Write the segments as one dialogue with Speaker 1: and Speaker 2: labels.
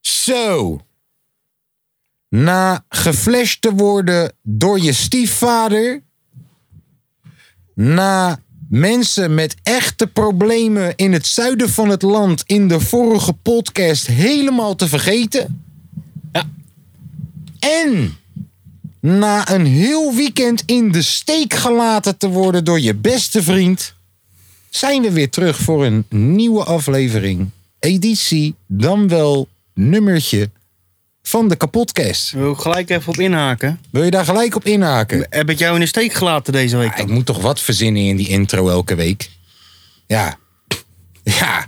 Speaker 1: Zo. Na geflasht te worden door je stiefvader. Na mensen met echte problemen in het zuiden van het land in de vorige podcast helemaal te vergeten. Ja. En na een heel weekend in de steek gelaten te worden door je beste vriend. Zijn we weer terug voor een nieuwe aflevering. Editie, dan wel nummertje van de kapotcast.
Speaker 2: Wil ik gelijk even op inhaken?
Speaker 1: Wil je daar gelijk op inhaken?
Speaker 2: Heb ik jou in de steek gelaten deze week?
Speaker 1: Ik moet toch wat verzinnen in die intro elke week? Ja. Ja.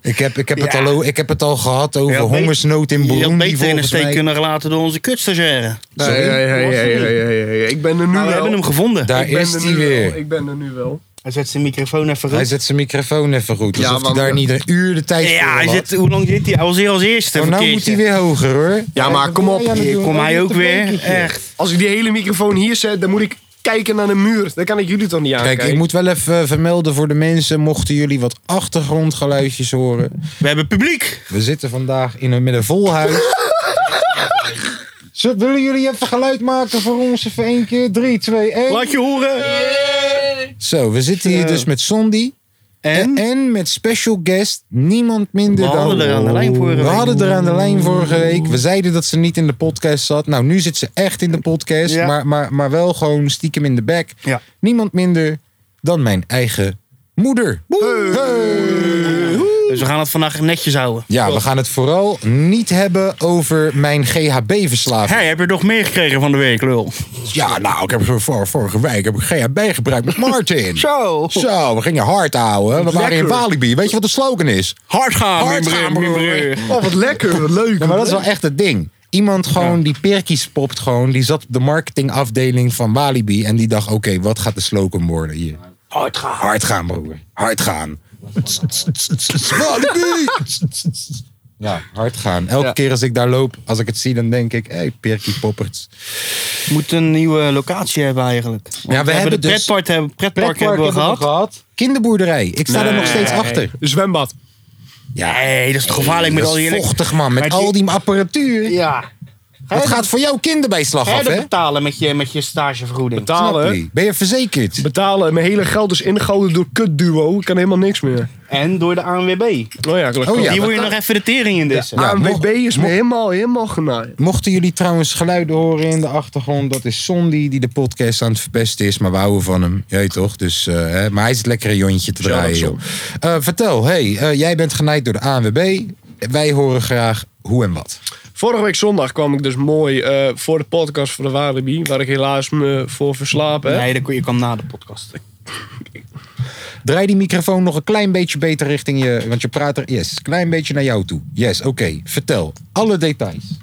Speaker 1: Ik heb, ik heb, Het,
Speaker 2: Ja.
Speaker 1: al, ik heb het al gehad over
Speaker 2: Je had
Speaker 1: hongersnood in
Speaker 2: Je had
Speaker 1: Burundi.
Speaker 2: beter in de
Speaker 1: volgens
Speaker 2: steek
Speaker 1: mij. Nou,
Speaker 2: kunnen gelaten door onze kutstagiaire.
Speaker 1: Sorry.
Speaker 3: Hey, hey, hey, hey, hey, hey, hey. Ik ben er nu
Speaker 2: Maar Nou, we
Speaker 3: wel.
Speaker 2: hebben hem gevonden.
Speaker 1: Daar
Speaker 3: Ik ben
Speaker 1: is
Speaker 3: er
Speaker 1: hij
Speaker 3: nu
Speaker 1: weer.
Speaker 3: wel. Ik ben er nu wel.
Speaker 2: Hij zet zijn microfoon even
Speaker 1: Hij
Speaker 2: goed.
Speaker 1: zet zijn microfoon even goed.
Speaker 3: Ja,
Speaker 1: Alsof
Speaker 3: want-
Speaker 1: hij daar niet een uur de tijd voor
Speaker 2: Ja, hij
Speaker 1: had.
Speaker 2: zit, hoe lang zit hij? Hij was hier als eerste.
Speaker 1: Oh, nou
Speaker 2: verkeertje.
Speaker 1: moet hij weer oh, hoger hoor.
Speaker 3: Ja, maar kom op.
Speaker 2: Hier komt hij ook weer. Eh, Echt.
Speaker 3: Als ik die hele microfoon hier zet, dan moet ik kijken naar de muur. Dan kan ik jullie toch niet aankijken.
Speaker 1: Kijk, ik moet wel even vermelden voor de mensen, mochten jullie wat achtergrondgeluidjes horen.
Speaker 2: We hebben publiek.
Speaker 1: We zitten vandaag in een, met een vol huis. Zo, willen jullie even geluid maken voor ons? Even één keer. 3, 2, 1.
Speaker 2: Laat je horen.
Speaker 1: Zo, we zitten hier dus met Sondi. En?
Speaker 2: En?
Speaker 1: en met special guest niemand minder
Speaker 2: We
Speaker 1: dan...
Speaker 2: hadden er aan de lijn vorige
Speaker 1: We
Speaker 2: week.
Speaker 1: hadden er aan de lijn vorige week. We zeiden dat ze niet in de podcast zat. Nou, nu zit ze echt in de podcast.
Speaker 2: Ja.
Speaker 1: Maar, maar, maar wel gewoon stiekem in de back.
Speaker 2: Ja.
Speaker 1: Niemand minder dan mijn eigen moeder.
Speaker 2: Dus we gaan het vandaag netjes houden.
Speaker 1: Ja, we gaan het vooral niet hebben over mijn GHB-verslaving.
Speaker 2: Hey, heb je nog meer gekregen van de week, lul?
Speaker 1: Ja, nou, ik heb zo voor, vorige week heb ik GHB gebruikt met Martin.
Speaker 2: Zo.
Speaker 1: Zo, we gingen hard houden. We waren in
Speaker 3: Lekker.
Speaker 1: Walibi. Weet je wat de slogan is?
Speaker 2: Hard gaan,
Speaker 1: Hard gaan,
Speaker 2: mijn broer.
Speaker 1: broer.
Speaker 3: Oh, wat lekker, wat leuk.
Speaker 1: Ja, maar dat is wel echt het ding. Iemand gewoon die perkies popt gewoon. Die zat op de marketingafdeling van Walibi. En die dacht, oké, wat gaat de slogan worden hier? Hard gaan. Hard gaan, broer. Hard gaan. Walibi! Ja, hard gaan. Elke keer als ik daar loop, als ik het zie, dan denk ik... Hé, hey, perkie poppers.
Speaker 2: moet een nieuwe locatie hebben eigenlijk. Want
Speaker 1: we hebben
Speaker 2: de
Speaker 1: dus-
Speaker 2: pretpark, hebben, pretpark, hebben we
Speaker 1: Pretpark
Speaker 2: gehad.
Speaker 1: Kinderboerderij. Ik sta er nog steeds achter.
Speaker 3: Zwembad.
Speaker 1: Ja,
Speaker 2: Nee, dat is toch gevaarlijk met
Speaker 1: dat
Speaker 2: al die...
Speaker 1: is vochtig, man. Met
Speaker 2: Maar
Speaker 1: al die apparatuur.
Speaker 2: Ja.
Speaker 1: Dat gaat voor jou kinderbijslag af,
Speaker 2: Verder
Speaker 1: hè?
Speaker 2: betalen met je, met je stagevergoeding.
Speaker 1: Snap
Speaker 3: Betalen.
Speaker 1: je? Ben je verzekerd?
Speaker 3: Betalen. Mijn hele geld is ingehouden door kutduo. Ik kan helemaal niks meer.
Speaker 2: En door de ANWB.
Speaker 3: Oh ja, gelukkig.
Speaker 1: Oh ja.
Speaker 2: die
Speaker 1: wat
Speaker 2: moet je nog even de tering in dissen.
Speaker 1: Ja,
Speaker 3: ANWB
Speaker 1: mocht-
Speaker 3: is me helemaal, helemaal genaaid.
Speaker 1: Mochten jullie trouwens geluiden horen in de achtergrond, dat is Sondi die de podcast aan het verpesten is, maar we houden van hem. Je weet toch? Dus, eh, hè, maar hij is het lekkere jontje te draaien. Joh. Eh, vertel, hey, eh, jij bent genaaid door de ANWB. Wij horen graag hoe en wat.
Speaker 3: Vorige week zondag kwam ik dus mooi eh, voor de podcast van de Walibi. Waar ik helaas me voor verslaap heb.
Speaker 2: Nee, dat kon, je kan na de podcast.
Speaker 1: Draai die microfoon nog een klein beetje beter richting je, want je praat er, yes, een klein beetje naar jou toe. Yes, oké, vertel. Alle details.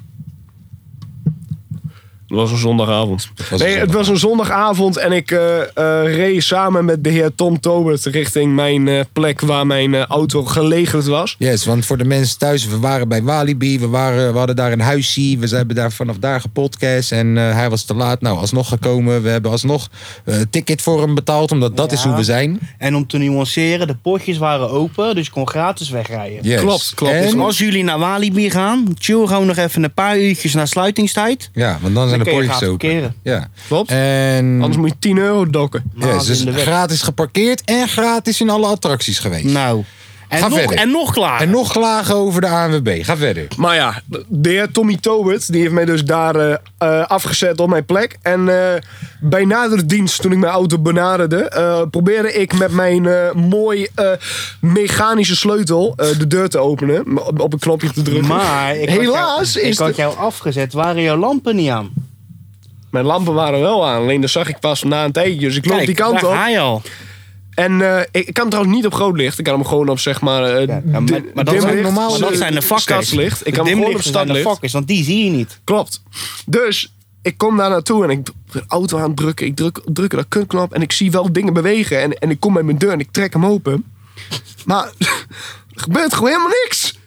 Speaker 3: Het was een zondagavond.
Speaker 1: was een
Speaker 3: nee, het was een zondagavond en ik eh eh, reed samen met de heer Tom Tobert richting mijn eh, plek waar mijn eh, auto gelegerd was.
Speaker 1: Yes, want voor de mensen thuis, we waren bij Walibi, we, waren, we hadden daar een huisje, we hebben daar vanaf daar gepodcast en eh, hij was te laat. Nou, alsnog gekomen, we hebben alsnog eh, een ticket voor hem betaald, omdat dat
Speaker 2: Ja.
Speaker 1: is hoe we zijn.
Speaker 2: En om te nuanceren, de potjes waren open, dus je kon gratis wegrijden.
Speaker 1: Yes.
Speaker 3: Klopt, klopt.
Speaker 1: En-
Speaker 2: Dus als jullie naar Walibi gaan, chill gewoon nog even een paar uurtjes na sluitingstijd.
Speaker 1: ja, want dan zijn
Speaker 2: Dan
Speaker 1: de
Speaker 2: kun je
Speaker 1: poortjes
Speaker 2: gaan
Speaker 1: open.
Speaker 2: parkeren.
Speaker 1: Ja.
Speaker 3: Klopt.
Speaker 2: Mm.
Speaker 1: En
Speaker 3: Anders moet je 10 euro dokken.
Speaker 1: yes,
Speaker 2: Maas
Speaker 1: dus
Speaker 2: in de weg.
Speaker 1: gratis geparkeerd en gratis in alle attracties geweest.
Speaker 2: Nou.
Speaker 1: Ga
Speaker 2: En, nog,
Speaker 1: verder.
Speaker 2: en nog klaar.
Speaker 1: En nog klagen over de ANWB. Ga verder.
Speaker 3: Maar ja, de heer Tommy Tobert die heeft mij dus daar eh, eh, afgezet op mijn plek. En eh, bij nader dienst, toen ik mijn auto benaderde, eh, probeerde ik met mijn eh, mooi eh, mechanische sleutel eh, de deur te openen. Op, op een knopje te drukken.
Speaker 2: Maar ik had
Speaker 3: helaas
Speaker 2: jou,
Speaker 3: is
Speaker 2: ik
Speaker 3: de-
Speaker 2: had jou afgezet, waren jouw lampen niet aan?
Speaker 4: Hm.
Speaker 3: Mijn lampen waren wel aan, alleen dat zag ik pas na een tijdje. Dus ik loop die kant
Speaker 2: daar
Speaker 3: op.
Speaker 2: ga je al.
Speaker 3: En eh, ik, ik kan hem trouwens niet op groot licht. Ik kan hem gewoon op zeg maar. eh,
Speaker 4: maar-
Speaker 3: di-
Speaker 4: maar dat zijn
Speaker 3: dimlicht,
Speaker 1: normaal-
Speaker 4: Maar dat zijn de vakkers.
Speaker 3: Stadslicht. Ik
Speaker 4: De
Speaker 3: kan hem gewoon op
Speaker 4: dimlichten zijn de
Speaker 3: stadslicht.
Speaker 4: vakkers, want die zie je niet.
Speaker 3: Klopt. Dus ik kom daar naartoe en ik ben auto aan het drukken. Ik druk, druk dat kutknop en ik zie wel dingen bewegen. En, en ik kom bij mijn deur en ik trek hem open. Maar er gebeurt gewoon helemaal niks.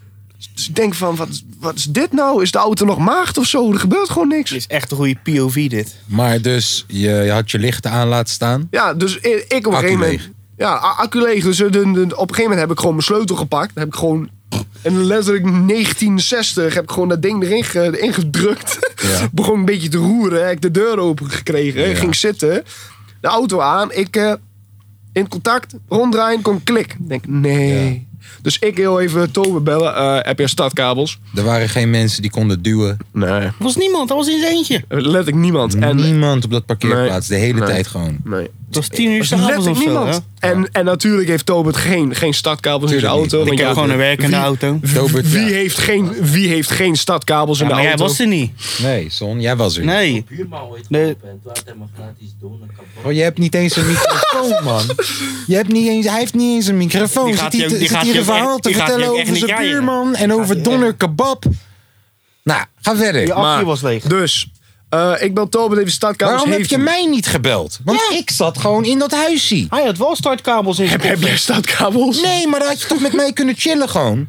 Speaker 3: Dus ik denk van, wat, wat is dit nou? Is de auto nog maagd of zo? Er gebeurt gewoon niks.
Speaker 4: Dit is echt een goede POV dit.
Speaker 1: Maar dus, je, je had je lichten aan laten staan.
Speaker 3: Ja, dus i- ik op een
Speaker 1: Accu
Speaker 3: gegeven moment...
Speaker 1: leeg.
Speaker 3: Ja, a- accu leeg. Dus eh, de- de- op een gegeven moment heb ik gewoon mijn sleutel gepakt. Dan heb ik gewoon... En letterlijk 1960 heb ik gewoon dat ding erin ge- erin gedrukt.
Speaker 1: Ja.
Speaker 3: Begon een beetje te roeren. Heb ik de deur open gekregen.
Speaker 1: Ja.
Speaker 3: Ging zitten. De auto aan. Ik eh, in contact. Ronddraaien. Kom klik. Ik denk, nee. Dus ik heel even Tober bellen. eh, heb je stadkabels?
Speaker 1: Er waren geen mensen die konden duwen.
Speaker 3: Nee.
Speaker 4: Er was niemand, er was in zijn eentje.
Speaker 3: Letterlijk niemand. En,
Speaker 1: Niemand op dat parkeerplaats, de hele
Speaker 3: Nee.
Speaker 1: tijd gewoon.
Speaker 3: nee.
Speaker 4: Het was tien uur
Speaker 3: Dus
Speaker 4: s'avonds of
Speaker 3: letterlijk
Speaker 4: zo.
Speaker 3: niemand.
Speaker 4: hè?
Speaker 3: En, en natuurlijk heeft Tobert geen, geen stadkabels in zijn
Speaker 1: Tuurlijk
Speaker 3: auto.
Speaker 4: Ik
Speaker 1: niet.
Speaker 3: want
Speaker 4: heb
Speaker 3: ja,
Speaker 4: gewoon een werkende auto.
Speaker 1: Tobert,
Speaker 3: Wie,
Speaker 1: ja.
Speaker 3: heeft geen, wie heeft geen stadkabels
Speaker 4: Ja,
Speaker 3: in de
Speaker 4: maar jij
Speaker 3: auto?
Speaker 4: was er niet.
Speaker 1: Nee, Son, jij was er.
Speaker 4: Nee.
Speaker 5: Buurman weet
Speaker 4: Nee.
Speaker 5: nee. en toen had hij me gratis doen en kapot.
Speaker 1: Oh, je hebt niet eens een microfoon, man. Je hebt niet eens, hij heeft niet eens een microfoon.
Speaker 4: Die
Speaker 1: zit
Speaker 4: gaat
Speaker 1: hij,
Speaker 4: je ook-
Speaker 1: te-
Speaker 4: die
Speaker 1: zit
Speaker 4: gaat
Speaker 1: hier
Speaker 4: je
Speaker 1: een
Speaker 4: ook echt-
Speaker 1: verhaal te
Speaker 4: die gaat je
Speaker 1: vertellen
Speaker 4: ook
Speaker 1: over
Speaker 4: echt niet
Speaker 1: zijn
Speaker 4: krijgen.
Speaker 1: buurman en over Donner Kebab. Nou, ga verder.
Speaker 4: accu
Speaker 3: Maar-
Speaker 4: was leeg.
Speaker 3: Dus, eh, ik bel Tobert even stadkabels.
Speaker 1: Waarom heb
Speaker 3: heeft
Speaker 1: je
Speaker 3: hij.
Speaker 1: mij niet gebeld? Want ik zat gewoon in dat huisje.
Speaker 4: Hij had wel startkabels in zijn
Speaker 3: Heb
Speaker 4: koffer.
Speaker 3: jij stadkabels?
Speaker 1: Nee, maar dan had je toch met mij kunnen chillen gewoon.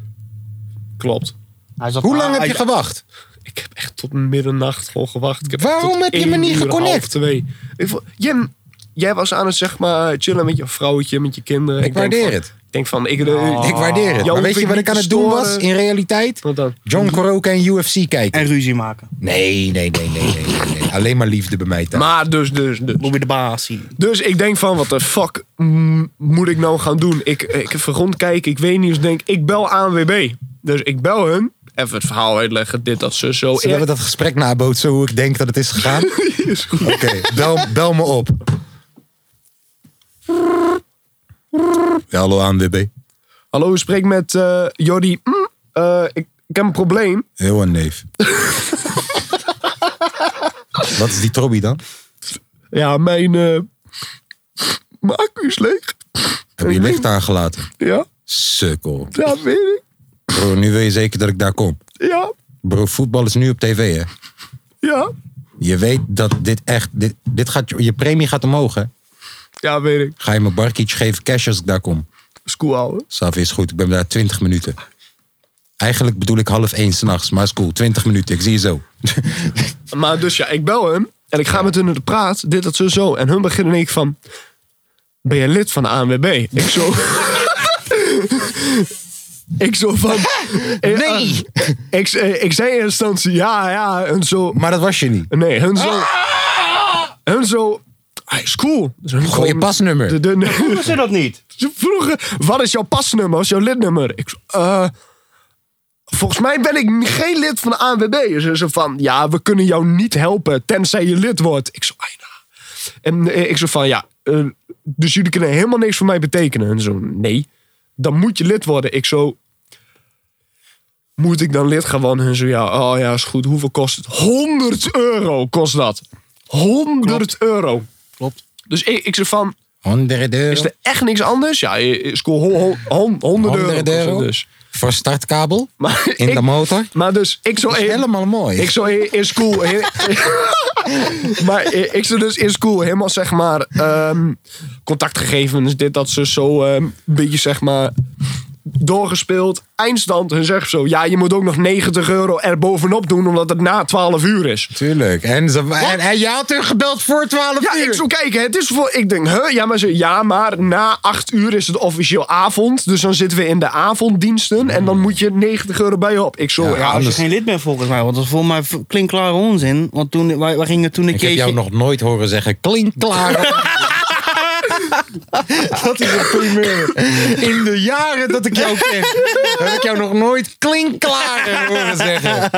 Speaker 3: Klopt.
Speaker 4: Hij zat-
Speaker 1: Hoe lang
Speaker 3: Ah,
Speaker 1: heb
Speaker 4: hij-
Speaker 1: je gewacht?
Speaker 3: Ik heb echt tot middernacht gewoon gewacht. Ik heb
Speaker 1: Waarom
Speaker 3: tot
Speaker 1: heb je
Speaker 3: één
Speaker 1: me niet
Speaker 3: uur,
Speaker 1: geconnect?
Speaker 3: half twee. Ik vo- Jim, jij was aan het zeg maar chillen met je vrouwtje, met je kinderen.
Speaker 1: Ik
Speaker 3: denk
Speaker 1: waardeer
Speaker 3: van-
Speaker 1: het.
Speaker 3: Ik denk van, ik... eh,
Speaker 1: Ik waardeer het.
Speaker 3: Jou
Speaker 1: Maar
Speaker 3: hoef
Speaker 1: weet je
Speaker 3: ik
Speaker 1: wat
Speaker 3: niet
Speaker 1: ik aan
Speaker 3: te
Speaker 1: het doen was
Speaker 3: storen.
Speaker 1: in realiteit?
Speaker 3: Wat dan?
Speaker 1: John Coroca en UFC kijken.
Speaker 4: En ruzie maken.
Speaker 1: Nee, nee, nee, nee, nee, nee, nee. Alleen maar liefde bij mij thuis.
Speaker 3: Maar dus, dus, dus.
Speaker 4: Bobby de baas hier.
Speaker 3: Dus ik denk van, wat de fuck mm, moet ik nou gaan doen? Ik, ik even rondkijken, ik weet niet. Dus ik denk, ik bel ANWB. Dus ik bel hun. Even het verhaal uitleggen, dit, dat, zo, zo.
Speaker 1: Zullen we dat gesprek nabootsen hoe ik denk dat het is gegaan?
Speaker 3: Is goed.
Speaker 1: Oké, bel, bel me op. Ja, hallo ANWB.
Speaker 3: Hallo, ik spreek met eh Jordi. Mm, eh, ik, ik heb een probleem.
Speaker 1: Heel een neef. Wat is die trobby dan?
Speaker 3: Ja, mijn, eh mijn accu is leeg.
Speaker 1: Heb je licht aangelaten?
Speaker 3: Ja,
Speaker 1: Sukkel.
Speaker 3: dat weet ik.
Speaker 1: Bro, nu wil je zeker dat ik daar kom.
Speaker 3: Ja,
Speaker 1: Bro, voetbal is nu op tv, hè?
Speaker 3: ja.
Speaker 1: Je weet dat dit echt... Dit, dit gaat, je je premie gaat omhoog, hè?
Speaker 3: Ja, weet ik.
Speaker 1: Ga je me barkietje geven cash als ik daar kom?
Speaker 3: School houden.
Speaker 1: Savi is goed, ik ben daar 20 minuten. Eigenlijk bedoel ik half één s'nachts, maar is cool. 20 minuten, ik zie je zo.
Speaker 3: Maar dus ja, ik bel hem en ik ga met hun praten, dit, dat, zo, zo. En hun beginnen en ik van, ben je lid van de ANWB? Ik zo... ik zo van... eh,
Speaker 1: Nee.
Speaker 3: eh, ik, eh, ik zei in eerste instantie, ja, ja, en zo...
Speaker 1: Maar dat was je niet.
Speaker 3: Nee, hun zo... Hun zo... Hij is cool. Dus hun
Speaker 1: Gooi je
Speaker 3: gewoon-
Speaker 1: Ah! pasnummer.
Speaker 3: De, de,
Speaker 4: Hoe ze dat niet?
Speaker 1: Ah,
Speaker 3: ze vroegen, wat is jouw pasnummer? Wat is jouw lidnummer? Ik zo, eh, volgens mij ben ik n- geen lid van de ANWB. Ze zo van, ja, we kunnen jou niet helpen tenzij je lid wordt. Ik zo, ai, nou. En eh, ik zo van, ja, eh, dus jullie kunnen helemaal niks voor mij betekenen. En zo, nee, dan moet je lid worden. Ik zo, moet ik dan lid gaan worden? En zo, ja, oh ja, is goed. Hoeveel kost het? 100 euro kost dat. 100 euro.
Speaker 1: Klopt.
Speaker 3: Dus ik, ik zo van,
Speaker 1: Honderden euro.
Speaker 3: is er echt niks anders? Ja, is cool. Hon, hon, hon, honderden euro.
Speaker 1: Honderden
Speaker 3: kost het
Speaker 1: euro.
Speaker 3: Dus.
Speaker 1: Voor startkabel.
Speaker 3: Maar
Speaker 1: In
Speaker 3: ik-
Speaker 1: de motor.
Speaker 3: Maar dus, ik zo...
Speaker 1: Dat is
Speaker 3: eh,
Speaker 1: helemaal mooi.
Speaker 3: Ik zo eh, in school... eh, maar eh, ik zo dus in school helemaal, zeg maar... ehm, contactgegevens, dit, dat, ze zo... ehm, Een beetje, zeg maar... Doorgespeeld. Eindstand. Hun zegt zo... Ja, je moet ook nog 90 euro erbovenop doen... omdat het na 12 uur is.
Speaker 1: Tuurlijk. En, ze, en, en je had er gebeld voor 12
Speaker 3: Ja,
Speaker 1: uur.
Speaker 3: ik zo kijken. Het is voor... Ik denk, huh? Ja, maar, ze, ja, maar na acht uur is het officieel avond. Dus dan zitten we in de avonddiensten. En dan moet je 90 euro bij je op. Ik zo...
Speaker 1: Ja,
Speaker 3: Ja,
Speaker 4: Ja, als je
Speaker 1: Anders-
Speaker 4: geen lid bent volgens mij. Want dat is volgens mij v- klinkklare onzin. Want toen, wij, wij gingen toen een
Speaker 1: Ik heb
Speaker 4: keertje...
Speaker 1: jou nog nooit horen zeggen, klink klaar. dat is een primeur. In de jaren dat ik jou ken, heb ik jou nog nooit klinkklaar horen zeggen.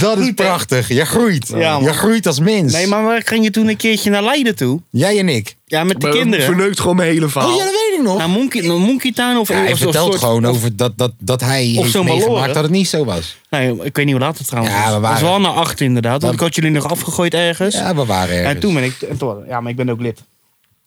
Speaker 1: Dat is prachtig. Je groeit.
Speaker 4: Ja, man.
Speaker 1: je groeit als mens.
Speaker 4: Nee, maar wij gingen toen een keertje naar Leiden toe.
Speaker 1: Jij en ik.
Speaker 4: Ja, met de
Speaker 3: maar
Speaker 4: kinderen.
Speaker 3: Verneukt gewoon mijn hele verhaal.
Speaker 1: Oh, ja, dat weet ik nog.
Speaker 4: Naar Monkey, naar Monkey Town of...
Speaker 1: Ja,
Speaker 4: Nou,
Speaker 1: hij
Speaker 4: of, of
Speaker 1: vertelt
Speaker 4: soort-
Speaker 1: gewoon
Speaker 4: of-
Speaker 1: over dat, dat, dat hij heeft
Speaker 4: zo'n
Speaker 1: meegemaakt
Speaker 4: verloren.
Speaker 1: dat het niet zo was.
Speaker 4: nee, ik weet niet hoe laat het trouwens
Speaker 1: Ja,
Speaker 4: was.
Speaker 1: we
Speaker 4: Het
Speaker 1: waren-
Speaker 4: was wel naar acht inderdaad. Want ik had jullie nog afgegooid ergens.
Speaker 1: Ja, we waren ergens.
Speaker 4: en toen ben ik... en toen- ja, maar ik ben ook lid.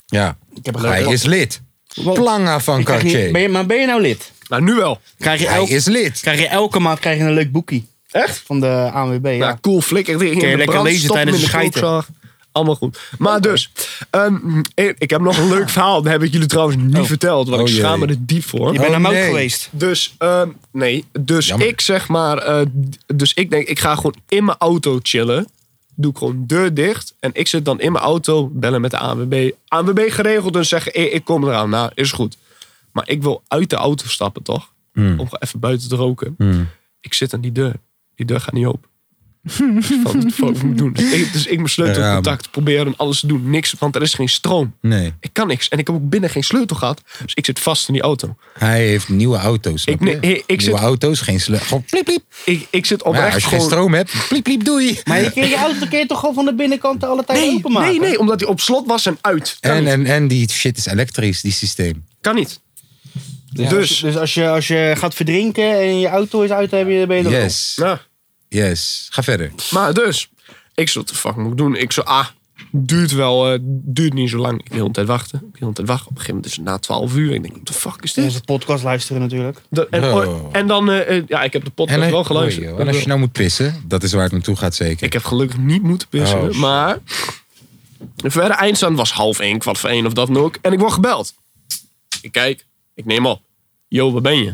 Speaker 1: Ja.
Speaker 4: heb een
Speaker 1: hij
Speaker 4: leuk-
Speaker 1: is lid.
Speaker 4: Wat-
Speaker 1: Planga van
Speaker 4: Ik krijg niet-
Speaker 1: Cartier.
Speaker 4: ben je, maar ben je nou lid?
Speaker 3: Nou, nu wel.
Speaker 4: Krijg je,
Speaker 1: Hij
Speaker 4: elk-
Speaker 1: is lid.
Speaker 4: krijg je elke maand krijg je een leuk boekje
Speaker 3: Echt?
Speaker 4: van de ANWB. Ja.
Speaker 3: Ja, cool, flikker tegen
Speaker 4: Kun je
Speaker 3: in de
Speaker 4: lekker
Speaker 3: brand,
Speaker 4: lezen
Speaker 3: stop hem
Speaker 4: tijdens
Speaker 3: in
Speaker 4: het schijten.
Speaker 3: kookzaag. Allemaal goed. Maar dus, ehm, ik ik heb nog een leuk verhaal. Dat heb ik jullie trouwens niet verteld, want
Speaker 1: Oh,
Speaker 3: ik
Speaker 1: jee.
Speaker 3: schaam me er diep voor.
Speaker 4: Je bent
Speaker 1: Oh,
Speaker 4: naar Mout
Speaker 1: nee.
Speaker 4: geweest.
Speaker 3: Dus, ehm, nee. Dus
Speaker 1: Jammer.
Speaker 3: ik zeg maar. eh, d- dus ik denk, ik ga gewoon in mijn auto chillen. Doe ik gewoon deur dicht. En ik zit dan in mijn auto, bellen met de ANWB. ANWB geregeld en zeggen: "Hey, ik kom eraan. Nou, is goed. Maar ik wil uit de auto stappen, toch? Om gewoon even buiten te roken. Ik zit aan die deur. Die deur gaat niet open. Dus van, wat moet ik doen? Dus ik, dus ik mijn sleutelcontact proberen en alles te doen. Niks, want er is geen stroom.
Speaker 1: Nee,
Speaker 3: Ik kan niks. En ik heb ook binnen geen sleutel gehad. Dus ik zit vast in die auto.
Speaker 1: hij heeft nieuwe auto's. snap
Speaker 3: Ik- nee,
Speaker 1: je?
Speaker 3: ik- ik
Speaker 1: nieuwe
Speaker 3: zit-
Speaker 1: auto's, geen sleutel. Gewoon pliep, pliep.
Speaker 3: Ik, ik zit
Speaker 1: Maar ja,
Speaker 3: oprecht
Speaker 1: als je
Speaker 3: gewoon...
Speaker 1: geen stroom hebt, pliep, pliep, doei.
Speaker 4: Maar je keer je auto keer toch gewoon van de binnenkant alle tijd
Speaker 3: Nee,
Speaker 4: openmaken?
Speaker 3: nee, nee, omdat hij op slot was en uit. Kan,
Speaker 1: En, eh, en,
Speaker 3: niet.
Speaker 1: en die shit is elektrisch, die systeem.
Speaker 3: kan niet.
Speaker 4: Dus,
Speaker 3: Dus-
Speaker 4: dus als, je, als je gaat verdrinken en je auto is uit, heb je, ben je er wel.
Speaker 1: Yes,
Speaker 3: Ja.
Speaker 1: yes. Ga verder.
Speaker 3: Maar dus, ik zo, wat de fuck moet ik doen? Ik zo, ah, duurt wel, eh, duurt niet zo lang. Ik wil de hele tijd wachten. Ik wil de hele tijd wachten. Op een gegeven moment is het na 12 uur. Ik denk, wat de fuck is
Speaker 4: Dat is
Speaker 3: dit?
Speaker 4: het podcast luisteren natuurlijk.
Speaker 3: Dat- en,
Speaker 1: Oh.
Speaker 3: en dan, eh, eh, ja, ik heb de podcast
Speaker 1: en,
Speaker 3: wel
Speaker 1: oei,
Speaker 3: geluisterd.
Speaker 1: joh.
Speaker 3: Dat
Speaker 1: en als
Speaker 3: wel.
Speaker 1: je nou moet pissen, dat is waar het naartoe gaat zeker.
Speaker 3: Ik heb gelukkig niet moeten pissen.
Speaker 1: Oh, shit.
Speaker 3: maar de verre eindstand was half één, kwart voor één of dat dan ook. En ik word gebeld. Ik kijk, ik neem op. Jo, waar ben je?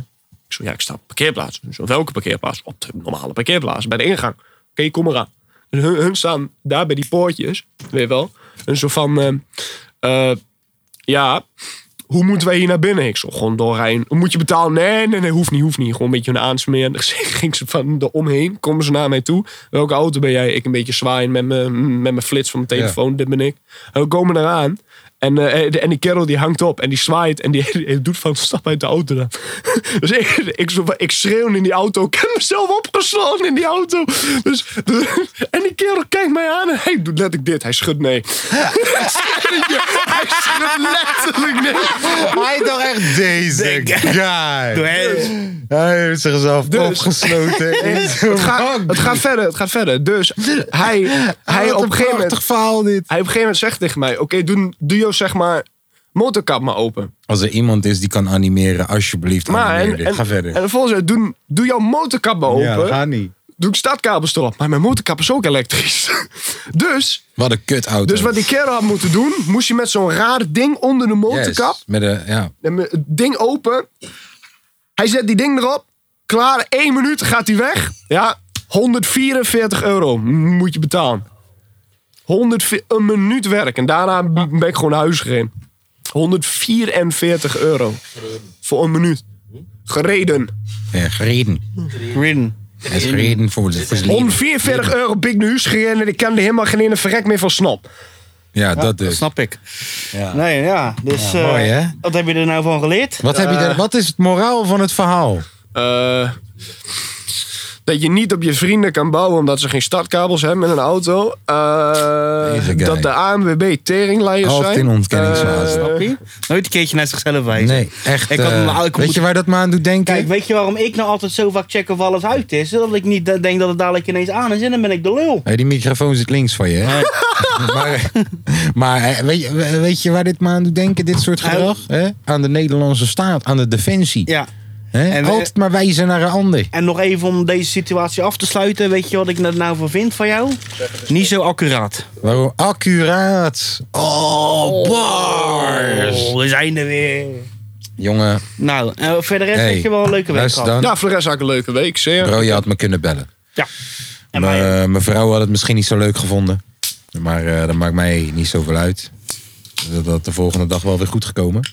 Speaker 3: Ik zo, ja, ik sta op de parkeerplaats. Zo, welke parkeerplaats? Op de normale parkeerplaats, bij de ingang. Oké, kom eraan. En hun, hun staan daar bij die poortjes, weet je wel. En zo van, ehm, eh, eh, ja, hoe moeten wij hier naar binnen? Ik zo, gewoon doorrijden. Moet je betalen? Nee, nee, nee, hoeft niet, hoeft niet. Gewoon een beetje hun aansmeren. Dus ik ging ze van de omheen, komen ze naar mij toe. Welke auto ben jij? Ik een beetje zwaaien met mijn met mijn flits van mijn telefoon. Dit ben ik. En we komen eraan. En, eh, de- en die kerel die hangt op en die zwaait en die, die doet van stap uit de auto dan. Dus ik, ik, zo van, ik schreeuw in die auto. Ik heb mezelf opgesloten in die auto. Dus, en die kerel kijkt mij aan en hij doet letterlijk dit. Hij schudt nee. hij schudt letterlijk nee.
Speaker 1: Hij toch echt deze guy. Hij heeft zichzelf
Speaker 3: Dus-
Speaker 1: opgesloten. in zo'n
Speaker 3: Het gaat,
Speaker 1: bank.
Speaker 3: het gaat verder, het gaat verder. Dus hij,
Speaker 1: Wat
Speaker 3: hij, op, een gegeven moment,
Speaker 1: prachtig verhaal dit.
Speaker 3: hij op een gegeven moment zegt tegen mij... Oké, doe, doe jou zeg maar motorkap maar open.
Speaker 1: Als er iemand is die kan animeren, alsjeblieft
Speaker 3: Maar
Speaker 1: animeer
Speaker 3: en,
Speaker 1: Oh, dit.
Speaker 3: en,
Speaker 1: Ga verder.
Speaker 3: en vervolgens zei hij, doe, doe jouw motorkap maar open.
Speaker 1: ja, dat gaat niet.
Speaker 3: Doe ik startkabels erop. Maar mijn motorkap is ook elektrisch. dus,
Speaker 1: Wat een kut auto.
Speaker 3: dus wat die kerel had moeten doen... Moest hij met zo'n raar ding onder de motorkap...
Speaker 1: Met een, ja.
Speaker 3: En me- Het ding open. Hij zet die ding erop. Klaar, één minuut gaat hij weg. Ja, 144 euro m- moet je betalen. 100, een minuut werk. En daarna b- ben ik gewoon naar huis gereden. 144 euro. Voor een minuut. Gereden.
Speaker 1: ja, gereden.
Speaker 4: Ridden.
Speaker 1: Hij is gereden voor, voor zijn leven.
Speaker 3: 144 euro ben ik naar huis gereden. En ik kan er helemaal geen ene verrek meer van snap.
Speaker 1: Ja, dat
Speaker 4: Dat
Speaker 1: dus.
Speaker 4: snap ik.
Speaker 1: Ja.
Speaker 4: Nee, ja. Dus, eh,
Speaker 1: mooi, hè?
Speaker 4: Wat heb je er nou van geleerd?
Speaker 1: Wat, heb je daar, wat is het moraal van het verhaal?
Speaker 3: Eh, dat je niet op je vrienden kan bouwen omdat ze geen startkabels hebben met een auto. Eh,
Speaker 1: Deze guy.
Speaker 3: dat de ANWB teringlijers
Speaker 1: Altijd
Speaker 3: zijn.
Speaker 1: in ontkenningsfase.
Speaker 3: Eh,
Speaker 4: Snap je? Nooit een keertje naar zichzelf wijzen.
Speaker 1: Nee, echt.
Speaker 4: Ik had
Speaker 1: eh,
Speaker 4: hem al- ik
Speaker 1: weet
Speaker 4: moet-
Speaker 1: je waar dat me aan doet denken?
Speaker 4: Kijk, weet je waarom ik nou altijd zo vaak check of alles uit is? Zodat ik niet eh, denk dat het dadelijk ineens aan is en dan ben ik de lul.
Speaker 1: Hey, die microfoon zit links van je. hè? maar maar eh, weet, je, weet je waar dit me aan doet denken, dit soort gedrag? hè? Aan de Nederlandse staat, aan de defensie.
Speaker 4: Nou, Ja.
Speaker 1: hè?
Speaker 4: en we-
Speaker 1: Altijd maar wijzen naar een ander.
Speaker 4: En nog even om deze situatie af te sluiten. Weet je wat ik er nou van vind van jou? Niet zo accuraat.
Speaker 1: Waarom? Accuraat. Oh, bars.
Speaker 4: Oh, we zijn er weer.
Speaker 1: Jongen,
Speaker 4: Nou, eh, verder rest
Speaker 1: Hey,
Speaker 4: heb je wel een leuke week
Speaker 1: luister
Speaker 4: gehad.
Speaker 1: dan.
Speaker 3: ja, voor de rest had ik een leuke week. Zeer.
Speaker 1: Bro, je had me kunnen bellen.
Speaker 4: Ja. En
Speaker 1: Maar,
Speaker 4: mij,
Speaker 1: eh, Mijn vrouw had het misschien niet zo leuk gevonden. Maar eh, dat maakt mij niet zoveel uit. Dat had de volgende dag wel weer goed gekomen.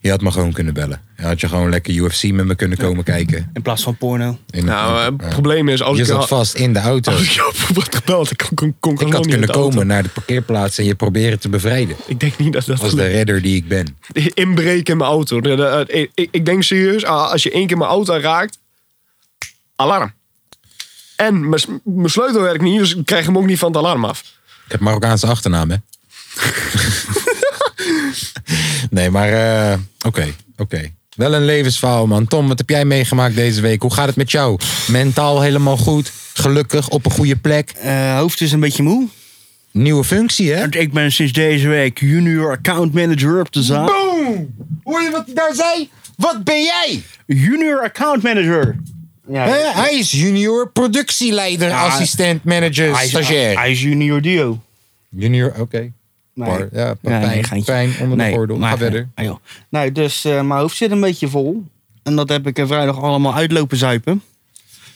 Speaker 1: Je had me gewoon kunnen bellen. Je had je gewoon lekker UFC met me kunnen komen kijken.
Speaker 4: in plaats van porno.
Speaker 1: In-
Speaker 3: Nou, eh,
Speaker 1: ja.
Speaker 3: het probleem is, als
Speaker 1: je
Speaker 3: ik,
Speaker 1: zat
Speaker 3: al-
Speaker 1: vast in de auto.
Speaker 3: als ik jou op wat gebeld, ik kon, kon, kon
Speaker 1: Ik had
Speaker 3: nog niet
Speaker 1: kunnen
Speaker 3: met de auto.
Speaker 1: komen naar de parkeerplaats en je proberen te bevrijden.
Speaker 3: Ik denk niet dat dat
Speaker 1: Als de redder die ik ben.
Speaker 3: gelukt. inbreken in mijn auto. De- de- eh, ik- Ik, ik denk serieus, ah, als je één keer mijn auto raakt, alarm. En mijn s- mijn sleutel werkt niet, dus ik krijg hem ook niet van het alarm af.
Speaker 1: Ik heb Marokkaanse achternaam, hè? nee, maar eh, oké. oké. Wel een levensverhaal, man. Tom, wat heb jij meegemaakt deze week? Hoe gaat het met jou? Mentaal helemaal goed? Gelukkig? Op een goede plek?
Speaker 4: Eh, hoofd is een beetje moe.
Speaker 1: Nieuwe functie, hè?
Speaker 2: Want ik ben sinds deze week junior account manager op de zaak.
Speaker 1: Boom! Hoor je wat hij daar zei? Wat ben jij?
Speaker 2: Junior account manager.
Speaker 4: Ja,
Speaker 1: Hè? Hij is junior productieleider,
Speaker 2: Ja,
Speaker 1: assistent, manager,
Speaker 2: Hij is,
Speaker 1: stagiair.
Speaker 2: hij is junior Dio.
Speaker 1: junior, oké.
Speaker 4: nee.
Speaker 1: Par- Ja,
Speaker 2: Ja, nee,
Speaker 1: pijn,
Speaker 2: geintje.
Speaker 1: pijn onder
Speaker 2: Nee,
Speaker 1: de gordel.
Speaker 2: maar-
Speaker 1: Ga verder.
Speaker 2: Ah, joh.
Speaker 4: Nee, dus eh, mijn hoofd zit een beetje vol.
Speaker 2: En dat heb ik er vrijdag allemaal uitlopen zuipen.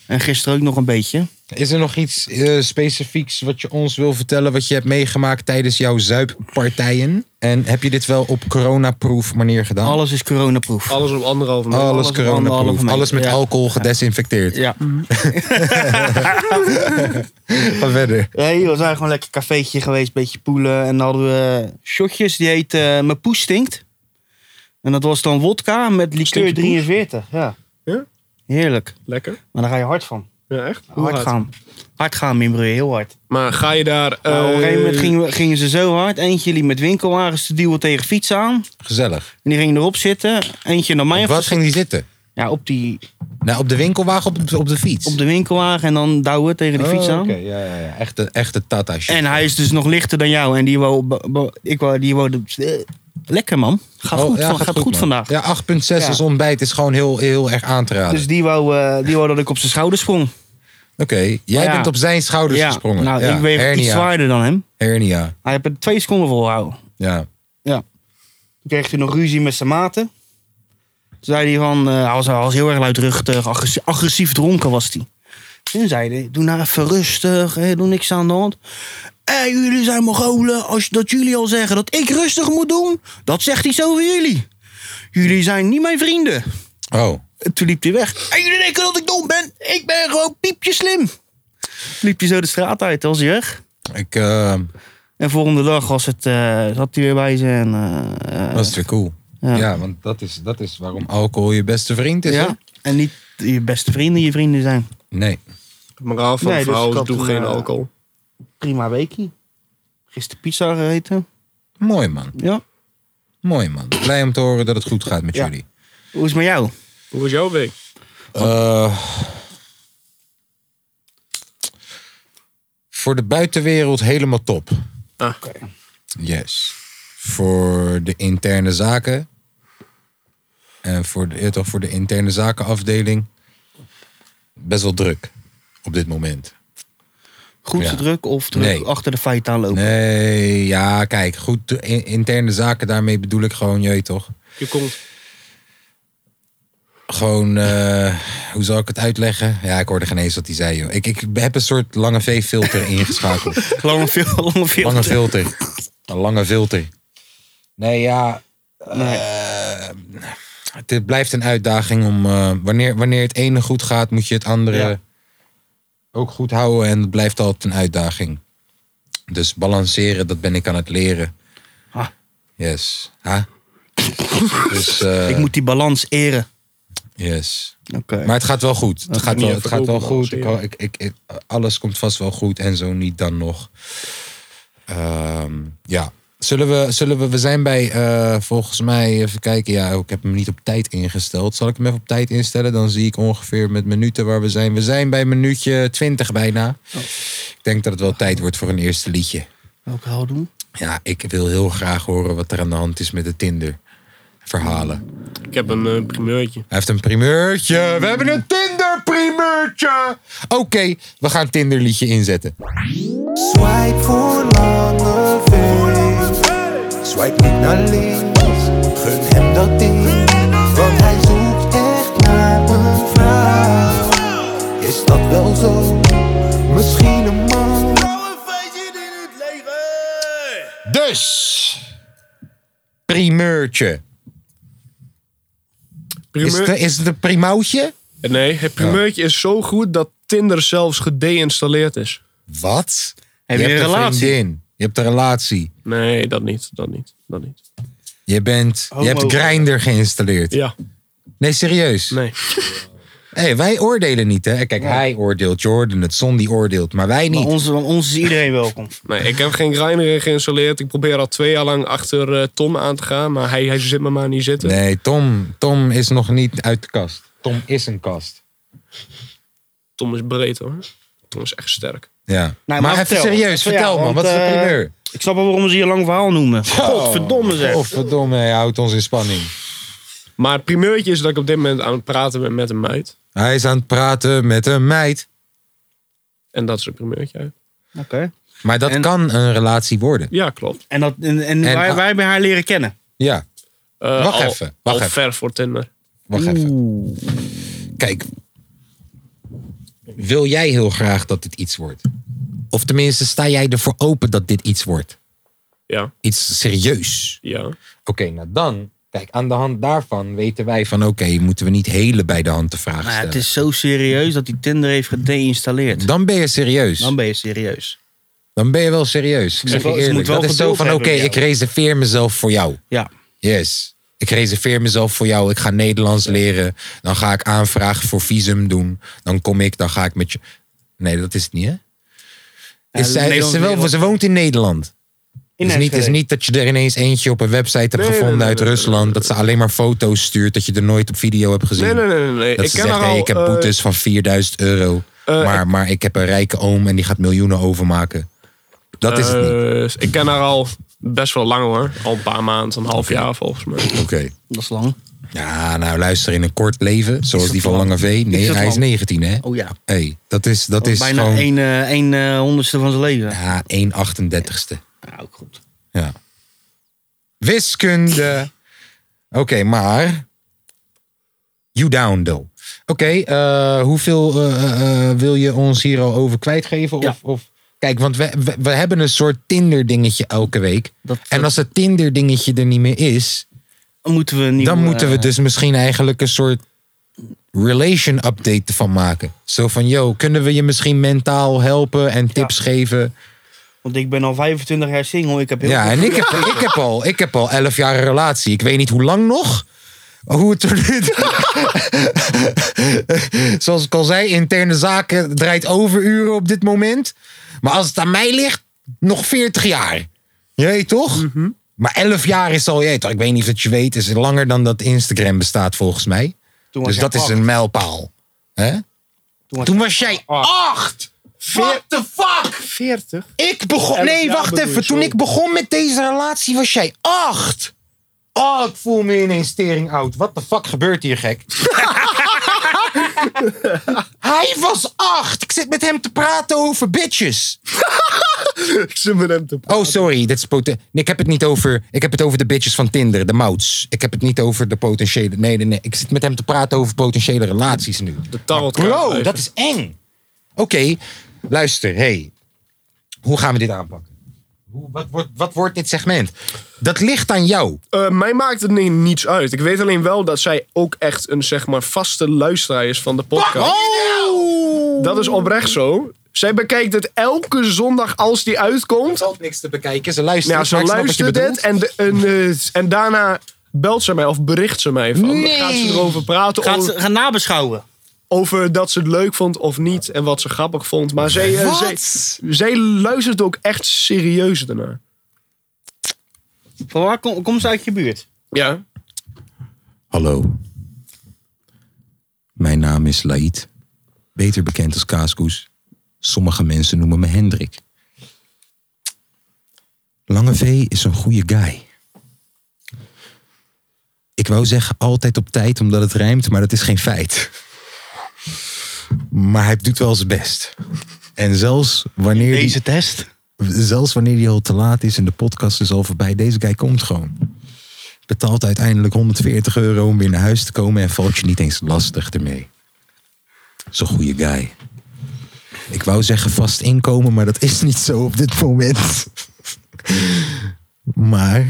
Speaker 2: En gisteren ook nog een beetje.
Speaker 1: Is er nog iets eh, specifieks wat je ons wil vertellen... wat je hebt meegemaakt tijdens jouw zuippartijen? En heb je dit wel op coronaproof manier gedaan?
Speaker 2: Alles is coronaproof.
Speaker 3: Alles op anderhalve meter.
Speaker 1: Alles
Speaker 2: op anderhalve
Speaker 1: coronaproof.
Speaker 2: meter,
Speaker 1: Alles met
Speaker 2: ja.
Speaker 1: alcohol gedesinfecteerd.
Speaker 2: Ja.
Speaker 1: Ga verder.
Speaker 2: Nee, joh, we zijn gewoon lekker cafeetje geweest, een beetje poelen. En dan hadden we shotjes, die heet eh Mijn Poes Stinkt. En dat was dan wodka met likeur
Speaker 3: Stinkt je poes?
Speaker 2: 43. Ja.
Speaker 3: Ja?
Speaker 2: Heerlijk.
Speaker 3: Lekker.
Speaker 2: Maar daar ga je hard van.
Speaker 3: Ja, echt? Hoe
Speaker 2: Hard gaan. Hard gaan, Mimbre, heel hard.
Speaker 3: Maar ga je daar...
Speaker 2: Maar Nou, op een gegeven moment
Speaker 3: eh,
Speaker 2: gingen, we- gingen ze zo hard. Eentje liep met winkelwagens te duwen tegen fietsen aan.
Speaker 1: Gezellig.
Speaker 2: En die ging erop zitten. Eentje naar mij.
Speaker 1: Op wat ging die zitten?
Speaker 2: Ja, op, die,
Speaker 1: Nou, op de winkelwagen op, op de fiets?
Speaker 2: op de winkelwagen en dan douwen tegen die fiets
Speaker 1: Oh,
Speaker 2: aan.
Speaker 1: oké, ja, ja, ja. Echte, echte tata shit.
Speaker 2: En hij is dus nog lichter dan jou. En die wou... bo- bo- Ik wou... Die wou de- eh, lekker, man. Gaat
Speaker 1: Oh,
Speaker 2: goed,
Speaker 1: ja,
Speaker 2: van- gaat goed
Speaker 1: man.
Speaker 2: vandaag.
Speaker 1: Ja, 8,6
Speaker 2: Ja.
Speaker 1: als ontbijt is gewoon heel, heel erg aan te raden.
Speaker 2: Dus die wou, eh, die wou dat ik op zijn schouder sprong.
Speaker 1: Oké, jij
Speaker 2: Oh, Ja.
Speaker 1: bent op zijn schouders gesprongen.
Speaker 2: Nou,
Speaker 1: Ja,
Speaker 2: ik weeg
Speaker 1: hernia.
Speaker 2: iets zwaarder dan hem.
Speaker 1: Hernia,
Speaker 2: Hij heeft het twee seconden volhouden.
Speaker 1: ja.
Speaker 2: Toen kreeg hij nog ruzie met zijn maten. Toen zei hij van... eh, hij, was, hij was heel erg luidruchtig. Agressi agressief dronken was hij. Toen zei hij... Doe nou even rustig. Hè, doe niks aan de hand. Hé, jullie zijn mogolen. Als dat jullie al zeggen dat ik rustig moet doen... Dat zegt iets over jullie. Jullie zijn niet mijn vrienden.
Speaker 1: Oh,
Speaker 2: En toen liep hij weg. En jullie denken dat ik dom ben. Ik ben gewoon piepje slim. Liep hij zo de straat uit, was hij weg.
Speaker 1: ik, eh,
Speaker 2: En volgende dag was het, eh, zat hij weer bij ze. En, eh, eh,
Speaker 1: dat is weer cool.
Speaker 2: Ja.
Speaker 1: Ja, want dat is, dat is waarom alcohol je beste vriend is, hè?
Speaker 2: ja. En niet je beste vrienden, je vrienden zijn.
Speaker 1: Nee.
Speaker 3: Moraal van
Speaker 2: Nee,
Speaker 3: het
Speaker 2: dus ik
Speaker 3: verhaal is
Speaker 2: had
Speaker 3: doe
Speaker 2: een,
Speaker 3: geen
Speaker 2: eh,
Speaker 3: alcohol.
Speaker 2: Prima weekie. Gisteren pizza gegeten.
Speaker 1: Mooi, man.
Speaker 2: Ja.
Speaker 1: Mooi, man. Blij om te horen dat het goed gaat met
Speaker 2: Ja.
Speaker 1: jullie.
Speaker 2: Hoe is het met jou?
Speaker 3: Hoe was jouw week?
Speaker 1: Eh, voor de buitenwereld helemaal top.
Speaker 3: Ah.
Speaker 1: Yes. Voor de interne zaken. En voor de, ja, toch, voor de interne zakenafdeling. Best wel druk op dit moment.
Speaker 2: Goed
Speaker 1: Ja.
Speaker 2: te druk of druk
Speaker 1: Nee.
Speaker 2: achter de feiten aanlopen?
Speaker 1: Nee, ja, kijk, goed. de in- interne zaken, daarmee bedoel ik gewoon, je weet toch?
Speaker 3: Je komt.
Speaker 1: Gewoon, eh, hoe zal ik het uitleggen? Ja, ik hoorde geen eens wat hij zei, joh. Ik, ik heb een soort lange V-filter ingeschakeld.
Speaker 2: Lange veel, lange veel.
Speaker 1: Lange filter. Een lange filter. Nee, ja.
Speaker 2: Nee.
Speaker 1: eh, het blijft een uitdaging om. eh, wanneer, wanneer het ene goed gaat, moet je het andere
Speaker 2: Ja.
Speaker 1: ook goed houden. En het blijft altijd een uitdaging. Dus balanceren, dat ben ik aan het leren.
Speaker 2: Ha.
Speaker 1: Yes. Ha? dus, eh,
Speaker 2: Ik moet die balans eren.
Speaker 1: yes.
Speaker 2: Oké.
Speaker 1: Maar het gaat wel goed. Het gaat
Speaker 3: niet
Speaker 1: wel,
Speaker 3: even
Speaker 1: het gaat wel goed. Ik,
Speaker 3: overbalanceren.
Speaker 1: ik, ik, ik- alles komt vast wel goed en zo niet dan nog. Ehm, ja. Zullen we, zullen we, we zijn bij, eh, volgens mij, even kijken. Ja, ik heb hem niet op tijd ingesteld. Zal ik hem even op tijd instellen? Dan zie ik ongeveer met minuten waar we zijn. We zijn bij minuutje 20 bijna. Ik denk dat het wel tijd wordt voor een eerste liedje.
Speaker 2: Welke hal doen?
Speaker 1: Ja, ik wil heel graag horen wat er aan de hand is met de Tinder-verhalen.
Speaker 3: Ik heb een eh, primeurtje.
Speaker 1: Hij heeft een primeurtje. We hebben een Tinder-primeurtje. Oké, we gaan Tinder-liedje inzetten.
Speaker 6: Swipe voor lange feest. Swipe niet naar links. Gun hem dat ding. Want hij zoekt echt naar een vrouw. Is dat wel zo? Misschien een man.
Speaker 1: Dus, primeurtje. Is
Speaker 3: Primeur...
Speaker 1: het, is het een primautje?
Speaker 3: Eh, Nee, het primeurtje is zo goed dat Tinder zelfs gedeinstalleerd is.
Speaker 1: Wat?
Speaker 2: Heb je, een relatie?
Speaker 1: vriendin. Je hebt een relatie.
Speaker 3: Nee, dat niet. Dat niet. Dat niet.
Speaker 1: Je, bent, je hebt Grindr geïnstalleerd.
Speaker 3: Ja.
Speaker 1: Nee, serieus.
Speaker 3: Nee.
Speaker 1: Hey, wij oordelen niet, hè? Kijk, hij oordeelt, Jordan, het zon die oordeelt, maar wij
Speaker 2: Maar
Speaker 1: niet.
Speaker 2: ons, ons is iedereen welkom.
Speaker 3: Nee, ik heb geen Grindr geïnstalleerd. Ik probeer al twee jaar lang achter eh, Tom aan te gaan. Maar hij, hij zit me maar niet zitten.
Speaker 1: Nee, Tom, Tom is nog niet uit de kast. Tom is een kast.
Speaker 3: Tom is breed hoor. Tom is echt sterk.
Speaker 1: Ja.
Speaker 2: maar
Speaker 1: maar even
Speaker 2: vertel.
Speaker 1: serieus,
Speaker 2: Ja,
Speaker 1: vertel man,
Speaker 2: want,
Speaker 1: wat is de
Speaker 2: eh,
Speaker 1: primeur?
Speaker 2: Ik snap wel waarom ze hier lang verhaal noemen. Godverdomme zeg.
Speaker 1: Of verdomme, hij houdt ons in spanning.
Speaker 7: Maar het primeurtje is dat ik op dit moment aan het praten ben met een meid.
Speaker 1: Hij is aan het praten met een meid.
Speaker 7: En dat is een primeurtje.
Speaker 2: Oké.
Speaker 1: Maar dat
Speaker 2: En-
Speaker 1: kan een relatie worden.
Speaker 7: Ja, klopt.
Speaker 2: En, dat, en, en,
Speaker 1: En-
Speaker 2: wij, wij hebben haar leren kennen.
Speaker 1: Ja,
Speaker 7: Eh,
Speaker 1: Wacht
Speaker 7: al-
Speaker 1: even, wacht
Speaker 7: al
Speaker 1: even.
Speaker 7: ver voor Tinder.
Speaker 1: wacht even. Kijk. Wil jij heel graag dat dit iets wordt? Of tenminste, sta jij ervoor open dat dit iets wordt?
Speaker 7: Ja,
Speaker 1: Iets serieus.
Speaker 7: ja.
Speaker 1: Oké, nou dan. Kijk, aan de hand daarvan weten wij van... Oké, moeten we niet hele bij de hand de vraag
Speaker 2: Maar
Speaker 1: stellen.
Speaker 2: Nou het is zo serieus dat hij Tinder heeft gedeinstalleerd.
Speaker 1: Dan ben je serieus.
Speaker 2: Dan ben je serieus.
Speaker 1: Dan ben je wel serieus. Ik zeg
Speaker 2: wel-
Speaker 1: je
Speaker 2: ze
Speaker 1: eerlijk.
Speaker 2: moet wel
Speaker 1: Dat is zo
Speaker 2: geduld
Speaker 1: van, oké,
Speaker 2: hebben met
Speaker 1: ik reserveer mezelf voor jou.
Speaker 2: Ja.
Speaker 1: Yes. Ik reserveer mezelf voor jou. Ik ga Nederlands leren. Dan ga ik aanvraag voor visum doen. Dan kom ik, dan ga ik met je... Nee, dat is het niet, hè? Is zij- is
Speaker 2: Nederlands-
Speaker 1: ze, wel, ze woont in Nederland. Het is niet, is niet dat je er ineens eentje op een website hebt gevonden
Speaker 7: nee, nee,
Speaker 1: uit
Speaker 7: nee, nee,
Speaker 1: Rusland. Dat ze alleen maar foto's stuurt. Dat je er nooit op video hebt gezien.
Speaker 7: Nee, nee, nee. nee, nee.
Speaker 1: Dat
Speaker 7: Ik
Speaker 1: ze
Speaker 7: ken
Speaker 1: zegt,
Speaker 7: haar al.
Speaker 1: hey, ik heb
Speaker 7: eh,
Speaker 1: boetes van 4000 euro.
Speaker 7: eh,
Speaker 1: maar, maar ik heb een rijke oom en die gaat miljoenen overmaken. Dat is het niet.
Speaker 7: eh, ik ken haar al best wel lang hoor. Al een paar maanden, een half jaar volgens mij.
Speaker 1: Oké.
Speaker 2: Dat is lang.
Speaker 1: Ja, nou luister, in een kort leven, zoals die van Lange V. Nee,
Speaker 2: dat
Speaker 1: hij is
Speaker 2: lang?
Speaker 1: 19 hè.
Speaker 2: Oh ja.
Speaker 1: hey, dat is, dat is
Speaker 2: bijna
Speaker 1: gewoon
Speaker 2: een, eh, een eh, honderdste van zijn leven.
Speaker 1: ja, 1,38ste.
Speaker 2: Nou, goed.
Speaker 1: Ja. Wiskunde. Oké, maar. You down, though. Oké, eh, hoeveel eh, eh, eh, wil je ons hier al over kwijtgeven? Of,
Speaker 2: Ja.
Speaker 1: of, kijk, want we, we, we hebben een soort Tinder-dingetje elke week.
Speaker 2: Dat,
Speaker 1: En als het Tinder-dingetje er niet meer is,
Speaker 2: dat moeten we niet. eh,
Speaker 1: dan moeten we dus misschien eigenlijk een soort relation update van maken. Zo van, yo, kunnen we je misschien mentaal helpen en tips geven?
Speaker 2: Want ik ben al 25 jaar single. Ik heb heel
Speaker 1: Ja,
Speaker 2: veel-
Speaker 1: en ik heb, ik heb al, ik heb al 11 jaar een relatie. Ik weet niet hoe lang nog. Hoe het er nu. Zoals ik al zei, interne zaken draait overuren op dit moment. Maar als het aan mij ligt, nog 40 jaar. Jee, toch? Maar 11 jaar is al, jee, toch? Ik weet niet of dat je weet, is langer dan dat Instagram bestaat volgens mij.
Speaker 2: Toen was
Speaker 1: Dus
Speaker 2: jij
Speaker 1: dat is
Speaker 2: acht.
Speaker 1: een mijlpaal. Hè?
Speaker 2: was
Speaker 1: Toen was jij acht! What the fuck?
Speaker 3: 40?
Speaker 1: Ik begon.
Speaker 3: Elf
Speaker 1: Nee,
Speaker 3: jaar
Speaker 1: wacht
Speaker 3: bedoel je,
Speaker 1: even. Toen
Speaker 3: sorry.
Speaker 1: ik begon met deze relatie was jij acht. Oh, ik voel me ineens tering oud. Wat de fuck gebeurt hier, gek? Hij was acht. Ik zit met hem te praten over bitches.
Speaker 3: Ik zit met hem te
Speaker 1: Oh, sorry. Dit is poten. Nee, ik heb het niet over. Ik heb het over de bitches van Tinder, de mouts. Ik heb het niet over de potentiële. Nee, nee, nee. Ik zit met hem te praten over potentiële relaties nu.
Speaker 7: De tarot.
Speaker 1: Bro, dat is eng. Oké, luister, hey. Hoe gaan we dit aanpakken? Hoe, wat, wordt, wat wordt dit segment? Dat ligt aan jou.
Speaker 3: Eh,
Speaker 7: mij maakt het ni- niets uit. Ik weet alleen wel dat zij ook echt een zeg maar vaste luisteraar is van de podcast.
Speaker 1: Oh!
Speaker 7: Dat is oprecht zo. Zij bekijkt het elke zondag als die uitkomt.
Speaker 1: valt niks te bekijken. Ze luisteren.
Speaker 3: Nou,
Speaker 7: Ja, ze luistert het en, de- en, eh, en daarna belt ze mij of bericht ze mij van. Dan gaat ze erover praten
Speaker 2: Gaat
Speaker 7: over,
Speaker 2: ze gaan nabeschouwen.
Speaker 7: over dat ze het leuk vond of niet en wat ze grappig vond. Maar zij, eh, zij, zij luistert ook echt serieus ernaar.
Speaker 2: Van waar kom, komt ze uit je buurt?
Speaker 7: Ja.
Speaker 1: Hallo. Mijn naam is Laïd. Beter bekend als Kaaskoes. Sommige mensen noemen me Hendrik. Lange V is een goede guy. Ik wou zeggen altijd op tijd omdat het rijmt, maar dat is geen feit. Maar hij doet wel zijn best. En zelfs wanneer, die,
Speaker 2: test.
Speaker 1: zelfs wanneer hij al te laat is en de podcast is al voorbij, deze guy komt gewoon. Betaalt uiteindelijk 140 euro om weer naar huis te komen en valt je niet eens lastig ermee. Zo'n goede guy. Ik wou zeggen vast inkomen, maar dat is niet zo op dit moment. Maar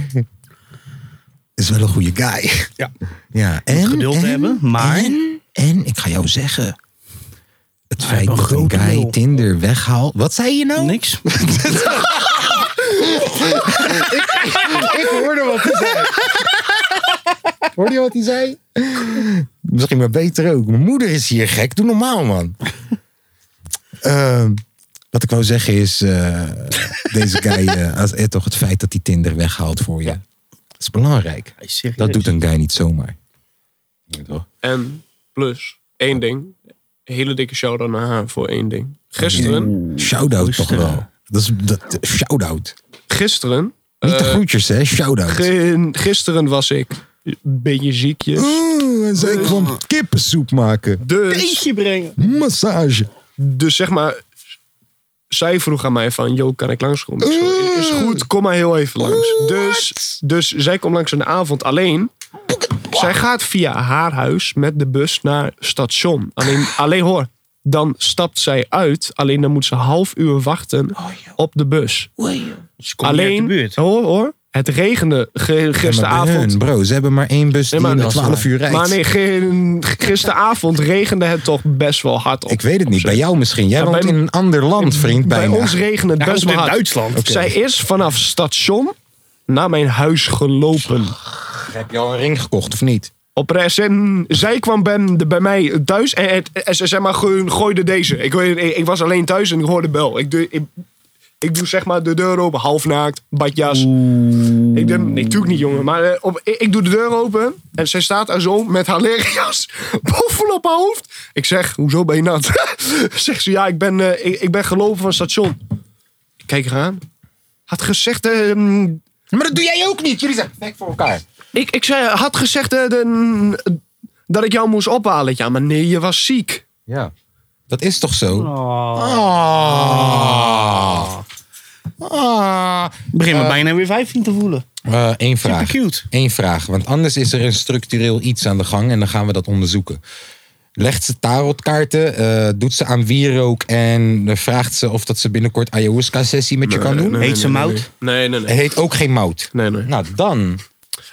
Speaker 1: is wel een goede guy.
Speaker 2: Ja.
Speaker 1: ja en,
Speaker 2: geduld
Speaker 1: en-
Speaker 2: hebben, maar-
Speaker 1: En, en ik ga jou zeggen. Het feit
Speaker 2: heeft
Speaker 1: dat
Speaker 2: een
Speaker 1: een
Speaker 2: grote
Speaker 1: guy
Speaker 2: lul.
Speaker 1: Tinder weghaalt. Wat zei je nou?
Speaker 2: Niks.
Speaker 1: Ik hoorde wat hij zei. hoorde je wat hij zei? Misschien maar beter ook. Mijn moeder is hier gek. Doe normaal, man. Ehm, wat ik wou zeggen is... eh, deze guy... eh, als- eh, toch het feit dat hij Tinder weghaalt voor je. Dat is belangrijk.
Speaker 2: Hij is serieus.
Speaker 1: Dat doet een guy niet zomaar. Ja, toch?
Speaker 7: En plus, één ding.
Speaker 3: hele dikke shout-out naar haar voor één ding.
Speaker 7: Mm.
Speaker 3: Gisteren,
Speaker 1: Shoutout toch wel. Dat is dat, shoutout.
Speaker 3: gisteren,
Speaker 1: Niet de groetjes, hè? Shoutout.
Speaker 3: gi- gisteren was ik een beetje ziekjes.
Speaker 1: Oeh, Mm, en zij kwam kippensoep maken.
Speaker 3: Dus,
Speaker 2: brengen.
Speaker 1: Massage.
Speaker 3: dus zeg maar, zij vroeg aan mij van, yo, kan ik langskomen? Ik zo, is goed, kom maar heel even langs. Dus, dus zij komt langs in de avond alleen. Zij gaat via haar huis met de bus naar station. Alleen, alleen hoor, dan stapt zij uit. Alleen dan moet ze half uur wachten
Speaker 1: Oh,
Speaker 3: op de bus.
Speaker 2: Alleen.
Speaker 3: Alleen,
Speaker 2: de buurt.
Speaker 3: hoor, hoor. Het regende ge- gisteravond.
Speaker 1: Hun, bro, ze hebben maar één bus die
Speaker 3: Nee, maar-
Speaker 1: na 12 uur rijdt.
Speaker 3: Maar nee, ge- gisteravond regende het toch best wel hard op.
Speaker 1: Ik weet het niet, bij jou misschien. Jij
Speaker 3: Ja,
Speaker 1: woont
Speaker 3: bij-
Speaker 1: in een ander land, vriend,
Speaker 3: Bij
Speaker 1: bijna.
Speaker 3: ons regende het best wel hard.
Speaker 2: Duitsland.
Speaker 1: Oké.
Speaker 3: Zij is vanaf station naar mijn huis gelopen.
Speaker 1: Heb je al een ring gekocht, of niet?
Speaker 3: Op RSN. Zij kwam ben, de- bij mij thuis en het SSM gooide deze. Ik, weet- ik, ik was alleen thuis en ik hoorde bel. Ik, doe- ik, ik doe zeg maar de deur open, halfnaakt, badjas. Ik denk, nee, natuurlijk niet jongen. Maar eh, op, ik, ik doe de deur open en zij staat daar zo met haar leren jas bovenop haar hoofd. Ik zeg, hoezo ben je nat? Zegt ze, ja, ik ben, eh, ik, ik ben gelopen van het station. Ik kijk haar aan. Had gezegd, eh,
Speaker 1: Maar dat doe jij ook niet. Jullie zijn perfect voor elkaar.
Speaker 3: ik, ik zei, had gezegd eh, de- dat ik jou moest ophalen. Ja, maar nee, je was ziek.
Speaker 1: Ja. Dat is toch zo? Ah.
Speaker 2: Begin me bijna weer 15 te voelen.
Speaker 1: Eén Ah. Eh, vraag.
Speaker 2: Cute.
Speaker 1: Eén vraag, want anders is er een structureel iets aan de gang en dan gaan we dat onderzoeken. Legt ze tarotkaarten, eh, doet ze aan wierook en eh, vraagt ze of dat ze binnenkort ayahuasca-sessie met je kan doen?
Speaker 2: Heet ze mout?
Speaker 3: Eh, Nee, nee, nee.
Speaker 1: Heet ook geen mout.
Speaker 3: nee, nee.
Speaker 1: Nou, dan.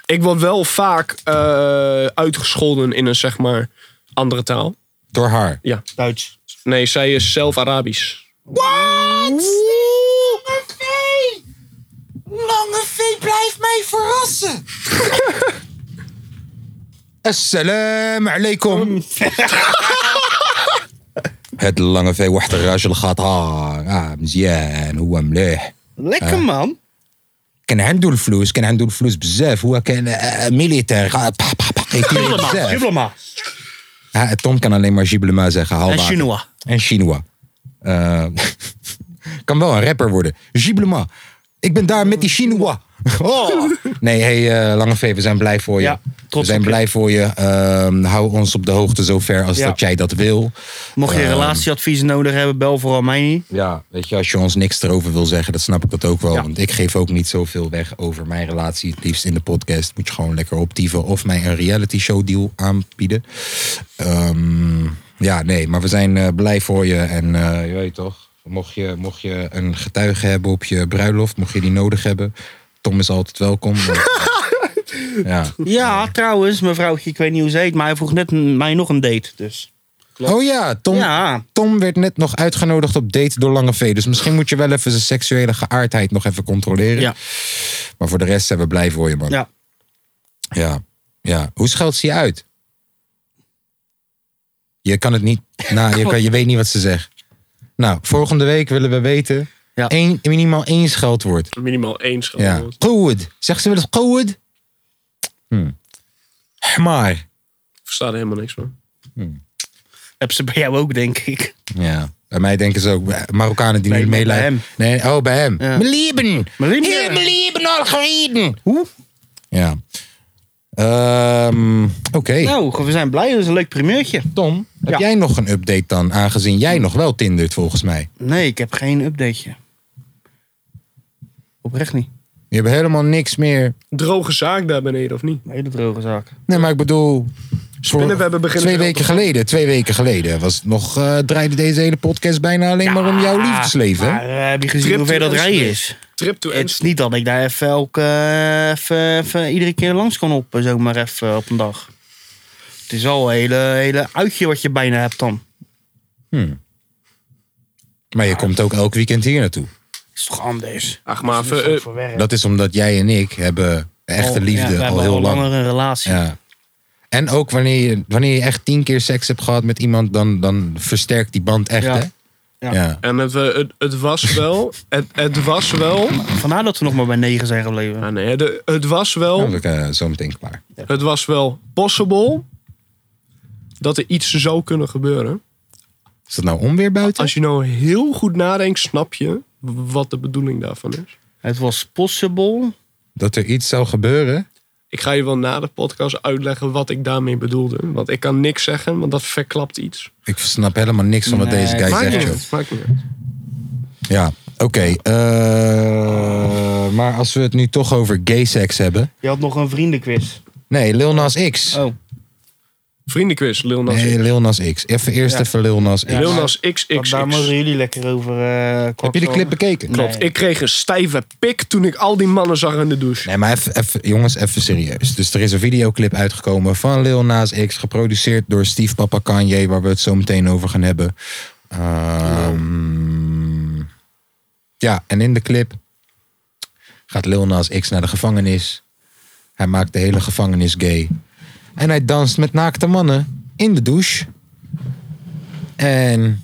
Speaker 3: Ik word wel vaak eh, uitgescholden in een, zeg maar, andere taal.
Speaker 1: Door haar.
Speaker 2: Duits.
Speaker 3: Nee, zij is zelf Arabisch.
Speaker 1: Lange vee, blijf mij verrassen. Assalamu alaikum. Het lange vee, wacht, rajul gaat haar. Ah, mzien, hoe mleh.
Speaker 2: Lekker man.
Speaker 1: كان عنده الفلوس كان عنده الفلوس بزاف هو كان آه، آه، ميليتير آه، با- با- با- يطير بزاف
Speaker 2: Diploma.
Speaker 1: ها، توم كان الله ما يجيب الماء زي خا
Speaker 2: En Chinois.
Speaker 1: En Chinois. Eh, kan wel een rapper worden. Giblema. Ik ben daar met die Chinois. Oh. Nee, hey, eh Lange V, we zijn blij voor je.
Speaker 2: Ja,
Speaker 1: we
Speaker 2: trots
Speaker 1: zijn
Speaker 2: op je.
Speaker 1: blij voor je. Ehm, hou ons op de hoogte zover als
Speaker 2: Ja.
Speaker 1: dat jij dat wil.
Speaker 2: Mocht je relatieadviezen nodig hebben, bel vooral mij niet.
Speaker 1: Ja, weet je, als je ons niks erover wil zeggen, dat snap ik dat ook wel. Want ik geef ook niet zoveel weg over mijn relatie. Het liefst in de podcast moet je gewoon lekker optieven of mij een reality show deal aanbieden. Ehm, ja, nee, maar we zijn eh, blij voor je. En eh, je weet toch, mocht je, mocht je een getuige hebben op je bruiloft, mocht je die nodig hebben, Tom is altijd welkom. ja.
Speaker 2: Ja, trouwens, mevrouwtje, ik weet niet hoe ze heet, maar hij vroeg net n- mij nog een date. Dus.
Speaker 1: Oh ja, Tom,
Speaker 2: Ja,
Speaker 1: Tom werd net nog uitgenodigd op date door Lange V. Dus misschien moet je wel even zijn seksuele geaardheid nog even controleren.
Speaker 2: Ja.
Speaker 1: Maar voor de rest zijn we blij voor je, man.
Speaker 2: Ja.
Speaker 1: Ja. ja. Hoe scheldt ze je uit? Je kan het niet... Nou, je, kan, je weet niet wat ze zegt. Nou, volgende week willen we weten...
Speaker 2: Ja.
Speaker 1: Één, minimaal één scheldwoord.
Speaker 3: Minimaal één
Speaker 1: Ja.
Speaker 3: scheldwoord.
Speaker 1: Goed. Zegt ze wel eens goed? Hm. Maar.
Speaker 3: Ik versta er helemaal niks van.
Speaker 2: heb ze bij jou ook, denk ik.
Speaker 1: Ja. Bij mij denken ze ook, eh, Marokkanen die
Speaker 2: Nee,
Speaker 1: niet
Speaker 2: maar bij
Speaker 1: meelijden.
Speaker 2: hem.
Speaker 1: Nee, oh, bij hem.
Speaker 2: Ja.
Speaker 1: Mijn lieben.
Speaker 2: Mijn lieben.
Speaker 1: Heel mijn lieben al gereden.
Speaker 2: Hoe?
Speaker 1: Ja. Ehm, Oké.
Speaker 2: Nou, we zijn blij, dat is een leuk primeurtje.
Speaker 1: Tom, heb
Speaker 2: Ja.
Speaker 1: jij nog een update dan? Aangezien jij nog wel tindert volgens mij.
Speaker 2: Nee, ik heb geen updateje. Oprecht niet.
Speaker 1: Je hebt helemaal niks meer.
Speaker 3: Droge zaak daar beneden, of niet?
Speaker 2: Een hele droge zaak.
Speaker 1: Nee, maar ik bedoel... voor
Speaker 3: Spinnenwebben beginnen
Speaker 1: twee
Speaker 3: weer
Speaker 1: weken geleden, twee weken geleden, was het nog, eh, draaide deze hele podcast bijna alleen maar om jouw liefdesleven. hè?
Speaker 2: Maar eh, heb je gezien
Speaker 3: Trip
Speaker 2: hoe ver
Speaker 3: to
Speaker 2: dat rijden is?
Speaker 3: Trip to
Speaker 2: Het
Speaker 3: end.
Speaker 2: is niet dat ik daar even, elke, eh, even, even iedere keer langs kan op, eh, zomaar even op een dag. Het is al een hele, hele uitje wat je bijna hebt dan.
Speaker 1: Maar je komt ook elk weekend hier naartoe.
Speaker 2: is toch anders?
Speaker 3: Ach, maar even, eh,
Speaker 1: Dat is omdat jij en ik hebben echte
Speaker 2: Al- Oh, ja,
Speaker 1: liefde
Speaker 2: we
Speaker 1: al
Speaker 2: hebben
Speaker 1: heel
Speaker 2: al
Speaker 1: lang.
Speaker 2: langer een relatie.
Speaker 1: Ja. En ook wanneer je, wanneer je echt tien keer seks hebt gehad met iemand, dan, dan versterkt die band echt,
Speaker 2: Ja.
Speaker 1: hè?
Speaker 2: Ja.
Speaker 3: en het, eh, het, het was wel... Het, het was wel...
Speaker 2: Vandaar dat we nog maar bij 9 zijn gebleven.
Speaker 3: Ah, nee, de- het was
Speaker 1: Dan
Speaker 3: wel...
Speaker 1: ben ik eh, zo meteen klaar.
Speaker 3: Het was wel possible dat er iets zou kunnen gebeuren.
Speaker 1: Is dat nou onweer buiten?
Speaker 7: Als je nou heel goed nadenkt, snap je wat de bedoeling daarvan is.
Speaker 2: Het was possible.
Speaker 1: Dat er iets zou gebeuren?
Speaker 7: Ik ga je wel na de podcast uitleggen wat ik daarmee bedoelde. Want ik kan niks zeggen, want dat verklapt iets.
Speaker 1: Ik snap helemaal niks van wat
Speaker 2: Nee,
Speaker 1: deze guy
Speaker 2: maakt
Speaker 1: zegt,
Speaker 7: niet
Speaker 1: joh.
Speaker 7: uit, maakt niet uit.
Speaker 1: Ja, oké. eh, maar als we het nu toch over gay seks hebben.
Speaker 2: Je had nog een vriendenquiz.
Speaker 1: Nee, Lil Nas X.
Speaker 2: Oh.
Speaker 7: Vriendenquiz, Lil
Speaker 3: Eh,
Speaker 7: Nas
Speaker 1: nee,
Speaker 7: X.
Speaker 1: Lil Nas X. Even eerst
Speaker 2: Ja.
Speaker 1: even Lil Nas X.
Speaker 7: Lil Nas
Speaker 2: Want
Speaker 7: XXX.
Speaker 2: Daar mogen jullie lekker over eh
Speaker 1: Heb je de clip bekeken?
Speaker 2: Nee.
Speaker 7: Klopt, ik kreeg een stijve pik toen ik al die mannen zag in de douche.
Speaker 1: Nee, maar even, even- jongens, even serieus. Dus er is een videoclip uitgekomen van Lil Nas X, geproduceerd door Steve Papa Kanye, waar we het zo meteen over gaan hebben. Ehm, ja, en in de clip gaat Lil Nas X naar de gevangenis. Hij maakt de hele gevangenis gay. En hij danst met naakte mannen in de douche. En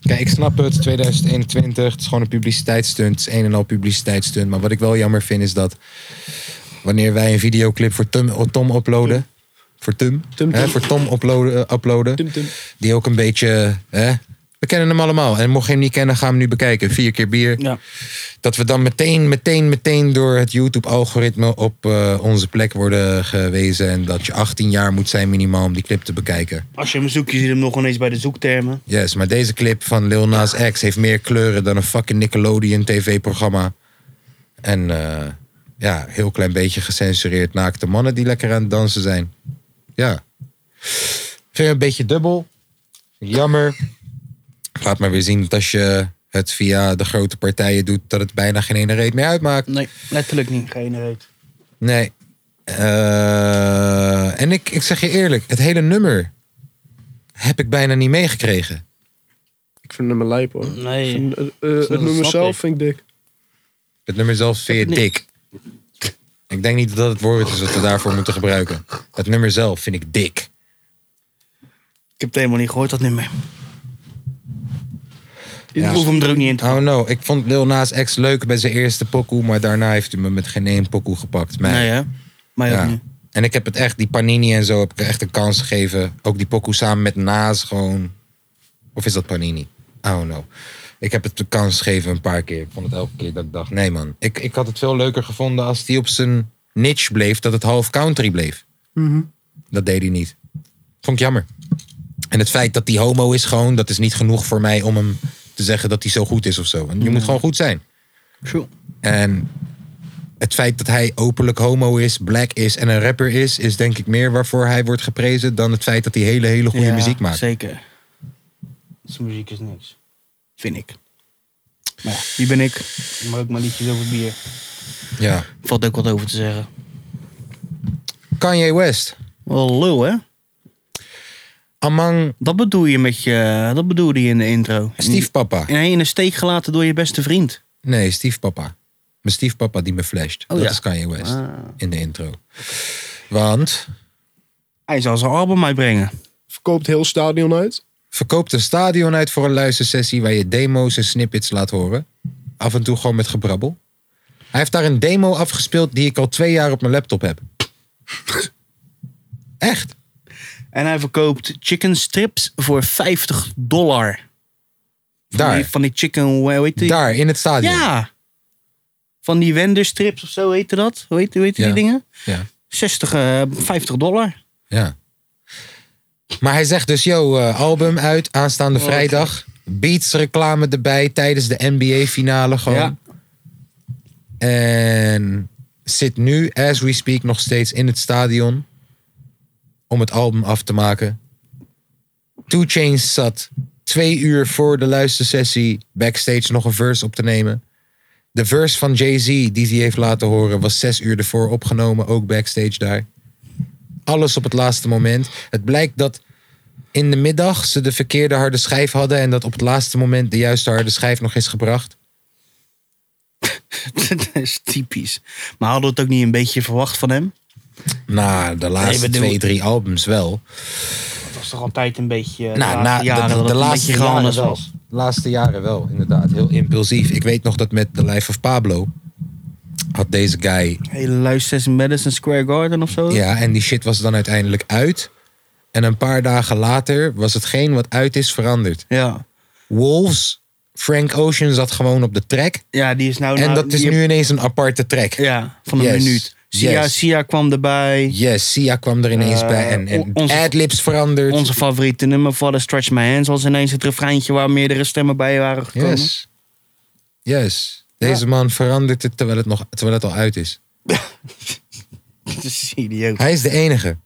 Speaker 1: Kijk, ik snap het, 2021, het is gewoon een publiciteitsstunt. Het is een en al publiciteitsstunt. Maar wat ik wel jammer vind is dat wanneer wij een videoclip voor Tom, Tom uploaden. Voor Tom.
Speaker 7: Tum,
Speaker 1: hè,
Speaker 7: tum.
Speaker 1: voor Tom uploaden, eh, uploaden.
Speaker 7: Tum, tum.
Speaker 1: Die ook een beetje. Hè, we kennen hem allemaal. En mocht je hem niet kennen, ga hem nu bekijken. Vier keer bier.
Speaker 2: Ja.
Speaker 1: Dat we dan meteen, meteen, meteen door het YouTube-algoritme op eh, onze plek worden gewezen. En dat je 18 jaar moet zijn minimaal om die clip te bekijken.
Speaker 2: Als je hem zoekt, je ziet hem nog ineens bij de zoektermen.
Speaker 1: Yes, maar deze clip van Lil Nas X heeft meer kleuren dan een fucking Nickelodeon tv-programma. En eh, ja, heel klein beetje gecensureerd naakte mannen die lekker aan het dansen zijn. Ja. Vind je een beetje dubbel. Jammer. Laat maar weer zien dat als je het via de grote partijen doet, dat het bijna geen ene reet meer uitmaakt.
Speaker 2: Nee, letterlijk niet. Geen reet.
Speaker 1: Nee. Eh, en ik, ik zeg je eerlijk, het hele nummer heb ik bijna niet meegekregen.
Speaker 7: Ik vind hem een lijp hoor. Ik
Speaker 2: Nee.
Speaker 7: vind, eh, eh, het nummer
Speaker 2: snap
Speaker 7: zelf
Speaker 2: ik.
Speaker 7: vind ik dik.
Speaker 1: Het nummer zelf vind je dik. Ik denk niet dat dat het woord is wat we daarvoor moeten gebruiken. Het nummer zelf vind ik dik.
Speaker 2: Ik heb het helemaal niet gehoord, dat nummer. Ik
Speaker 1: Ja.
Speaker 2: hoef hem er ook niet in te
Speaker 1: Oh no, ik vond Lil Nas X leuk bij zijn eerste pokoe, maar daarna heeft hij me met geen één pokoe gepakt. Mij.
Speaker 2: Nee, hè? Maar ook
Speaker 1: ja.
Speaker 2: niet.
Speaker 1: En ik heb het echt, die Panini en zo, heb ik echt een kans gegeven. Ook die pokoe samen met Nas gewoon. Of is dat Panini? Oh no. Ik heb het de kans gegeven een paar keer. Ik vond het elke keer dat ik dacht, nee man. Ik, ik had het veel leuker gevonden als die op zijn niche bleef, dat het half country bleef.
Speaker 2: Mhm.
Speaker 1: Dat deed hij niet. Vond ik jammer. En het feit dat hij homo is gewoon, dat is niet genoeg voor mij om hem te zeggen dat hij zo goed is of zo. Want je moet gewoon goed zijn.
Speaker 2: True.
Speaker 1: En het feit dat hij openlijk homo is, black is en een rapper is, is denk ik meer waarvoor hij wordt geprezen dan het feit dat hij hele, hele goede
Speaker 2: Ja,
Speaker 1: muziek maakt.
Speaker 2: Zeker. Zijn muziek is niks. Vind ik. Maar ja, wie ben ik? Ik maak ook maar liedjes over bier.
Speaker 1: Ja.
Speaker 2: Valt ook wat over te zeggen.
Speaker 1: Kanye West,
Speaker 2: Wel lul, hè?
Speaker 1: among
Speaker 2: Dat bedoel je met je... Dat bedoelde je in de intro.
Speaker 1: stiefpapa.
Speaker 2: In, in een steek gelaten door je beste vriend.
Speaker 1: Nee, stiefpapa. Mijn stiefpapa die me flasht.
Speaker 2: Oh,
Speaker 1: dat
Speaker 2: ja.
Speaker 1: is Kanye West in de intro. Want
Speaker 2: Hij zal zijn album uitbrengen.
Speaker 7: Verkoopt heel stadion uit.
Speaker 1: verkoopt een stadion uit voor een luistersessie waar je demo's en snippets laat horen. Af en toe gewoon met gebrabbel. Hij heeft daar een demo afgespeeld die ik al twee jaar op mijn laptop heb. Echt?
Speaker 2: En hij verkoopt chicken strips voor 50 dollar. Van
Speaker 1: Daar.
Speaker 2: Die, van die chicken, hoe heet die?
Speaker 1: Daar, in het stadion.
Speaker 2: Ja. Van die Wender strips of zo heette dat. Hoe heet, hoe heet
Speaker 1: Ja.
Speaker 2: die dingen?
Speaker 1: Ja.
Speaker 2: 60, eh, 50 dollar.
Speaker 1: Ja. Maar hij zegt dus, yo, eh, album uit aanstaande vrijdag. Beats reclame erbij tijdens de NBA finale gewoon.
Speaker 2: Ja.
Speaker 1: En zit nu, as we speak, nog steeds in het stadion. Om het album af te maken. Two Chains zat twee uur voor de luistersessie backstage nog een verse op te nemen. De verse van Jay-Z die hij heeft laten horen was zes uur ervoor opgenomen, ook backstage daar alles op het laatste moment. Het blijkt dat in de middag ze de verkeerde harde schijf hadden en dat op het laatste moment de juiste harde schijf nog is gebracht.
Speaker 2: dat is typisch. Maar hadden we het ook niet een beetje verwacht van hem?
Speaker 1: Na de laatste
Speaker 2: bedoel-
Speaker 1: twee, drie albums wel.
Speaker 2: Dat was toch altijd een beetje... eh,
Speaker 1: Nou, na, de, de-
Speaker 2: jaren dat
Speaker 1: de
Speaker 2: het een
Speaker 1: laatste
Speaker 2: beetje
Speaker 1: jaren
Speaker 2: gehandeld
Speaker 1: wel. De laatste jaren wel, inderdaad. Heel impulsief. Ik weet nog dat met The Life of Pablo had deze guy
Speaker 2: Hele luisters in Madison Square Garden of zo.
Speaker 1: Ja, en die shit was dan uiteindelijk uit. En een paar dagen later was hetgeen wat uit is veranderd.
Speaker 2: Ja.
Speaker 1: Wolves, Frank Ocean zat gewoon op de track.
Speaker 2: Ja, die is nou...
Speaker 1: En
Speaker 2: nou-
Speaker 1: dat is
Speaker 2: die-
Speaker 1: nu ineens een aparte track.
Speaker 2: Ja, van een
Speaker 1: Yes.
Speaker 2: minuut. Sia,
Speaker 1: Yes.
Speaker 2: Sia kwam erbij.
Speaker 1: Yes, Sia kwam er ineens bij. En, en
Speaker 2: on- Eh, onze-
Speaker 1: adlibs veranderd.
Speaker 2: Onze favoriete nummer, Father Stretch My Hands, was ineens het refreintje waar meerdere stemmen bij waren gekomen.
Speaker 1: Yes. Yes. Deze man verandert het terwijl het, nog, terwijl het al uit is.
Speaker 2: Dat is idioot.
Speaker 1: Hij is de enige. Ik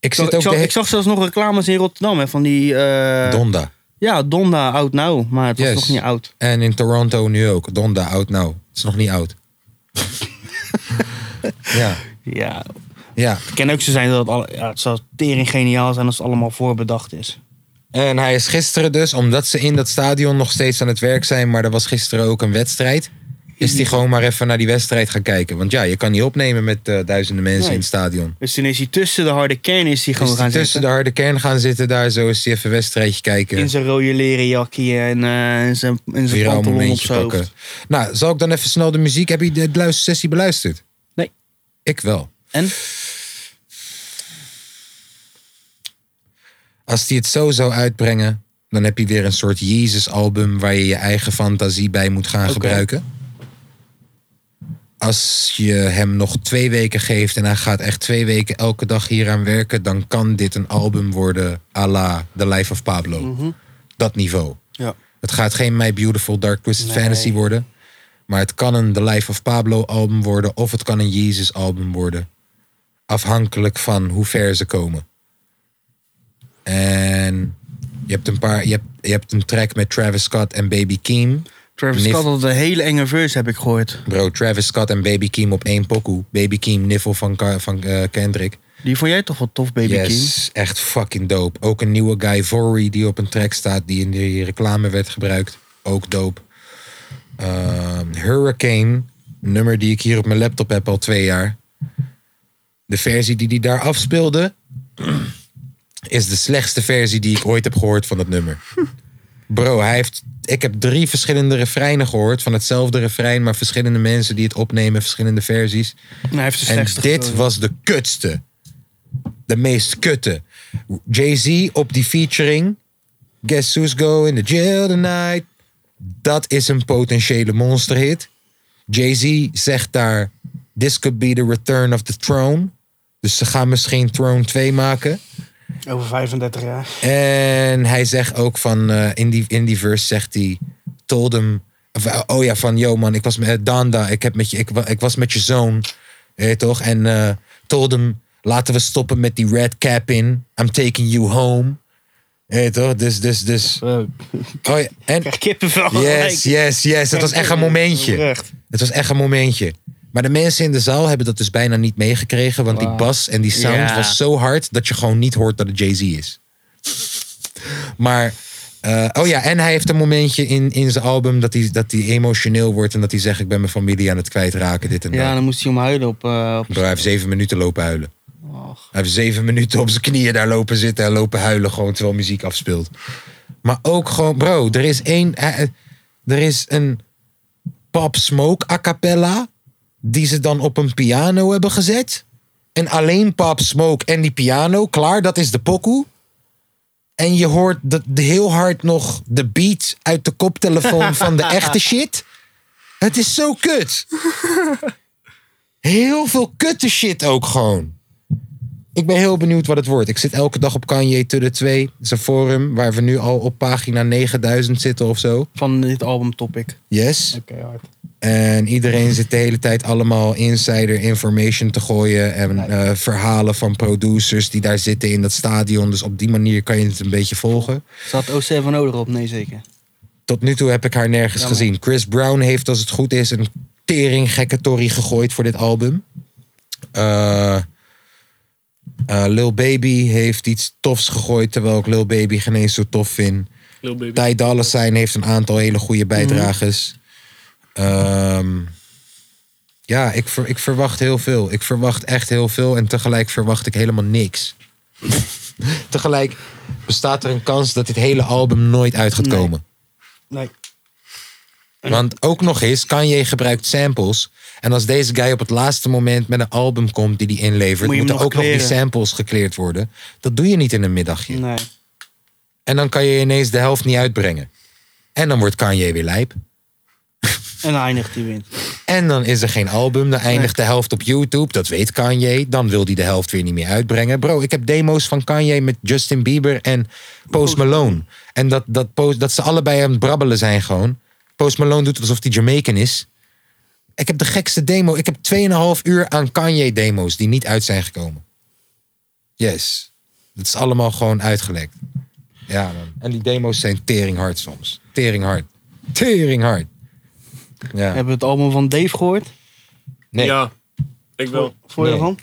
Speaker 2: Ik,
Speaker 1: zit
Speaker 2: zag-
Speaker 1: ook de
Speaker 2: ik
Speaker 1: he-
Speaker 2: zag zelfs nog reclames in Rotterdam hè, van die... eh,
Speaker 1: Donda.
Speaker 2: ja, Donda, Out Now. Maar het was
Speaker 1: Yes.
Speaker 2: nog niet oud.
Speaker 1: En in Toronto nu ook. Donda, oud nou. Het is nog niet oud. ja.
Speaker 2: Ja,
Speaker 1: ja.
Speaker 2: het kan ook zo zijn dat het, alle, ja, het zou tering geniaal zijn als het allemaal voorbedacht is.
Speaker 1: En hij is gisteren dus, omdat ze in dat stadion nog steeds aan het werk zijn, maar er was gisteren ook een wedstrijd. Is hij gewoon maar even naar die wedstrijd gaan kijken. Want ja, je kan niet opnemen met eh, duizenden mensen
Speaker 2: Nee.
Speaker 1: in het stadion.
Speaker 2: Dus toen is hij tussen de harde kern is hij
Speaker 1: Dus
Speaker 2: gewoon gaan
Speaker 1: tussen
Speaker 2: zitten.
Speaker 1: de harde kern gaan zitten, daar zo is hij even een wedstrijdje kijken.
Speaker 2: In zijn rode leren jakkie en eh, in zijn, in zijn
Speaker 1: Viraal
Speaker 2: pantalon op
Speaker 1: momentje
Speaker 2: zijn
Speaker 1: pakken.
Speaker 2: hoofd.
Speaker 1: Nou, zal ik dan even snel de muziek... Heb je de luistersessie beluisterd?
Speaker 2: Nee.
Speaker 1: Ik wel.
Speaker 2: En?
Speaker 1: Als hij het zo zou uitbrengen... dan heb je weer een soort Jezus-album... waar je je eigen fantasie bij moet gaan gebruiken. Als je hem nog twee weken geeft... en hij gaat echt twee weken elke dag hieraan werken... dan kan dit een album worden à la The Life of Pablo.
Speaker 2: Mhm.
Speaker 1: Dat niveau. Het gaat geen My Beautiful Dark Twisted Fantasy worden. Maar het kan een The Life of Pablo album worden. Of het kan een Jesus album worden. Afhankelijk van hoe ver ze komen. En je hebt een, paar, je hebt, je hebt een track met Travis Scott en Baby Keem.
Speaker 2: Travis
Speaker 1: Nif-
Speaker 2: Scott had een hele enge verse, heb ik gehoord.
Speaker 1: Bro, Travis Scott en Baby Keem op één pokoe. Baby Keem, niffel van, Ka- van eh, Kendrick.
Speaker 2: Die vond jij toch wel tof, Baby King?
Speaker 1: yes, echt fucking dope. Ook een nieuwe Guy Vory die op een track staat die in die reclame werd gebruikt. Ook dope. Ehm, Hurricane, een nummer die ik hier op mijn laptop heb al twee jaar. De versie die die daar afspeelde is de slechtste versie die ik ooit heb gehoord van dat nummer. Bro, hij heeft, ik heb drie verschillende refreinen gehoord van hetzelfde refrein, maar verschillende mensen die het opnemen, verschillende versies.
Speaker 2: Hij heeft de
Speaker 1: En
Speaker 2: slechtste
Speaker 1: dit
Speaker 2: gekozen.
Speaker 1: was de kutste. De meest kutte. Jay-Z op die featuring. Guess who's going to jail tonight. Dat is een potentiële monsterhit. Jay-Z zegt daar... This could be the return of the throne. Dus ze gaan misschien Throne 2 maken.
Speaker 2: Over 35 jaar.
Speaker 1: En hij zegt ook van, eh, in, die, in die verse zegt hij, told him, of, eh, oh ja, van, yo man, ik was met eh, Danda, ik, heb met je, ik, wa- ik was met je zoon, je weet toch? En eh, told him, laten we stoppen met die red cap in, I'm taking you home, je weet toch? Dus, dus, dus. Oh ja, en,
Speaker 2: Krijg kippenvel.
Speaker 1: yes, yes, yes, het was echt
Speaker 2: eh,
Speaker 1: een momentje.
Speaker 2: Echt.
Speaker 1: Het was echt een momentje. Maar de mensen in de zaal hebben dat dus bijna niet meegekregen. Want die bas en die sound
Speaker 2: Ja.
Speaker 1: was zo hard dat je gewoon niet hoort dat het Jay-Z is. Maar, eh, oh ja, en hij heeft een momentje in, in zijn album dat hij, dat hij emotioneel wordt. En dat hij zegt, ik ben mijn familie aan het kwijtraken, dit en dat.
Speaker 2: Ja, dan moest hij om huilen op... eh, op-
Speaker 1: Bro, hij heeft zeven minuten lopen huilen.
Speaker 2: Och.
Speaker 1: Hij heeft zeven minuten op zijn knieën daar lopen zitten en lopen huilen gewoon terwijl muziek afspeelt. Maar ook gewoon, bro, er is één. eh, eh, Er is een Pop Smoke a cappella. Die ze dan op een piano hebben gezet. En alleen Pop Smoke en die piano, klaar, dat is de pokoe. En je hoort de, de- heel hard nog de beat uit de koptelefoon van de echte shit. Het is zo kut. Heel veel kutte shit ook gewoon. Ik ben heel benieuwd wat het wordt. Ik zit elke dag op Kanye to the 2. Dat is een forum waar we nu al op pagina 9000 zitten of zo.
Speaker 2: Van dit album topic.
Speaker 1: Yes.
Speaker 2: Oké, hard.
Speaker 1: En iedereen zit de hele tijd allemaal insider information te gooien. En eh, verhalen van producers die daar zitten in dat stadion. Dus op die manier kan je het een beetje volgen.
Speaker 2: Zat O7 erop? Nee, zeker.
Speaker 1: Tot nu toe heb ik haar nergens
Speaker 2: Jammer.
Speaker 1: gezien. Chris Brown heeft, als het goed is, een tering gekke tory gegooid voor dit album. Eh, eh, Lil Baby heeft iets tofs gegooid, terwijl ik Lil Baby geen eens zo tof vind.
Speaker 7: Lil Baby.
Speaker 1: Ty Dolla Sign heeft een aantal hele goede bijdrages. Ehm, ja, ik, ver- ik verwacht heel veel. Ik verwacht echt heel veel en tegelijk verwacht ik helemaal niks. tegelijk bestaat er een kans dat dit hele album nooit uit gaat komen.
Speaker 2: Nee.
Speaker 1: Want ook nog eens, Kanye gebruikt samples En als deze guy op het laatste moment met een album komt die hij inlevert,
Speaker 2: Moet je hem
Speaker 1: moeten
Speaker 2: nog
Speaker 1: ook nog die
Speaker 2: clearen.
Speaker 1: samples gekleerd worden. Dat doe je niet in een middagje.
Speaker 2: Nee.
Speaker 1: En dan kan je ineens de helft niet uitbrengen. En dan wordt Kanye weer lijp.
Speaker 2: En dan eindigt die wint.
Speaker 1: En dan is er geen album, dan eindigt de helft op YouTube. Dat weet Kanye. Dan wil hij de helft weer niet meer uitbrengen. Bro, ik heb demo's van Kanye met Justin Bieber en Post Malone. En dat, dat, Post- dat ze allebei aan het brabbelen zijn gewoon. Post Malone doet alsof hij Jamaican is. Ik heb de gekste demo. Ik heb 2,5 uur aan Kanye-demo's die niet uit zijn gekomen. Yes. Dat is allemaal gewoon uitgelekt. Ja, man. En die demo's zijn teringhard soms. Teringhard. Teringhard. Ja.
Speaker 2: Hebben we het album van Dave gehoord?
Speaker 1: Nee.
Speaker 7: Ja, ik wel.
Speaker 2: Voor je
Speaker 1: Nee.
Speaker 2: van?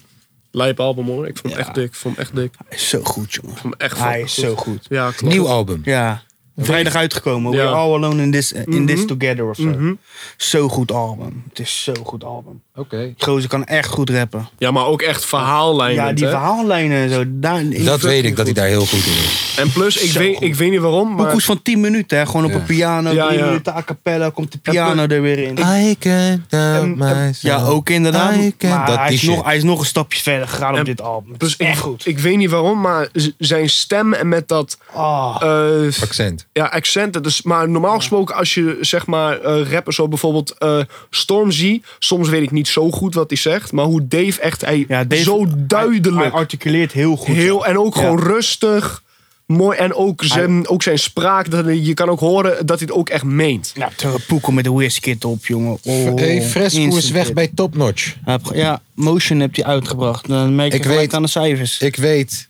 Speaker 7: Lijp album hoor. Ik vond hem echt dik. Ik vond hem echt dik. Ik
Speaker 2: Hij is zo goed, jongen.
Speaker 7: vond hem echt
Speaker 2: Hij
Speaker 7: fucking
Speaker 2: is zo goed.
Speaker 7: Ja, klopt.
Speaker 1: Nieuw album.
Speaker 2: Ja. Vrijdag uitgekomen.
Speaker 7: Ja.
Speaker 2: We're all alone in this, in this together of zo. Zo goed album. Het is zo'n goed album.
Speaker 1: Oké.
Speaker 2: Die gozer kan echt goed rappen.
Speaker 7: Ja, maar ook echt verhaallijnen.
Speaker 2: ja, die verhaallijnen en zo. Daar,
Speaker 1: Dat weet ik, dat hij daar heel goed in is.
Speaker 7: En plus, ik
Speaker 2: Zo
Speaker 7: weet,
Speaker 2: goed.
Speaker 7: ik weet niet waarom, maar...
Speaker 2: Boekhoes van 10 minuten, hè? gewoon op
Speaker 1: Ja.
Speaker 2: een piano.
Speaker 7: Ja,
Speaker 2: 10
Speaker 7: ja.
Speaker 2: minuten a cappella, komt de piano er weer in.
Speaker 1: I can
Speaker 7: en-
Speaker 2: eh, Ja, ook inderdaad.
Speaker 1: I can-
Speaker 2: Maar
Speaker 1: dat
Speaker 2: hij,
Speaker 1: die
Speaker 2: is
Speaker 1: shit.
Speaker 2: nog, hij is nog een stapje verder gegaan
Speaker 7: En
Speaker 2: op dit album. Het
Speaker 7: Plus,
Speaker 2: is
Speaker 7: ik,
Speaker 2: echt goed.
Speaker 7: ik weet niet waarom, maar z- zijn stem en met dat
Speaker 2: Ah,
Speaker 7: eh,
Speaker 1: Accent.
Speaker 7: ja, accent. dat is- maar normaal gesproken, als je zeg maar eh rappers zoals bijvoorbeeld eh, Stormzy, soms weet ik niet zo goed wat hij zegt, maar hoe Dave echt hij,
Speaker 2: ja, Dave-
Speaker 7: zo
Speaker 2: Hij,
Speaker 7: duidelijk,
Speaker 2: hij articuleert heel goed.
Speaker 7: heel en ook
Speaker 2: Ja.
Speaker 7: gewoon rustig, mooi en ook zijn, ook zijn spraak. Dat, hij- je kan ook horen dat hij het ook echt meent.
Speaker 2: Ja, Terrapoeken met de Wizkid op, jongen. Oh,
Speaker 1: hey, Fresco is
Speaker 2: instant
Speaker 1: weg
Speaker 2: hit.
Speaker 1: bij Top Notch.
Speaker 2: Hij heeft ge- Ja, Motion hebt hij uitgebracht. Dan merk je
Speaker 1: Ik
Speaker 2: gelijk
Speaker 1: weet-
Speaker 2: aan de cijfers.
Speaker 1: Ik weet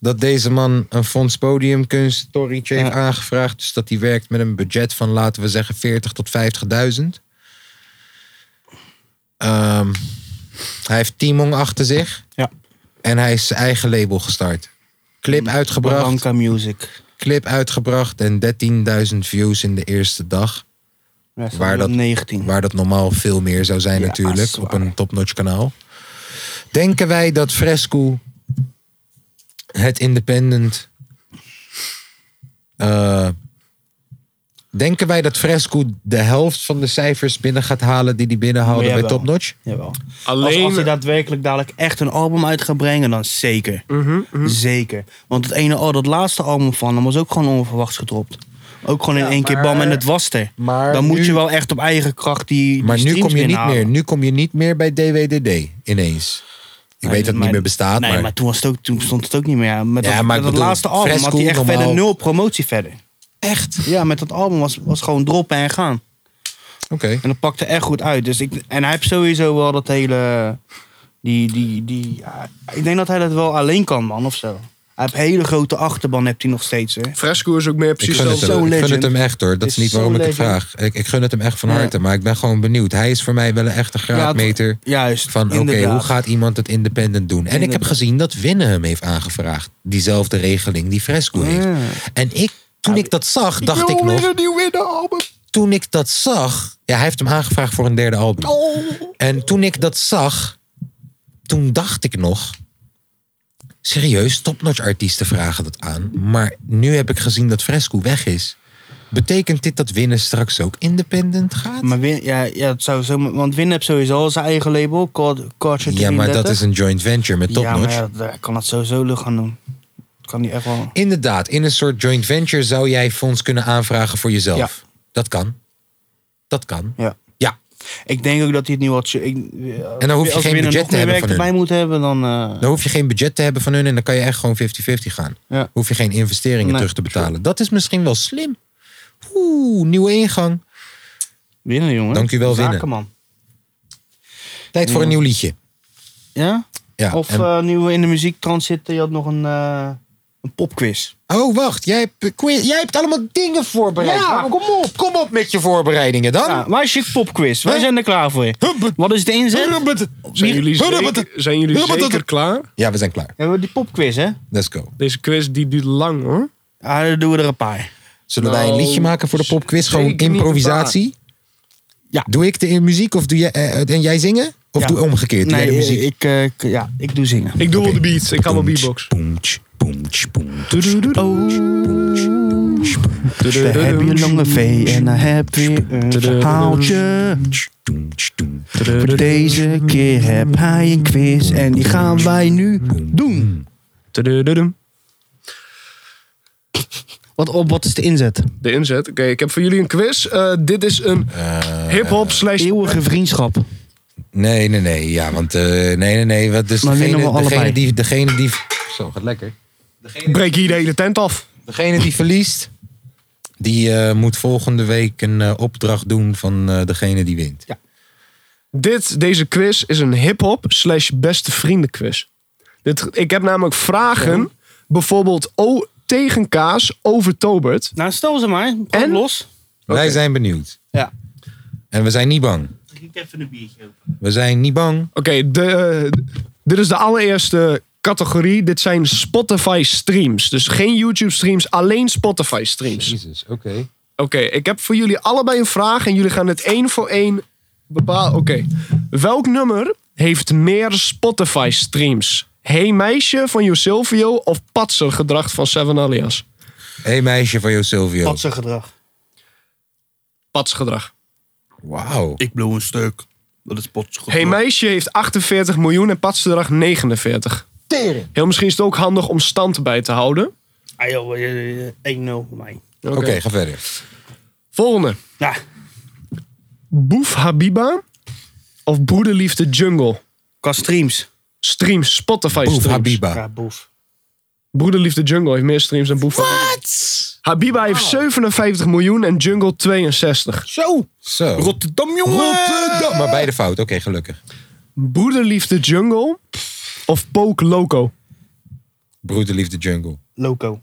Speaker 1: dat deze man een Fonds Podiumkunst torentje heeft
Speaker 2: Ja.
Speaker 1: aangevraagd. Dus dat hij werkt met een budget van, laten we zeggen, 40 tot 50.000. Ehm, hij heeft Timon achter zich.
Speaker 2: Ja. Mm,
Speaker 1: En hij is zijn eigen label gestart. Clip uitgebracht.
Speaker 2: Branca Music.
Speaker 1: Clip uitgebracht en 13.000 views in de eerste dag.
Speaker 2: Ja, staat
Speaker 1: Waar
Speaker 2: nu op
Speaker 1: dat-
Speaker 2: 19.
Speaker 1: Waar dat normaal veel meer zou zijn
Speaker 2: Ja,
Speaker 1: natuurlijk.
Speaker 2: zwaar.
Speaker 1: Op een topnotch kanaal. Denken wij dat Fresco het independent... eh, denken wij dat Fresco de helft van de cijfers binnen gaat halen die hij binnenhaalde bij
Speaker 2: Jawel.
Speaker 1: topnotch?
Speaker 2: Jawel. Als,
Speaker 7: Alleen
Speaker 2: als hij daadwerkelijk dadelijk echt een album uit gaat brengen, dan zeker.
Speaker 1: Mhm,
Speaker 2: Zeker. Want het ene, oh, dat laatste album van hem was ook gewoon onverwachts gedropt. Ook gewoon in één keer bam en het was er.
Speaker 1: Maar
Speaker 2: dan moet
Speaker 1: nu-
Speaker 2: je wel echt op eigen kracht die, die
Speaker 1: Maar nu
Speaker 2: streams
Speaker 1: kom, je niet
Speaker 2: binnenhalen.
Speaker 1: meer, nu kom je niet meer bij DWDD ineens. Ik weet dat het niet meer bestaat,
Speaker 2: Nee, maar,
Speaker 1: maar...
Speaker 2: toen, was het ook, toen stond het ook niet meer. Ja, Met
Speaker 1: Ja, maar
Speaker 2: dat,
Speaker 1: ik
Speaker 2: met dat
Speaker 1: bedoel,
Speaker 2: laatste album had hij
Speaker 1: Fresco
Speaker 2: echt verder
Speaker 1: normaal-
Speaker 2: nul promotie verder.
Speaker 1: Echt?
Speaker 2: Ja, met dat album was, was gewoon droppen en gaan.
Speaker 1: Oké.
Speaker 2: En dat pakte echt goed uit. Dus ik, en hij heeft sowieso wel dat hele. Die, die, die, ja, ik denk dat hij dat wel alleen kan, man, of zo. Hij heeft hele grote achterban, hebt hij nog steeds. Hè?
Speaker 7: Fresco is ook meer
Speaker 1: Ik
Speaker 7: precies
Speaker 1: gun, het
Speaker 7: hetzelfde.
Speaker 2: zo
Speaker 1: hem, ik gun het
Speaker 2: legend.
Speaker 1: hem echt hoor. Dat is,
Speaker 2: Is
Speaker 1: niet
Speaker 2: zo
Speaker 1: waarom ik het
Speaker 2: legend.
Speaker 1: vraag. Ik, ik gun het hem echt van
Speaker 2: Ja.
Speaker 1: harte. Maar ik ben gewoon benieuwd. Hij is voor mij wel een echte graadmeter.
Speaker 2: Juist.
Speaker 1: van oké,
Speaker 2: inderdaad.
Speaker 1: hoe gaat iemand het independent doen? En ik heb
Speaker 2: Inderdaad.
Speaker 1: gezien dat Winnen hem heeft aangevraagd. Diezelfde regeling die Fresco
Speaker 2: Oh,
Speaker 1: heeft. En ik, toen ik dat zag, dacht ik nog... Toen ik dat zag... Ja, hij heeft hem aangevraagd voor een derde album. En toen ik dat zag, toen dacht ik nog... Serieus, topnotch artiesten vragen dat aan. Maar nu heb ik gezien dat Fresco weg is. Betekent dit dat Winnen straks ook independent gaat?
Speaker 2: Maar Win, ja, ja, het zou zo, want Win heeft sowieso al zijn eigen label, Culture
Speaker 1: ja, maar dat is een joint venture met
Speaker 2: Ja,
Speaker 1: topnotch.
Speaker 2: maar ja, daar kan het sowieso lucht gaan doen. Dat kan hij echt wel.
Speaker 1: Inderdaad, in een soort joint venture zou jij fonds kunnen aanvragen voor jezelf.
Speaker 2: Ja.
Speaker 1: Dat kan. Dat kan.
Speaker 2: Ja.
Speaker 1: Ja.
Speaker 2: Ik denk ook dat hij het nu wat. Ik,
Speaker 1: En dan hoef je
Speaker 2: als
Speaker 1: geen
Speaker 2: Win er
Speaker 1: budget
Speaker 2: nog
Speaker 1: te hebben
Speaker 2: meer werk
Speaker 1: van
Speaker 2: erbij
Speaker 1: hun.
Speaker 2: moet hebben, dan. eh,
Speaker 1: Dan hoef je geen budget te hebben van hun en dan kan je echt gewoon 50-50 gaan.
Speaker 2: Ja.
Speaker 1: Hoef je geen investeringen
Speaker 2: Nee,
Speaker 1: terug te betalen. Dat is misschien wel slim. Oeh, nieuwe ingang.
Speaker 2: winnen, jongen.
Speaker 1: Dank u wel, winnen.
Speaker 2: Zakenman.
Speaker 1: Tijd voor een nieuw liedje.
Speaker 2: Ja?
Speaker 1: Ja,
Speaker 2: Of
Speaker 1: en-
Speaker 2: eh, nu we in de muziektransit zitten, je had nog een, eh, een popquiz.
Speaker 1: oh, wacht. Jij hebt, eh, quiz- jij hebt allemaal dingen voorbereid.
Speaker 2: Ja,
Speaker 1: Waarom- kom op. Kom op met je voorbereidingen dan.
Speaker 2: Ja, waar is je popquiz? Wij
Speaker 1: Huh?
Speaker 2: zijn er klaar voor. Wat is de inzet?
Speaker 7: Zijn jullie zeker, zijn jullie zeker klaar?
Speaker 1: Ja, we zijn klaar.
Speaker 2: Hebben we die popquiz, hè?
Speaker 1: Let's go.
Speaker 7: Deze quiz die duurt lang hoor.
Speaker 2: Ah, dan doen we er een paar.
Speaker 1: Zullen wij een
Speaker 7: Nou,
Speaker 1: liedje maken voor de popquiz? Gewoon
Speaker 7: zeker niet
Speaker 1: improvisatie?
Speaker 2: waar. Ja.
Speaker 1: Doe ik de muziek of doe jij, eh, en jij zingen? Of
Speaker 2: Ja.
Speaker 1: doe omgekeerd, nee, de
Speaker 2: Nee,
Speaker 1: muziek.
Speaker 2: ik, eh, k- ja, ik doe zingen.
Speaker 3: Ik doe wel de beats. Ik kan wel beatbox.
Speaker 1: Poentje, poentje, poentje.
Speaker 2: We Oh, hebben een lange V en dan heb je een verhaaltje. Voor deze keer heb hij een quiz en die gaan wij nu doen. Wat, op, wat is de inzet?
Speaker 3: De inzet. Oké, ik heb voor jullie een quiz. Eh, dit is een
Speaker 2: Eh,
Speaker 3: hip-hop slash.
Speaker 2: Eeuwige vriendschap.
Speaker 1: Nee, nee, nee. Ja, want eh, nee, nee, nee. Wat dus
Speaker 2: Maar winnen we
Speaker 1: degene, degene
Speaker 2: allebei?
Speaker 1: die, degene die. Zo, gaat lekker.
Speaker 3: Breek hier de hele tent af.
Speaker 1: Degene die verliest, die eh, moet volgende week een eh, opdracht doen van eh, degene die wint.
Speaker 3: Dit, deze quiz is een hip-hop slash beste vrienden quiz. Dit, ik heb namelijk vragen. Bijvoorbeeld o, tegen Kaas over Tobert.
Speaker 2: Nou, stel ze maar.
Speaker 3: En?
Speaker 2: los.
Speaker 1: Wij zijn benieuwd.
Speaker 2: Ja.
Speaker 1: En we zijn niet bang.
Speaker 8: Ik even een biertje open.
Speaker 1: We zijn niet bang.
Speaker 3: Oké, de, eh, dit is de allereerste categorie. Dit zijn Spotify streams. Dus geen YouTube streams, alleen Spotify streams.
Speaker 1: Jezus, oké.
Speaker 3: Oké, ik heb voor jullie allebei een vraag en jullie gaan het één voor één bepalen. Oké, welk nummer heeft meer Spotify streams? Hey meisje van Jo Silvio of Patser gedrag van Seven Alias?
Speaker 1: hey, meisje van Jo Silvio.
Speaker 2: Wat zijn gedrag.
Speaker 3: Pats gedrag.
Speaker 1: Wauw.
Speaker 9: Ik blow een stuk. Dat is pot.
Speaker 3: Hey meisje heeft 48 miljoen en Pats gedrag 49. Heel misschien is het ook handig om stand bij te houden.
Speaker 2: Ah joh, eh, eh, 1-0 voor mij.
Speaker 3: Oké,
Speaker 1: Oké, ga verder.
Speaker 3: volgende.
Speaker 2: Ja,
Speaker 3: Boef Habiba of Broederliefde Jungle?
Speaker 2: qua streams.
Speaker 3: Stream, Spotify
Speaker 1: Boef
Speaker 3: streams.
Speaker 1: Habiba.
Speaker 2: Ja, boef.
Speaker 3: Broederliefde Jungle heeft meer streams dan Boef Habiba. Habiba heeft 57 miljoen en Jungle 62.
Speaker 2: Zo!
Speaker 1: Zo.
Speaker 2: Rotterdam, jongen!
Speaker 1: Rotterdam. Maar beide fout. Oké, gelukkig.
Speaker 3: Broederliefde Jungle of Poke Loco?
Speaker 1: Broederliefde Jungle.
Speaker 2: Loco.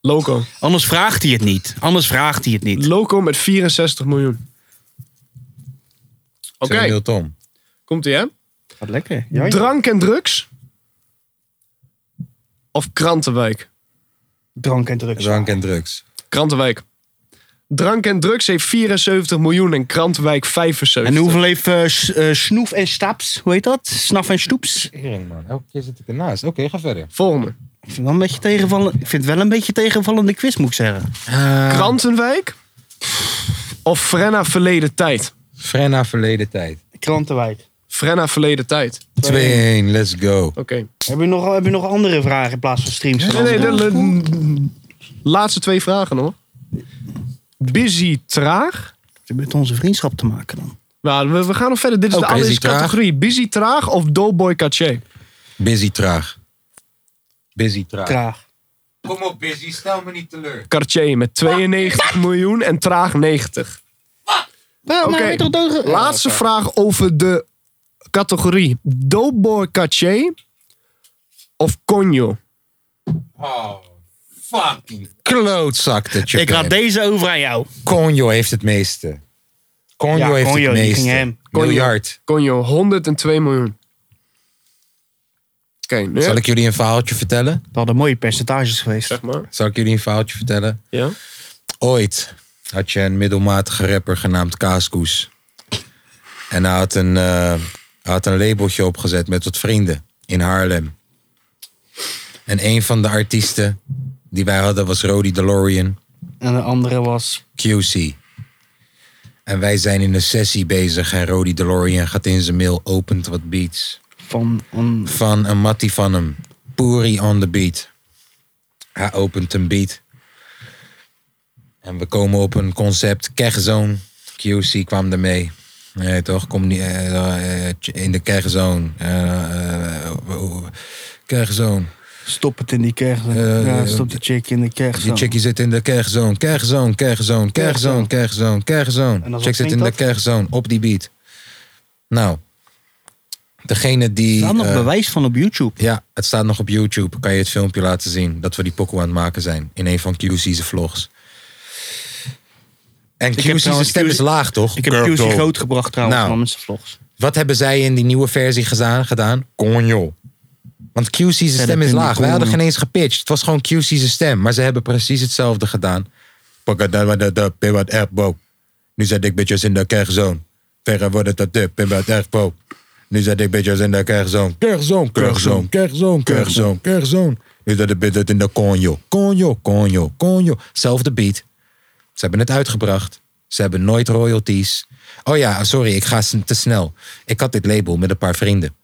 Speaker 3: Loco.
Speaker 2: Anders vraagt hij het niet. Anders vraagt hij het niet.
Speaker 3: Loco met 64 miljoen. Oké,
Speaker 1: 2-0 Tom.
Speaker 3: komt ie hè?
Speaker 2: Gaat lekker. Ja,
Speaker 3: Drank en drugs of Krantenwijk?
Speaker 2: Drank en drugs.
Speaker 1: Drank en drugs.
Speaker 3: Krantenwijk. Drank en drugs heeft 74 miljoen en Krantenwijk 75.
Speaker 2: En hoeveel heeft eh, s- eh, snoef en staps? Hoe heet dat? Snaf en stoeps?
Speaker 1: Tering, man. Elke keer zit ik ernaast. Oké, ga verder.
Speaker 3: Volgende.
Speaker 2: Ik vind, wel een beetje tegenvallen, ik vind het wel een beetje tegenvallende quiz, moet ik zeggen.
Speaker 3: Krantenwijk of Frenna verleden tijd?
Speaker 1: Frenna verleden tijd. 2-1,
Speaker 2: Krantenwijk.
Speaker 3: Frenna verleden tijd.
Speaker 1: let's go.
Speaker 3: Oké.
Speaker 2: Heb je, nog, heb je nog andere vragen in plaats van streams?
Speaker 3: Nee, nee, de, de- laatste twee vragen hoor. Busy traag.
Speaker 2: Het heeft met onze vriendschap te maken dan.
Speaker 3: Nou, we, we gaan nog verder. Dit is
Speaker 1: Oké,
Speaker 3: de
Speaker 1: busy
Speaker 3: allereerste
Speaker 1: traag.
Speaker 3: categorie. Busy traag of Doughboy Caché?
Speaker 1: Busy traag. Busy traag.
Speaker 2: Traag.
Speaker 1: Kom op, Busy. Stel me niet teleur.
Speaker 3: Cartier met 92 miljoen en traag 90.
Speaker 2: Nou,
Speaker 3: Oké.
Speaker 2: maar hij toch dood...
Speaker 3: Laatste vraag over de categorie. Doughboy Caché of Conjo?
Speaker 1: Oh, fucking klootzak dat je
Speaker 2: Ik
Speaker 1: bent.
Speaker 2: laat deze over aan jou.
Speaker 1: Conjo heeft het meeste. Conjo
Speaker 2: Ja,
Speaker 1: heeft
Speaker 2: Conjo,
Speaker 1: het
Speaker 2: die
Speaker 1: meeste.
Speaker 2: ging hem.
Speaker 3: Conjo.
Speaker 1: Miljard.
Speaker 3: Conjo, 102 miljoen. Oké, nu
Speaker 1: Zal ik jullie een verhaaltje vertellen?
Speaker 2: Dat hadden mooie percentages geweest.
Speaker 3: zeg maar.
Speaker 1: Zal ik jullie een verhaaltje vertellen?
Speaker 3: Ja.
Speaker 1: Ooit had je een middelmatige rapper genaamd Kaaskoes. En hij had een, eh, hij had een labeltje opgezet met wat vrienden in Haarlem. En een van de artiesten die wij hadden was Rody DeLorean.
Speaker 2: En de andere was...
Speaker 1: QC. En wij zijn in een sessie bezig en Rody DeLorean gaat in zijn mail, opent wat beats.
Speaker 2: Van een...
Speaker 1: Van een mattie van hem. Puri on the beat. Hij opent een beat. En we komen op een concept. Kegzone. QC kwam ermee. Nee, toch? Kom niet, eh, eh, in de kegzone. Eh, eh, Kegzone.
Speaker 2: Stop het in die kerk. ja, stop de chick in de kerk.
Speaker 1: Eh, Die chickie zit in de kerkzoon, kerkzoon, kerkzoon, kerkzoon, kerkzoon,
Speaker 2: En
Speaker 1: kerkzoon.
Speaker 2: dan
Speaker 1: Chick zit
Speaker 2: klinkt
Speaker 1: in de
Speaker 2: dat?
Speaker 1: kerkzoon, op die beat. Nou, degene die...
Speaker 2: Daar nog
Speaker 1: eh,
Speaker 2: bewijs van op YouTube.
Speaker 1: ja, het staat nog op YouTube. Kan je het filmpje laten zien dat we die pokoe aan het maken zijn. In een van QC's vlogs. En
Speaker 2: heb trouwens
Speaker 1: QC's stem is
Speaker 2: QC
Speaker 1: laag, toch?
Speaker 2: Ik heb
Speaker 1: Girl,
Speaker 2: QC
Speaker 1: girl.
Speaker 2: grootgebracht trouwens
Speaker 1: Nou.
Speaker 2: van mensen vlogs.
Speaker 1: Wat hebben zij in die nieuwe versie gedaan? gedaan? Conjo. Want QC's stem
Speaker 2: dat
Speaker 1: is
Speaker 2: vind ik
Speaker 1: laag. Wij hadden
Speaker 2: cool.
Speaker 1: geen eens gepitcht. Het was gewoon QC's stem. Maar ze hebben precies hetzelfde gedaan. Nu zit ik bitches in de kerkzoon. Verre wordt het dat dip in wat echt Nu zet ik bitches in de kerkzoon. Kerkzoon, kerkzoon, kerkzoon, kerkzoon, kerkzoon. Nu zet ik bitches in de conjo. Conjo, conjo, conjo. Zelfde beat. Ze hebben het uitgebracht. Ze hebben nooit royalties. Oh ja, sorry, ik ga s- te snel. Ik had dit label met een paar vrienden.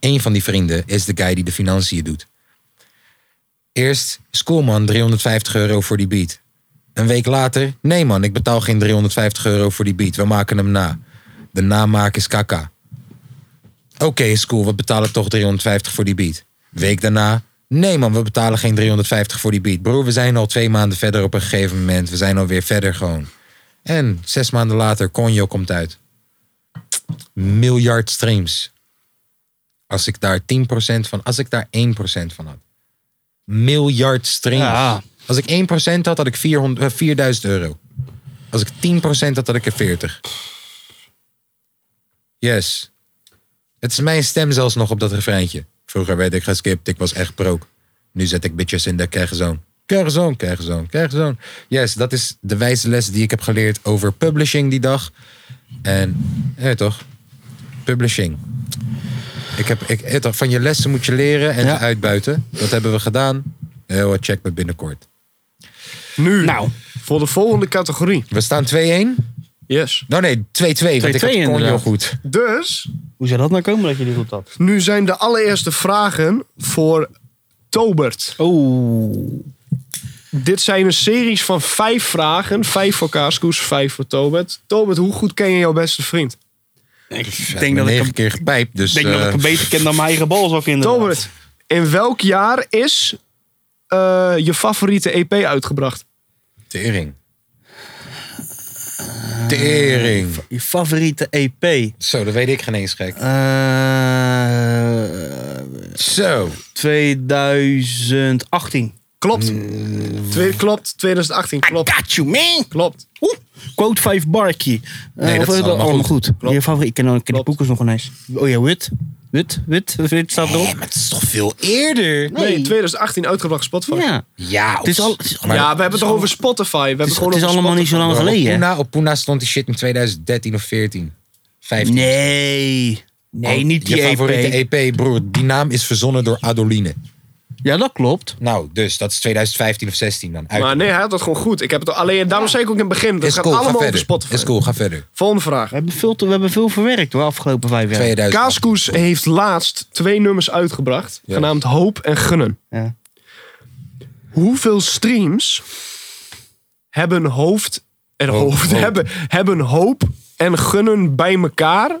Speaker 1: Eén van die vrienden is de guy die de financiën doet. Eerst Schoolman 350 euro voor die beat. Een week later, nee man, ik betaal geen 350 euro voor die beat. We maken hem na. De namaak is kaka. Oké, school, we betalen toch 350 voor die beat. Week daarna. Nee man, we betalen geen 350 voor die beat. Broer, we zijn al twee maanden verder op een gegeven moment. We zijn alweer verder gewoon. En zes maanden later, Conjo komt uit. Miljard streams. Als ik daar 10% van, als ik daar 1% van had. Miljard streams.
Speaker 2: Ja.
Speaker 1: Als ik 1% had, had ik 400, eh, 4000 euro. Als ik 10% had, had ik er 40. Yes. Het is mijn stem zelfs nog op dat refreintje. Vroeger werd ik geskipt, ik was echt broke. Nu zet ik bitches in de kerkzoon. Kerkzoon, kerkzoon, kerkzoon. Yes, dat is de wijze les die ik heb geleerd over publishing die dag. En, ja toch, publishing. Ik heb, ik, ja toch, van je lessen moet je leren en
Speaker 2: Ja.
Speaker 1: uitbuiten. Dat hebben we gedaan. Heel wat check me binnenkort.
Speaker 3: Nu,
Speaker 2: Nou.
Speaker 3: voor de volgende categorie.
Speaker 1: We staan 2-1.
Speaker 3: Yes.
Speaker 1: Nou nee, 2-2, want ik
Speaker 2: 2-2
Speaker 1: had Conjo
Speaker 2: inderdaad.
Speaker 1: goed.
Speaker 3: Dus,
Speaker 2: Hoe zou dat nou komen dat je die goed had?
Speaker 3: nu zijn de allereerste vragen voor Tobert.
Speaker 2: Oh.
Speaker 3: Dit zijn een series van vijf vragen. Vijf voor Kaaskoes, vijf voor Tobert. Tobert, hoe goed ken je jouw beste vriend?
Speaker 2: Ik
Speaker 1: Ja,
Speaker 2: denk dat ik
Speaker 1: negen
Speaker 2: hem,
Speaker 1: keer gepijpt, dus...
Speaker 2: denk dat ik
Speaker 1: eh,
Speaker 2: hem beter ken dan mijn eigen bal zou vinden.
Speaker 3: Tobert, in welk jaar is eh, je favoriete EP uitgebracht?
Speaker 1: Tering. Tering.
Speaker 2: Je favoriete E EP.
Speaker 1: Zo, dat weet ik geen eens gek.
Speaker 2: Eh,
Speaker 1: Zo.
Speaker 2: 2018.
Speaker 3: Klopt. Twee, klopt, 2018. Klopt,
Speaker 2: Got you, man!
Speaker 3: klopt.
Speaker 2: Quote 5 Barkie. Eh,
Speaker 1: Nee,
Speaker 2: of
Speaker 1: dat is allemaal goed.
Speaker 2: goed. Je favoriet, ik ken, ik ken die
Speaker 3: Klopt.
Speaker 2: boekers nog ineens. Oh ja, wit. Wit, wit, wit staat erop.
Speaker 1: maar het is toch veel eerder?
Speaker 3: Nee, 2018 uitgebracht op Spotify. Ja,
Speaker 2: Ja.
Speaker 1: Ja,
Speaker 2: Het is al- het is al-
Speaker 3: we hebben het toch over Spotify. We hebben
Speaker 2: Het is,
Speaker 3: gewoon
Speaker 2: het is
Speaker 3: over
Speaker 2: allemaal niet zo lang
Speaker 1: op,
Speaker 2: geleden. hè?
Speaker 1: Poena, op Poena stond die shit in 2013 of 14. 15.
Speaker 2: Nee. Nee, niet die
Speaker 1: Oh,
Speaker 2: E
Speaker 1: Je
Speaker 2: EP.
Speaker 1: favoriete E EP, broer. Die naam is verzonnen door Adoline.
Speaker 2: Ja, dat klopt.
Speaker 1: Nou, dus dat is 2015 of 16 dan. Uit.
Speaker 3: Maar nee, hij had dat gewoon goed. Ik heb het al- alleen, daarom zei ik ook in het begin, dat
Speaker 1: is
Speaker 3: gaat
Speaker 1: cool, ga
Speaker 3: allemaal over
Speaker 1: verder.
Speaker 3: Spotify.
Speaker 1: Is cool, ga verder.
Speaker 3: Volgende vraag.
Speaker 2: We hebben veel, te- we hebben veel verwerkt hoor, afgelopen vijf jaar.
Speaker 1: 2000.
Speaker 3: Kaaskoes heeft laatst twee nummers uitgebracht,
Speaker 1: Ja.
Speaker 3: genaamd Hoop en Gunnen.
Speaker 2: Ja.
Speaker 3: Hoeveel streams hebben hoofd, en
Speaker 1: Hoop,
Speaker 3: hoofd
Speaker 1: hoop.
Speaker 3: Hebben, hebben hoop en gunnen bij elkaar?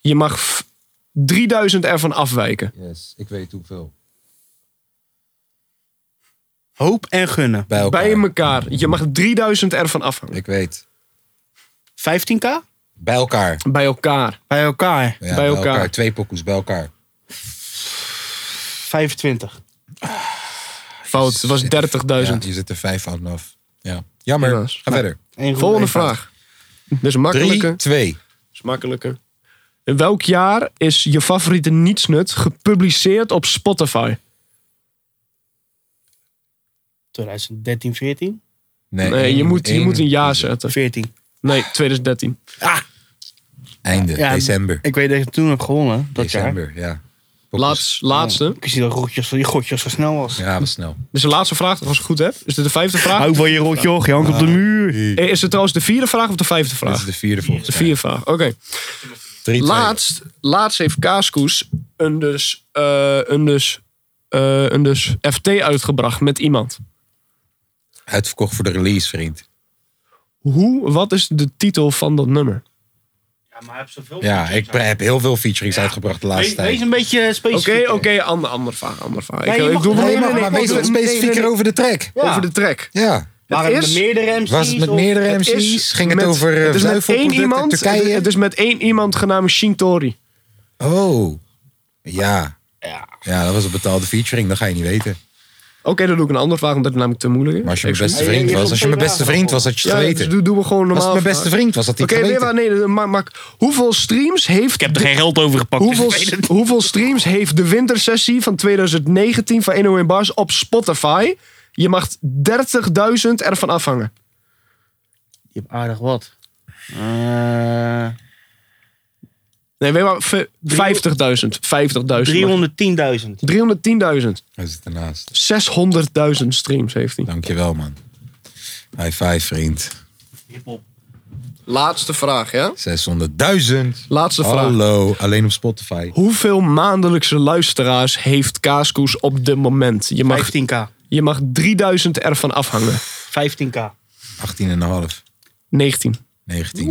Speaker 3: Je mag f- 3000 ervan afwijken.
Speaker 1: Yes, ik weet hoeveel.
Speaker 2: Hoop en gunnen.
Speaker 1: Bij elkaar.
Speaker 3: Bij elkaar. Je mag 3000 ervan afhangen.
Speaker 1: Ik weet.
Speaker 2: 15k?
Speaker 1: Bij elkaar.
Speaker 3: Bij elkaar.
Speaker 2: Bij elkaar.
Speaker 1: Ja,
Speaker 3: Bij elkaar.
Speaker 1: Twee pokoes bij elkaar.
Speaker 2: 25.
Speaker 3: Fout, het was 30.000.
Speaker 1: Ja, je zit er vijf aan af. Ja. Jammer.
Speaker 3: Helaas. Nou,
Speaker 1: Ga verder.
Speaker 2: Eén goed,
Speaker 3: Volgende
Speaker 2: één fout.
Speaker 3: vraag. Dit is een makkelijke.
Speaker 1: 3, 2.
Speaker 3: is makkelijker. In welk jaar is je favoriete nietsnut gepubliceerd op Spotify?
Speaker 2: 2013, 14?
Speaker 3: Nee, je moet, je moet een jaar zetten.
Speaker 2: 14.
Speaker 3: Nee, 2013.
Speaker 1: Einde,
Speaker 2: Ja,
Speaker 1: december.
Speaker 2: Ik weet dat ik toen heb gewonnen, dat jaar.
Speaker 1: December, ja. Pokoes.
Speaker 3: Laatst- laatste.
Speaker 2: Ik zie dat Rotjes, die Rotjes zo snel was.
Speaker 1: Ja, was snel.
Speaker 3: Dit is de laatste vraag, toch, als ik het goed heb. Is dit de vijfde vraag?
Speaker 2: Hou van je Rotje, hoor, je hangt op de muur.
Speaker 3: Eh, Is het trouwens de vierde vraag of de vijfde
Speaker 1: Dit is
Speaker 3: vraag?
Speaker 1: de vierde volgens
Speaker 3: De
Speaker 1: mij.
Speaker 3: vierde vraag, oké.
Speaker 1: Drie, twee.
Speaker 3: Laatst, laatst heeft Kaaskoes een dus, eh, een, dus, eh, een dus FT uitgebracht met iemand.
Speaker 1: Uitverkocht voor de release, vriend.
Speaker 3: Hoe, wat is de titel van dat nummer?
Speaker 4: Ja, maar heb zoveel.
Speaker 1: Ja, ik heb heel veel featurings uitgebracht de laatste
Speaker 4: Wees,
Speaker 1: tijd.
Speaker 4: wees een beetje
Speaker 3: Oké,
Speaker 4: specifiek.
Speaker 3: oké, ander, andere vraag, andere vraag.
Speaker 4: Nee,
Speaker 3: ik,
Speaker 4: je
Speaker 3: ik
Speaker 4: mag-
Speaker 3: doe
Speaker 4: nee,
Speaker 3: nee,
Speaker 4: maar-
Speaker 3: nee,
Speaker 4: maar
Speaker 3: nee,
Speaker 4: wees
Speaker 3: nee,
Speaker 4: wat
Speaker 3: nee, nee, nee.
Speaker 1: over de track.
Speaker 3: over de track.
Speaker 1: Ja.
Speaker 4: Waren
Speaker 3: Het
Speaker 4: het
Speaker 3: is-
Speaker 4: met meerdere MC's?
Speaker 1: Was het met
Speaker 4: of-
Speaker 1: meerdere
Speaker 3: Het is
Speaker 1: MC's? Ging het
Speaker 3: met-
Speaker 1: over eh,
Speaker 3: het is met één
Speaker 1: zuivelproducten,
Speaker 3: iemand,
Speaker 1: Turkije?
Speaker 3: Het is met één iemand genaamd Shintori.
Speaker 1: Oh. Ja. Ja, dat was een betaalde featuring. Dat ga je niet weten.
Speaker 3: Oké, dan doe ik een andere vraag, omdat het namelijk te moeilijk is.
Speaker 1: Maar als je mijn
Speaker 3: Excuus.
Speaker 1: beste
Speaker 4: Hey,
Speaker 1: vriend
Speaker 4: je
Speaker 1: was,
Speaker 4: komt
Speaker 1: als je mijn
Speaker 4: twee
Speaker 1: beste
Speaker 4: dagen
Speaker 1: vriend
Speaker 4: voor.
Speaker 1: was, had je
Speaker 3: Ja,
Speaker 1: het
Speaker 3: dus
Speaker 1: geweten.
Speaker 3: doe- doen we gewoon
Speaker 1: Als
Speaker 3: normaal.
Speaker 1: het mijn beste
Speaker 3: vragen.
Speaker 1: vriend was, had hij
Speaker 3: Oké,
Speaker 1: het
Speaker 3: nee,
Speaker 1: geweten.
Speaker 3: maar, nee, maar, maar hoeveel streams heeft...
Speaker 2: Ik heb er geen geld over gepakt. dus
Speaker 3: Hoeveel,
Speaker 2: ik weet het niet.
Speaker 3: hoeveel streams heeft de wintersessie van 2019 van 101 Bars op Spotify? Je mag 30.000 ervan afhangen.
Speaker 2: Je hebt aardig wat. Eh,
Speaker 3: Nee, weet je maar, v- 50.000. 50.000.
Speaker 10: 310.000.
Speaker 3: 310.000.
Speaker 1: Hij zit ernaast.
Speaker 3: 600.000 streams heeft hij.
Speaker 1: Dankjewel, man. High five, vriend.
Speaker 11: Laatste vraag, ja?
Speaker 1: 600.000.
Speaker 3: Laatste vraag.
Speaker 1: Hallo, alleen op Spotify.
Speaker 3: Hoeveel maandelijkse luisteraars heeft Kaaskoes op dit moment? Je mag,
Speaker 10: 15k.
Speaker 3: je mag 3000 ervan afhangen.
Speaker 10: 15k.
Speaker 1: 18,5.
Speaker 3: 19.
Speaker 1: 19.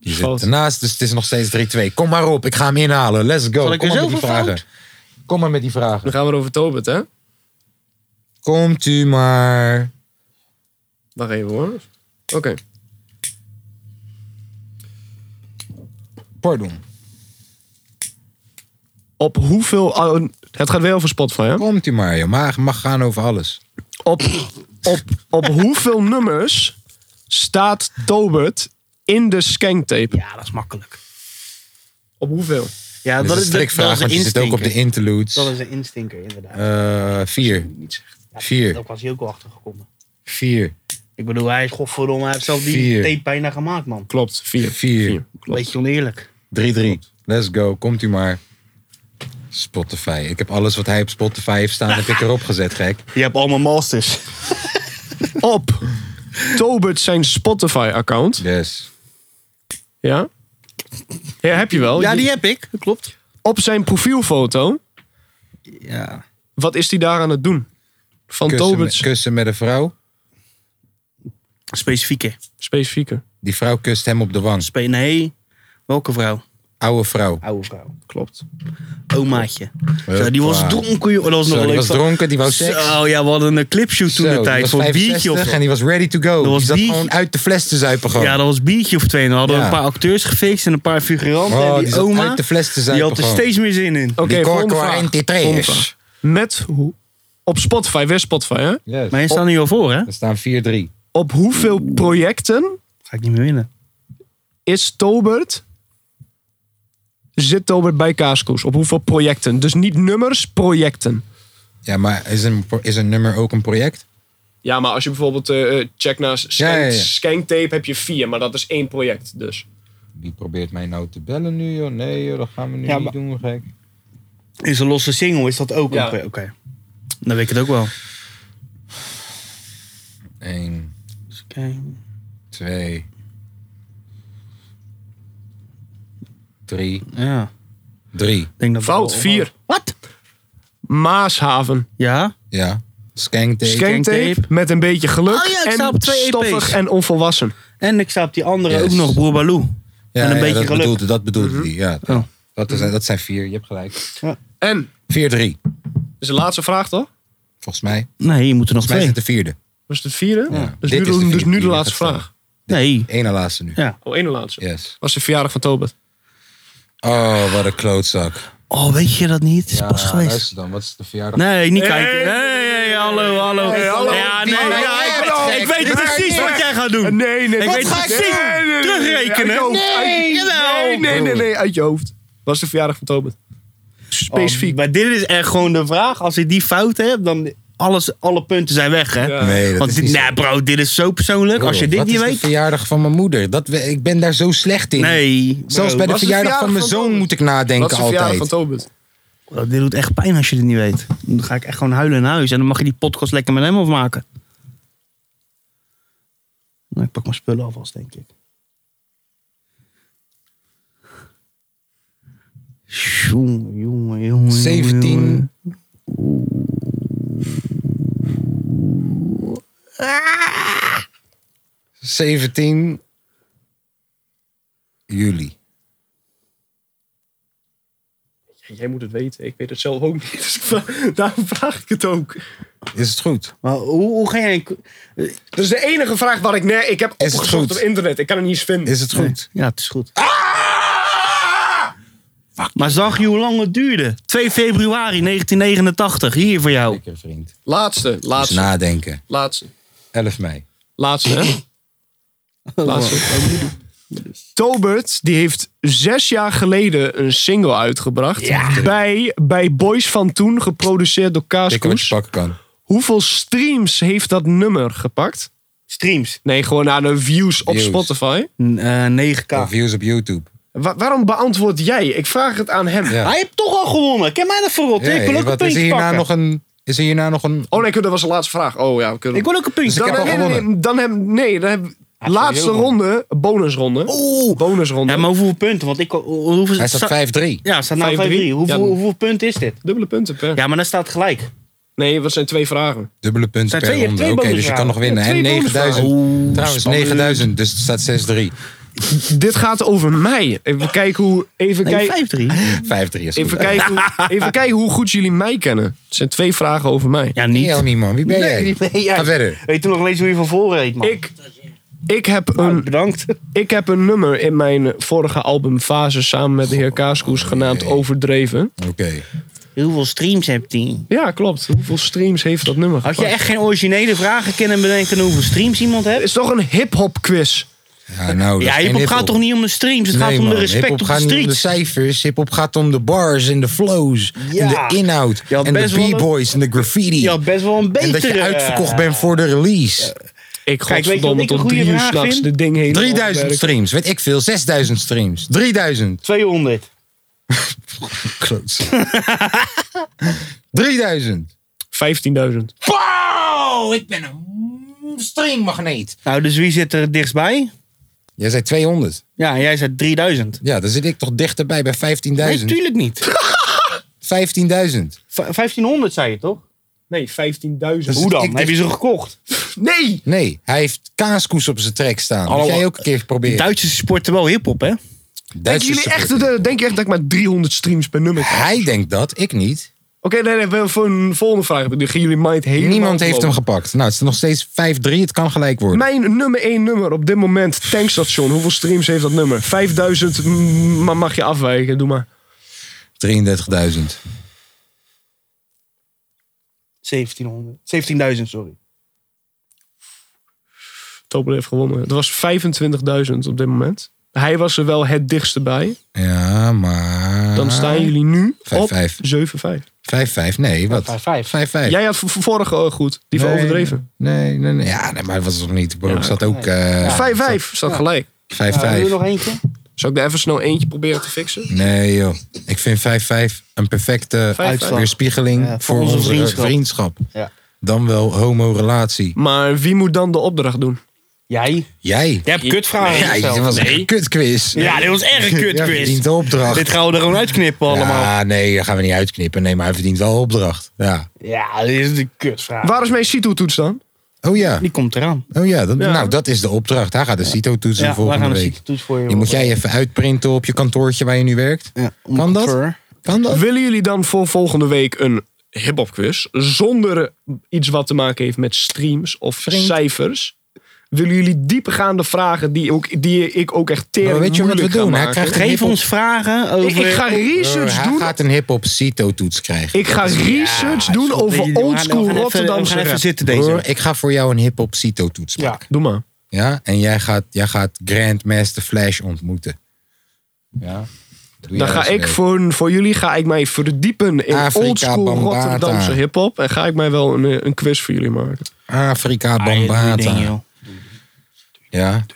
Speaker 1: Je
Speaker 3: Fout.
Speaker 1: zit ernaast, dus het is nog steeds 3-2. Kom maar op, ik ga hem inhalen. Let's go.
Speaker 10: Zal ik
Speaker 1: Kom
Speaker 10: er
Speaker 1: maar met
Speaker 10: zelf
Speaker 1: die
Speaker 10: een
Speaker 1: vragen.
Speaker 10: fout?
Speaker 1: Kom maar met die vragen.
Speaker 3: Dan gaan we over Tobit, hè?
Speaker 1: Komt u maar.
Speaker 3: Wacht even hoor. Oké.
Speaker 1: Pardon.
Speaker 3: Op hoeveel... oh, het gaat weer over Spotify, hè?
Speaker 1: Komt u maar, joh. Maar mag gaan over alles.
Speaker 3: Op, op, op hoeveel nummers staat Tobit in de skanktape?
Speaker 10: Ja, dat is makkelijk.
Speaker 3: Op hoeveel?
Speaker 10: Ja,
Speaker 1: Dat is een strikvraag, want je zit ook op de interludes.
Speaker 10: Dat is een instinker, inderdaad.
Speaker 1: Eh, vier.
Speaker 10: Ja,
Speaker 1: vier.
Speaker 10: Daar was hij ook wel achter gekomen.
Speaker 1: Vier.
Speaker 10: Ik bedoel, hij is godverdomme, hij heeft zelf die
Speaker 1: Vier.
Speaker 10: tape bijna gemaakt, man.
Speaker 3: Klopt, vier.
Speaker 1: Vier.
Speaker 3: Klopt.
Speaker 10: Beetje oneerlijk.
Speaker 1: 3-3. Let's go. Komt u maar. Spotify. Ik heb alles wat hij op Spotify heeft staan, heb ik erop gezet, gek.
Speaker 2: Je hebt allemaal masters.
Speaker 3: Op Tobit zijn Spotify-account.
Speaker 1: Yes.
Speaker 3: Ja? Ja, heb je wel.
Speaker 2: Ja,
Speaker 3: Je-
Speaker 2: die heb ik. Dat klopt.
Speaker 3: Op zijn profielfoto,
Speaker 2: Ja.
Speaker 3: wat is hij daar aan het doen? Van
Speaker 1: Kussen met,
Speaker 3: Tobits
Speaker 1: kussen met een vrouw.
Speaker 2: Specifieke.
Speaker 3: specifieke.
Speaker 1: Die vrouw kust hem op de wang.
Speaker 2: Spe nee. Welke vrouw?
Speaker 1: Oude vrouw.
Speaker 10: Oude vrouw.
Speaker 3: Klopt.
Speaker 2: Omaatje. Zo, die
Speaker 1: Huppa.
Speaker 2: was dronken, joh. Dat was
Speaker 1: Zo,
Speaker 2: nog
Speaker 1: die
Speaker 2: leuk.
Speaker 1: was dronken, die wou seks.
Speaker 2: Oh ja, we hadden een clipshoot toen
Speaker 1: Zo,
Speaker 2: de
Speaker 1: die
Speaker 2: tijd.
Speaker 1: was
Speaker 2: Voor een biertje
Speaker 1: 65
Speaker 2: of
Speaker 1: En die was ready to go.
Speaker 2: was
Speaker 1: die zat
Speaker 2: biertje.
Speaker 1: gewoon uit de fles te zuipen gewoon.
Speaker 2: Ja, dat was een biertje of twee. En dan hadden we
Speaker 1: Oh. Ja.
Speaker 2: een paar acteurs gefixt en een paar figuranten.
Speaker 1: Oh,
Speaker 2: en die,
Speaker 1: die zat
Speaker 2: oma,
Speaker 1: uit de fles te
Speaker 2: die
Speaker 1: zuipen
Speaker 2: had er
Speaker 1: gewoon.
Speaker 2: steeds meer zin in.
Speaker 3: Oké,
Speaker 1: die
Speaker 3: volgende
Speaker 1: Corco
Speaker 3: vraag. Volgende vraag.
Speaker 1: 23.
Speaker 3: Met hoe? Op Spotify, weer Spotify, hè?
Speaker 1: Yes.
Speaker 2: Maar je staat nu al voor, hè?
Speaker 1: Er staan 4-3.
Speaker 3: Op hoeveel projecten
Speaker 2: Ga ik niet meer winnen.
Speaker 3: is Tobert. Zit Tobert bij Kaaskoes? Op hoeveel projecten? Dus niet nummers, projecten.
Speaker 1: Ja, maar is een, pro- is een nummer ook een project?
Speaker 3: Ja, maar als je bijvoorbeeld eh, check naar
Speaker 1: Ja, ja, ja.
Speaker 3: Skanktape, heb je vier, maar dat is één project. Dus.
Speaker 1: Die probeert mij nou te bellen nu, joh. Nee, joh, dat gaan we nu
Speaker 10: Ja,
Speaker 1: niet
Speaker 10: maar-
Speaker 1: doen, gek.
Speaker 10: Is een losse single, is dat ook
Speaker 3: Ja.
Speaker 10: een pro- Oké.
Speaker 2: Dan weet ik het ook wel.
Speaker 1: 1,
Speaker 10: Oké.
Speaker 1: 2, 3.
Speaker 2: Ja.
Speaker 1: Drie.
Speaker 2: Ik Denk dat we
Speaker 3: Fout,
Speaker 2: al-
Speaker 3: vier.
Speaker 2: Wat?
Speaker 3: Maashaven.
Speaker 2: Ja?
Speaker 1: Ja. Skanktape.
Speaker 3: Skanktape
Speaker 2: Skanktape.
Speaker 3: met een beetje geluk.
Speaker 2: Oh ja, ik sta
Speaker 3: en
Speaker 2: op twee
Speaker 3: stoffig
Speaker 2: EP's.
Speaker 3: en onvolwassen.
Speaker 10: En ik sta op die andere
Speaker 1: Yes.
Speaker 10: ook nog, Broer Baloo.
Speaker 1: ja,
Speaker 10: en een
Speaker 1: ja,
Speaker 10: beetje
Speaker 1: dat
Speaker 10: geluk.
Speaker 1: Bedoelde, dat bedoelde die, ja.
Speaker 2: Oh.
Speaker 1: Dat, is, dat zijn vier, je hebt gelijk.
Speaker 3: En,
Speaker 1: 4-3,
Speaker 3: is de laatste vraag toch?
Speaker 1: volgens mij.
Speaker 2: Nee, je moet er nog
Speaker 1: Volgens mij is
Speaker 2: twee.
Speaker 1: het de vierde.
Speaker 3: Was het de vierde? Dus,
Speaker 1: Dit
Speaker 3: nu,
Speaker 1: is
Speaker 3: de,
Speaker 1: de
Speaker 3: dus
Speaker 1: vierde
Speaker 3: nu
Speaker 1: die
Speaker 3: de
Speaker 1: er
Speaker 3: laatste
Speaker 1: gaat
Speaker 3: vraag.
Speaker 2: Nee.
Speaker 1: Eén na laatste nu.
Speaker 2: Ja.
Speaker 3: Oh, één de laatste.
Speaker 1: Yes.
Speaker 3: Was de verjaardag van Tobert.
Speaker 1: Oh, wat een klootzak.
Speaker 2: Oh, weet je dat niet? Het is pas geweest.
Speaker 1: luister dan, wat is de verjaardag?
Speaker 2: Nee, niet kijken. Nee, nee, hallo, hallo. Ja, nee,
Speaker 1: Nee,
Speaker 2: ja, ik,
Speaker 1: nee,
Speaker 2: ik weet
Speaker 1: nee,
Speaker 2: precies
Speaker 1: nee.
Speaker 2: wat jij gaat doen.
Speaker 3: Nee, nee,
Speaker 2: Ik weet precies. Terugrekenen.
Speaker 3: Nee,
Speaker 1: Oh,
Speaker 3: nee, nee, nee, nee, uit je hoofd. Was de verjaardag van Oh, Tobert. Specifiek.
Speaker 2: Oh, Maar dit is echt gewoon de vraag. Als ik die fout heb, dan alles, alle punten zijn weg, hè?
Speaker 1: Nee, dat
Speaker 2: Want
Speaker 1: is
Speaker 2: dit,
Speaker 1: niet zo.
Speaker 2: nee, bro, dit is zo persoonlijk. Als je dit
Speaker 1: Wat
Speaker 2: niet
Speaker 1: is de
Speaker 2: weet.
Speaker 1: verjaardag van mijn moeder. Dat, we- ik ben daar zo slecht in.
Speaker 2: Nee. bro.
Speaker 1: Zelfs bij de
Speaker 3: was de
Speaker 1: verjaardag van
Speaker 3: verjaardag
Speaker 1: mijn
Speaker 3: van
Speaker 1: zoon
Speaker 3: Tobit?
Speaker 1: moet ik nadenken
Speaker 3: Wat is de verjaardag van
Speaker 1: altijd.
Speaker 3: Tobert?
Speaker 2: Bro, Dit doet echt pijn als je dit niet weet. Dan ga ik echt gewoon huilen naar huis. En dan mag je die podcast lekker met hem afmaken. Nou, ik pak mijn spullen alvast, denk ik. Jongen, jongen, jongen.
Speaker 1: 17. ...17 juli.
Speaker 3: Jij moet het weten. Ik weet het zelf ook niet. Dus ik vra- daarom vraag ik het ook.
Speaker 1: Is het goed?
Speaker 10: Maar hoe, hoe ga jij...
Speaker 3: Dat is de enige vraag waar ik... Nee, ik heb
Speaker 1: het goed?
Speaker 3: opgezocht op internet. Ik kan het niet eens vinden.
Speaker 1: Is het goed?
Speaker 2: Ja, het is goed. Maar zag je hoe lang het duurde? 2 februari 1989, hier voor jou.
Speaker 1: Zeker, vriend.
Speaker 3: Laatste,
Speaker 1: Dus
Speaker 3: laatste,
Speaker 1: nadenken.
Speaker 3: laatste.
Speaker 1: 11 mei.
Speaker 3: Laatste, hè? Laatste. Tobert, die heeft zes jaar geleden een single uitgebracht. Bij, bij Boys van Toen, geproduceerd door
Speaker 1: Kijken wat je
Speaker 3: Kaaskoes.
Speaker 1: pakken kan.
Speaker 3: Hoeveel streams heeft dat nummer gepakt?
Speaker 10: Streams.
Speaker 3: Nee, gewoon aan de views op
Speaker 1: Views.
Speaker 3: Spotify.
Speaker 2: N- eh, 9k.
Speaker 1: Of views op YouTube.
Speaker 3: Wa- waarom beantwoord jij? Ik vraag het aan hem.
Speaker 1: Ja.
Speaker 4: Hij heeft toch al gewonnen. Ken mij dat verrot. ik wil ook een
Speaker 1: wat, is er
Speaker 4: puntje
Speaker 1: hierna
Speaker 4: pakken.
Speaker 1: nog een... Is er hierna nog een...
Speaker 3: Oh nee, dat was de laatste vraag. Oh ja, we kunnen...
Speaker 4: Ik wil ook een puntje
Speaker 3: dan,
Speaker 1: heb al
Speaker 3: nee, nee, nee,
Speaker 1: gewonnen.
Speaker 3: dan heb, nee, dan heb laatste
Speaker 4: heel
Speaker 3: ronde, bonusronde.
Speaker 2: Oh.
Speaker 3: Oeh. Bonusronde.
Speaker 4: Ja, maar hoeveel punten? Want ik... Hoeveel,
Speaker 1: Dus- Hij staat 5-3.
Speaker 4: Ja, staat nou 5-3.
Speaker 3: 5-3.
Speaker 4: Hoeveel,
Speaker 3: Ja, dan-
Speaker 4: hoeveel punten is dit?
Speaker 3: Dubbele punten per.
Speaker 4: Ja, maar dan staat gelijk.
Speaker 3: Nee, wat zijn twee vragen?
Speaker 1: Dubbele punten
Speaker 4: Zijn
Speaker 1: per
Speaker 4: twee-
Speaker 1: ronde.
Speaker 4: twee
Speaker 1: Oké, dus je
Speaker 4: bonusvragen.
Speaker 1: kan nog winnen.
Speaker 3: Ja,
Speaker 1: en
Speaker 3: twee
Speaker 1: 9000. Trouwens, 9000. Dus het staat 6-3.
Speaker 3: Dit gaat over mij. Even kijken hoe, even
Speaker 2: Nee,
Speaker 3: kijken,
Speaker 2: 5-3.
Speaker 1: 5-3 is
Speaker 3: even
Speaker 1: goed.
Speaker 3: kijken hoe, even kijken hoe goed jullie mij kennen. Het zijn twee vragen over mij.
Speaker 2: Ja, niet.
Speaker 1: Nee, niet man. Wie ben jij?
Speaker 4: Nee, nee, jij.
Speaker 1: Ga verder.
Speaker 4: Weet je nog eens hoe je van voren heet, man?
Speaker 3: Ik, ik, heb
Speaker 2: Ehm,
Speaker 4: Nou,
Speaker 3: een,
Speaker 4: bedankt.
Speaker 3: ik heb een nummer in mijn vorige albumfase samen met de heer Kaaskoes genaamd Overdreven.
Speaker 1: Oké.
Speaker 2: Hoeveel streams hebt hij?
Speaker 3: Ja, klopt. Hoeveel streams heeft dat nummer
Speaker 4: Had je
Speaker 3: gepakt?
Speaker 4: echt geen originele vragen kunnen bedenken hoeveel streams iemand
Speaker 3: Het
Speaker 4: heeft?
Speaker 3: is toch een hip-hop quiz?
Speaker 1: Ja, nou, dat
Speaker 2: Ja,
Speaker 1: is geen
Speaker 2: hip-hop gaat
Speaker 1: hiphop.
Speaker 2: toch niet om de streams? Het gaat
Speaker 1: Nee,
Speaker 2: om de
Speaker 1: man.
Speaker 2: respect
Speaker 1: Hiphop
Speaker 2: op de
Speaker 1: gaat niet om de
Speaker 2: streets.
Speaker 1: cijfers. Hip-hop gaat om de bars en de flows.
Speaker 4: Ja.
Speaker 1: En de inhoud.
Speaker 4: Je had
Speaker 1: En de
Speaker 4: best wel een-
Speaker 1: b-boys en de graffiti.
Speaker 4: Je had best wel een betere...
Speaker 1: en dat je uitverkocht bent voor de release.
Speaker 4: Kijk,
Speaker 3: Ik
Speaker 4: weet je wat
Speaker 3: godverdomme
Speaker 4: ik een
Speaker 3: tot
Speaker 4: goede
Speaker 3: drie uur
Speaker 4: vraag
Speaker 3: s'nachts.
Speaker 4: vind?
Speaker 3: Dit ding helemaal
Speaker 1: 3000
Speaker 3: opwerken.
Speaker 1: streams. Weet ik veel. 6000 streams. 3000.
Speaker 4: 200.
Speaker 1: Kloot. 3000.
Speaker 3: 15.000.
Speaker 1: Wow, ik ben een streammagneet.
Speaker 2: Nou, dus wie zit er dichtstbij?
Speaker 1: Jij zei 200.
Speaker 2: Ja, jij zei 3000.
Speaker 1: Ja, dan zit ik toch dichterbij bij 15.000.
Speaker 2: Nee, tuurlijk niet.
Speaker 1: 15.000.
Speaker 4: V- 1500 zei je toch?
Speaker 3: Nee, 15.000.
Speaker 1: Dus
Speaker 4: Hoe dan?
Speaker 1: ik-
Speaker 4: Heb je ze gekocht?
Speaker 3: Nee!
Speaker 1: Nee, hij heeft kaaskoes op zijn trek staan. Moet
Speaker 2: Hallo,
Speaker 1: jij ook een keer proberen.
Speaker 2: Duitsers sporten wel hip-hop, hè?
Speaker 3: Denken jullie echt, dat, eh, denk je echt dat ik maar 300 streams per nummer heb?
Speaker 1: Hij denkt dat, ik niet.
Speaker 3: Oké, nee, nee, we hebben voor een volgende vraag. Nu gaan jullie mind helemaal
Speaker 1: Niemand heeft hem
Speaker 3: gelopen.
Speaker 1: gepakt. Nou, het is nog steeds 5-3. Het kan gelijk worden.
Speaker 3: Mijn nummer 1 nummer op dit moment, Tankstation. Hoeveel streams heeft dat nummer? 5000, mm, maar mag je afwijken, doe maar.
Speaker 1: 33.000.
Speaker 4: 1700. 17.000, sorry.
Speaker 3: Topel heeft gewonnen. Het was 25.000 op dit moment. Hij was er wel het dichtste bij.
Speaker 1: Ja, maar...
Speaker 3: Dan staan jullie nu op
Speaker 1: 5-5.
Speaker 3: 7-5.
Speaker 1: 5-5, nee, wat?
Speaker 4: 5-5.
Speaker 1: 5-5.
Speaker 3: Jij had v- vorige eh, goed, die van
Speaker 1: Nee,
Speaker 3: overdreven.
Speaker 1: Nee, nee, nee. Ja, nee, maar dat was nog niet. Bro, ik zat ook... eh
Speaker 3: 5-5 staat gelijk.
Speaker 1: 5-5.
Speaker 4: Ja, doe er nog eentje.
Speaker 3: Zou ik daar even snel eentje proberen te fixen?
Speaker 1: Nee joh, ik vind 5-5 een perfecte
Speaker 3: 5-5.
Speaker 1: weerspiegeling
Speaker 4: voor
Speaker 1: voor
Speaker 4: onze
Speaker 1: onze,
Speaker 4: vriendschap.
Speaker 1: vriendschap.
Speaker 4: Ja.
Speaker 1: Dan wel homo-relatie.
Speaker 3: Maar wie moet dan de opdracht doen?
Speaker 4: Jij?
Speaker 1: Jij?
Speaker 2: Jij hebt kutvragen
Speaker 1: Ja,
Speaker 2: gesteld.
Speaker 1: dit was echt een kutquiz.
Speaker 2: Ja, dit was echt een
Speaker 1: Jij
Speaker 2: kutquiz.
Speaker 1: verdient de opdracht.
Speaker 2: Dit gaan we er gewoon uitknippen allemaal.
Speaker 1: Ja, nee, dat gaan we niet uitknippen. Nee, maar hij verdient wel opdracht. Ja.
Speaker 4: Ja, dit is de kutvraag.
Speaker 3: Waar is mijn CITO-toets dan?
Speaker 1: Oh ja,
Speaker 2: Die komt eraan.
Speaker 1: oh ja, dat,
Speaker 3: Ja.
Speaker 1: nou dat is de opdracht. Hij gaat de CITO toetsen
Speaker 2: Ja, wij
Speaker 1: volgende
Speaker 2: gaan de
Speaker 1: week.
Speaker 2: ziekte toets voor je.
Speaker 1: Die moet jij even uitprinten op je kantoortje waar je nu werkt.
Speaker 2: om
Speaker 1: Kan dat?
Speaker 2: voor-
Speaker 1: Kan dat?
Speaker 3: Willen jullie dan voor volgende week een hip-hop quiz? Zonder iets wat te maken heeft met streams of cijfers. Willen jullie diepgaande vragen die, ook, die ik ook echt tering
Speaker 1: Maar weet je wat
Speaker 3: moeilijk
Speaker 1: we doen?
Speaker 3: ga
Speaker 1: Hij
Speaker 3: maken?
Speaker 1: krijgt
Speaker 2: Geef ons vragen
Speaker 3: Ik,
Speaker 2: over...
Speaker 3: ik ga research
Speaker 1: Eh, hij
Speaker 3: doen.
Speaker 1: gaat een hip-hop CITO toets krijgen.
Speaker 3: Ik ga research doen over oldschool
Speaker 2: We
Speaker 3: Rotterdamse
Speaker 2: gaan even
Speaker 3: rap.
Speaker 2: zitten
Speaker 1: Broer,
Speaker 2: deze.
Speaker 1: ik ga voor jou een hip-hop CITO toets maken.
Speaker 3: Doe maar.
Speaker 1: Ja, en jij gaat, jij gaat Grandmaster Flash ontmoeten. Ja. Doe
Speaker 3: Dan
Speaker 1: jij
Speaker 3: ga
Speaker 1: eens
Speaker 3: ik
Speaker 1: mee.
Speaker 3: voor, voor jullie ga ik mij verdiepen in
Speaker 1: Afrika
Speaker 3: oldschool
Speaker 1: Bambata.
Speaker 3: Rotterdamse hip-hop. En ga ik mij wel een, eh, een quiz voor jullie maken.
Speaker 1: Afrika
Speaker 2: Ah, doe je ding,
Speaker 1: Bambata.
Speaker 2: joh.
Speaker 1: Ja.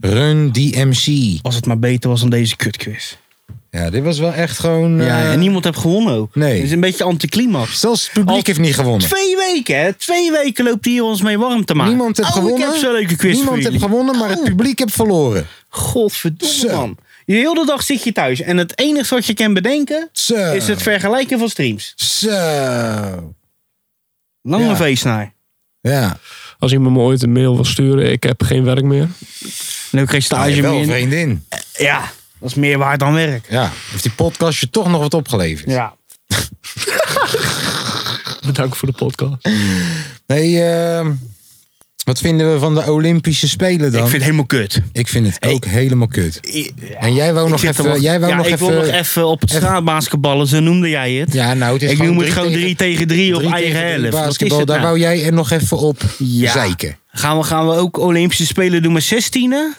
Speaker 1: Run DMC.
Speaker 2: Als het maar beter was dan deze kutquiz.
Speaker 1: Ja, dit was wel echt gewoon... eh,
Speaker 2: Ja, en niemand heeft gewonnen ook.
Speaker 1: nee.
Speaker 2: Het is een beetje anticlimax.
Speaker 1: Zelfs het publiek
Speaker 2: Al-
Speaker 1: heeft niet gewonnen.
Speaker 2: Twee weken, hè? Twee weken loopt hij hier ons mee warm te maken.
Speaker 1: Niemand heeft
Speaker 2: oh,
Speaker 1: gewonnen.
Speaker 2: ik heb zo'n leuke quiz
Speaker 1: Niemand
Speaker 2: voor
Speaker 1: heeft
Speaker 2: jullie. Oh.
Speaker 1: gewonnen, maar het publiek heeft verloren.
Speaker 2: Godverdomme,
Speaker 1: Zo.
Speaker 2: man. Je hele dag zit je thuis. En het enige wat je kan bedenken...
Speaker 1: Zo.
Speaker 2: is het vergelijken van streams.
Speaker 1: Zo.
Speaker 2: Lange
Speaker 1: Ja.
Speaker 2: feestnaar. Nou,
Speaker 1: Ja.
Speaker 3: Als iemand me ooit een mail wil sturen, ik heb geen werk meer.
Speaker 2: En ook geen
Speaker 1: Hij
Speaker 2: stage
Speaker 1: heeft wel
Speaker 2: meer.
Speaker 1: een
Speaker 2: in.
Speaker 1: vriendin.
Speaker 2: Ja, dat is meer waard dan werk.
Speaker 1: Ja. Heeft die podcast je toch nog wat opgeleverd?
Speaker 2: Ja.
Speaker 3: Bedankt voor de podcast.
Speaker 1: Nee, ehm, wat vinden we van de Olympische Spelen dan?
Speaker 2: Ik vind het helemaal kut.
Speaker 1: het ook helemaal kut. En jij wou nog
Speaker 2: Ik zit er
Speaker 1: even... Jij wou
Speaker 2: ja,
Speaker 1: nog
Speaker 2: ik
Speaker 1: even,
Speaker 2: wil nog even op het
Speaker 1: even-
Speaker 2: straatbasketballen, zo noemde jij het.
Speaker 1: Ja, nou, het is
Speaker 2: ik noem het
Speaker 1: drie
Speaker 2: gewoon 3
Speaker 1: tegen-
Speaker 2: tegen 3 op
Speaker 1: drie
Speaker 2: eigen
Speaker 1: tegen drie
Speaker 2: helft. Wat is
Speaker 1: Basketbal,
Speaker 2: het
Speaker 1: daar
Speaker 2: nou?
Speaker 1: wou jij er nog even op
Speaker 2: Ja.
Speaker 1: zeiken.
Speaker 2: Gaan we, gaan we ook Olympische Spelen doen met 16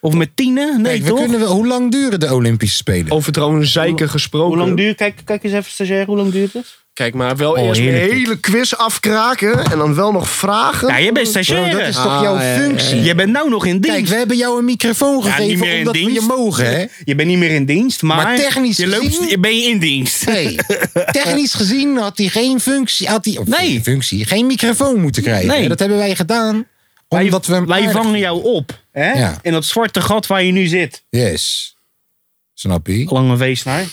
Speaker 2: Of met 10 Nee,
Speaker 1: Kijk, we
Speaker 2: toch? Oh,
Speaker 1: kunnen wel, hoe lang duren de Olympische Spelen?
Speaker 3: Over trouwens zeiken gesproken.
Speaker 4: Hoe lang duurt... Kijk, kijk eens even stagiair, hoe lang duurt het?
Speaker 3: Kijk, maar wel
Speaker 2: Oh,
Speaker 3: eerst een
Speaker 2: heerlijk.
Speaker 3: hele quiz afkraken en dan wel nog vragen.
Speaker 2: Ja, jij bent stagiaire.
Speaker 1: Oh,
Speaker 2: Ah,
Speaker 1: dat is
Speaker 4: Ah,
Speaker 1: toch jouw functie?
Speaker 2: Je bent nou nog in dienst.
Speaker 1: Kijk, we hebben jou een microfoon
Speaker 2: Ja, niet
Speaker 1: gegeven
Speaker 2: meer in
Speaker 1: omdat we je
Speaker 2: dienst.
Speaker 1: mogen, hè?
Speaker 2: Je bent niet meer in dienst, maar,
Speaker 1: Maar technisch
Speaker 2: je loopt,
Speaker 1: gezien-
Speaker 2: je- ben je in dienst.
Speaker 1: Nee. Technisch gezien had hij geen functie, had hij, of
Speaker 2: Nee.
Speaker 1: geen functie, geen microfoon moeten krijgen.
Speaker 2: Nee.
Speaker 1: Dat hebben wij gedaan,
Speaker 2: Wij,
Speaker 1: omdat we hem
Speaker 2: wij
Speaker 1: aardig-
Speaker 2: vangen jou op. Hè?
Speaker 1: Ja.
Speaker 2: In dat zwarte gat waar je nu zit.
Speaker 1: Yes. Snap je?
Speaker 2: Lange weesnaar.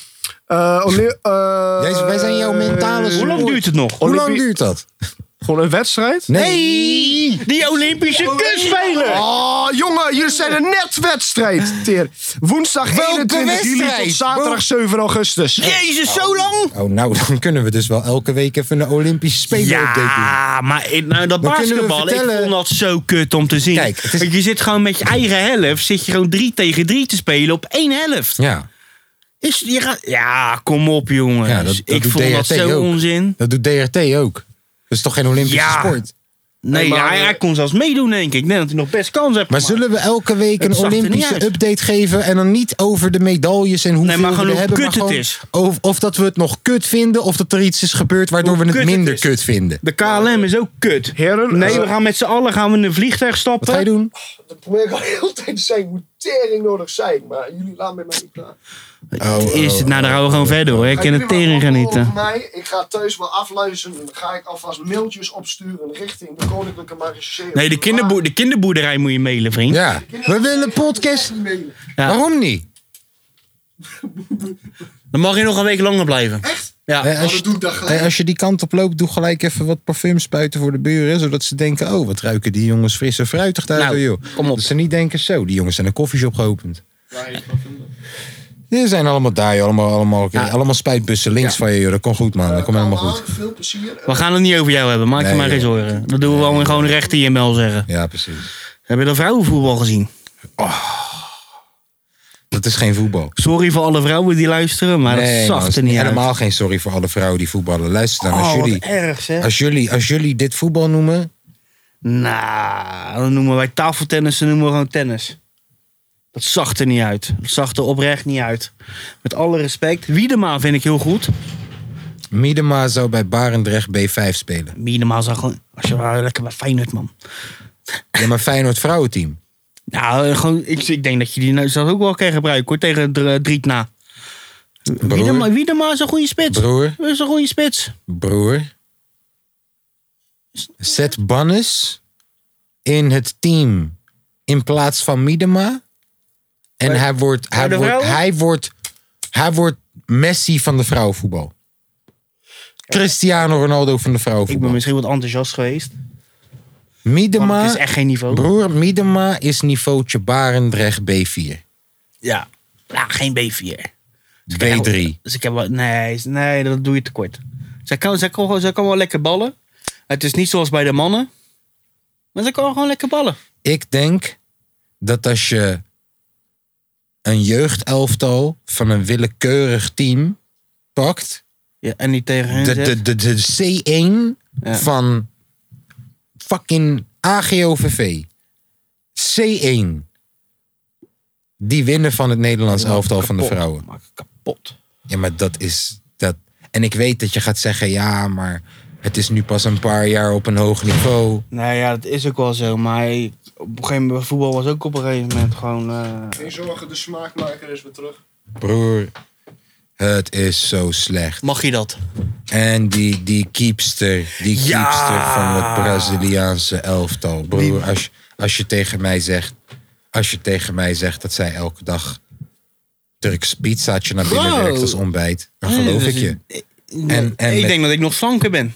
Speaker 3: Eh, Oli- eh,
Speaker 1: Jij- wij zijn jouw mentale
Speaker 2: Hoe lang
Speaker 1: support.
Speaker 2: duurt het nog?
Speaker 1: Hoe lang
Speaker 3: Olympi-
Speaker 1: duurt dat?
Speaker 3: Gewoon een wedstrijd?
Speaker 1: Nee!
Speaker 2: Die Olympische kustspelen!
Speaker 3: Oh, jongen, jullie zijn een net wedstrijd. Teer. Woensdag
Speaker 1: Welke
Speaker 3: 21 juli
Speaker 1: wedstrijd?
Speaker 3: tot zaterdag 7 augustus.
Speaker 2: Jezus, zo lang?
Speaker 1: Oh, nou, dan kunnen we dus wel elke week even een Olympische Spelen update doen.
Speaker 2: Ja, maar in- nou, dat
Speaker 1: Dan kunnen we
Speaker 2: basketbal, ik
Speaker 1: vertellen-
Speaker 2: vond dat zo kut om te zien.
Speaker 1: Kijk, het is-
Speaker 2: Want je zit gewoon met je eigen helft, zit je gewoon drie tegen drie te spelen op één helft.
Speaker 1: Ja,
Speaker 2: Is, je gaat, ja, kom op jongens.
Speaker 1: Ja, dat- dat
Speaker 2: ik
Speaker 1: doet
Speaker 2: vond dat
Speaker 1: DRT
Speaker 2: zo
Speaker 1: ook.
Speaker 2: onzin.
Speaker 1: dat doet DRT ook. Dat is toch geen Olympische
Speaker 2: Ja.
Speaker 1: sport?
Speaker 2: Nee,
Speaker 3: maar,
Speaker 2: hij,
Speaker 3: eh,
Speaker 2: hij kon zelfs meedoen denk ik. Ik denk dat hij nog best kans heeft.
Speaker 1: Maar
Speaker 2: gemaakt.
Speaker 1: zullen we elke week
Speaker 2: Het
Speaker 1: een
Speaker 2: zag er niet
Speaker 1: Olympische
Speaker 2: uit.
Speaker 1: update geven en dan niet over de medailles en hoeveel
Speaker 2: maar
Speaker 1: we
Speaker 2: gewoon
Speaker 1: er
Speaker 2: hoe
Speaker 1: hebben,
Speaker 2: kut het
Speaker 1: gewoon
Speaker 2: is.
Speaker 1: Of, of dat we het nog kut vinden of dat er iets is gebeurd waardoor
Speaker 2: Hoe
Speaker 1: we het
Speaker 2: kut het
Speaker 1: minder
Speaker 2: is.
Speaker 1: kut vinden.
Speaker 2: De KLM is ook kut.
Speaker 3: Heren,
Speaker 2: Nee,
Speaker 3: eh,
Speaker 2: we gaan met z'n allen gaan we in een vliegtuig stappen.
Speaker 1: Wat ga je doen?
Speaker 3: Dat probeer ik al heel tijd te zeggen hoe tering nodig zijn. Maar jullie laten mij maar niet praten.
Speaker 1: Oh,
Speaker 2: Is het, nou, daar gaan we gewoon verder hoor. Ik
Speaker 3: Gaan
Speaker 2: kan het
Speaker 3: jullie maar
Speaker 2: tering
Speaker 3: wachten
Speaker 2: genieten.
Speaker 3: over Mij. Ik ga thuis wel afluisteren. en Dan ga ik alvast mailtjes opsturen richting de Koninklijke Marechaussee.
Speaker 2: Nee, de, kinderboer, de kinderboerderij moet je mailen, vriend.
Speaker 1: Ja, we willen een podcast.
Speaker 3: mailen.
Speaker 2: Ja.
Speaker 1: Waarom niet?
Speaker 2: Dan mag je nog een week langer blijven.
Speaker 3: Echt?
Speaker 2: Ja.
Speaker 1: Eh, als,
Speaker 3: Oh, dat doe ik dan gelijk.
Speaker 1: eh, als je die kant op loopt, doe gelijk even wat parfum spuiten voor de buren. Zodat ze denken, oh, wat ruiken die jongens fris en fruitig daar.
Speaker 2: Nou,
Speaker 1: joh.
Speaker 2: kom op.
Speaker 1: Dat ze niet denken, zo, die jongens zijn een koffieshop geopend. Die zijn allemaal daar, joh. allemaal, allemaal, allemaal spuitbussen links van je. Joh. Dat komt goed, man. Dat komt helemaal goed.
Speaker 3: Veel plezier.
Speaker 2: We gaan het niet over jou hebben, maak
Speaker 1: Nee,
Speaker 2: je maar geen
Speaker 1: joh.
Speaker 2: zorgen. Dat doen we gewoon, gewoon recht in je mail zeggen.
Speaker 1: Ja, precies.
Speaker 2: Heb je dat vrouwenvoetbal gezien?
Speaker 1: Dat is geen voetbal.
Speaker 2: Sorry voor alle vrouwen die luisteren, maar
Speaker 1: nee,
Speaker 2: dat
Speaker 1: man,
Speaker 2: zag er niet uit.
Speaker 1: helemaal geen sorry voor alle vrouwen die voetballen. Luister dan, als,
Speaker 2: Oh, wat
Speaker 1: jullie,
Speaker 2: erg zeg.
Speaker 1: als, jullie, als jullie dit voetbal noemen,
Speaker 2: Nou, dan noemen wij tafeltennis, dan noemen we gewoon tennis. Dat zag er niet uit. Dat zag er oprecht niet uit. Met alle respect. Wiedema vind ik heel goed.
Speaker 1: Miedema zou bij Barendrecht B5 spelen.
Speaker 2: Wiedema zag gewoon... Als je wel lekker bij Feyenoord, man.
Speaker 1: Ja, maar Feyenoord vrouwenteam.
Speaker 2: Nou, eh, gewoon, ik, ik denk dat je die nou zelf ook wel kan gebruiken, hoor. Tegen Dr- eh, Drietna. Wiedema,
Speaker 1: Broer,
Speaker 2: Wiedema is een goede spits.
Speaker 1: broer,
Speaker 2: Dat is een goede spits.
Speaker 1: broer. Zet Bannes in het team in plaats van Miedema. En hij wordt, hij,
Speaker 2: de
Speaker 1: wordt,
Speaker 2: vrouwen?
Speaker 1: hij, wordt, hij wordt Messi van de vrouwenvoetbal. Cristiano Ronaldo van de
Speaker 2: Ik ben
Speaker 1: vrouwenvoetbal.
Speaker 2: misschien wat enthousiast geweest. Maar
Speaker 1: Miedema,
Speaker 2: het is echt geen niveau.
Speaker 1: broer, Miedema is niveautje Barendrecht B4.
Speaker 2: Ja.
Speaker 1: Nou,
Speaker 2: Ja, geen B4.
Speaker 1: B3.
Speaker 2: Dus ik heb wel, nee, is- nee, dat doe je tekort. Zij kan, zij, kan, gewoon- zij kan wel lekker ballen. Het is niet zoals bij de mannen. Maar zij kan gewoon lekker ballen.
Speaker 1: Ik denk dat als je een jeugdelftal van een willekeurig team pakt,
Speaker 2: Ja, en niet tegen hen
Speaker 1: de,
Speaker 2: zegt,
Speaker 1: de, de, de C1
Speaker 2: Ja.
Speaker 1: van fucking AGOVV, C1, die winnen van het Nederlands elftal van de
Speaker 2: kapot.
Speaker 1: vrouwen.
Speaker 2: Maak het kapot.
Speaker 1: Ja, maar dat is dat. En ik weet dat je gaat zeggen, ja, maar het is nu pas een paar jaar op een hoog niveau.
Speaker 2: Nou ja, dat is ook wel zo. Maar op een gegeven moment, voetbal was ook op een gegeven moment gewoon... eh,
Speaker 3: Geen zorgen, de smaakmaker is weer terug.
Speaker 1: Broer, het is zo slecht.
Speaker 2: Mag je dat?
Speaker 1: En die, die keepster, die keepster van het Braziliaanse elftal. Broer, als, je- als je tegen mij zegt, als je tegen mij zegt dat zij elke dag Turks pizzaatje naar binnen
Speaker 2: Bro.
Speaker 1: werkt als ontbijt, dan geloof ik je. En- en
Speaker 2: ik
Speaker 1: met-
Speaker 2: denk dat ik nog slanker ben.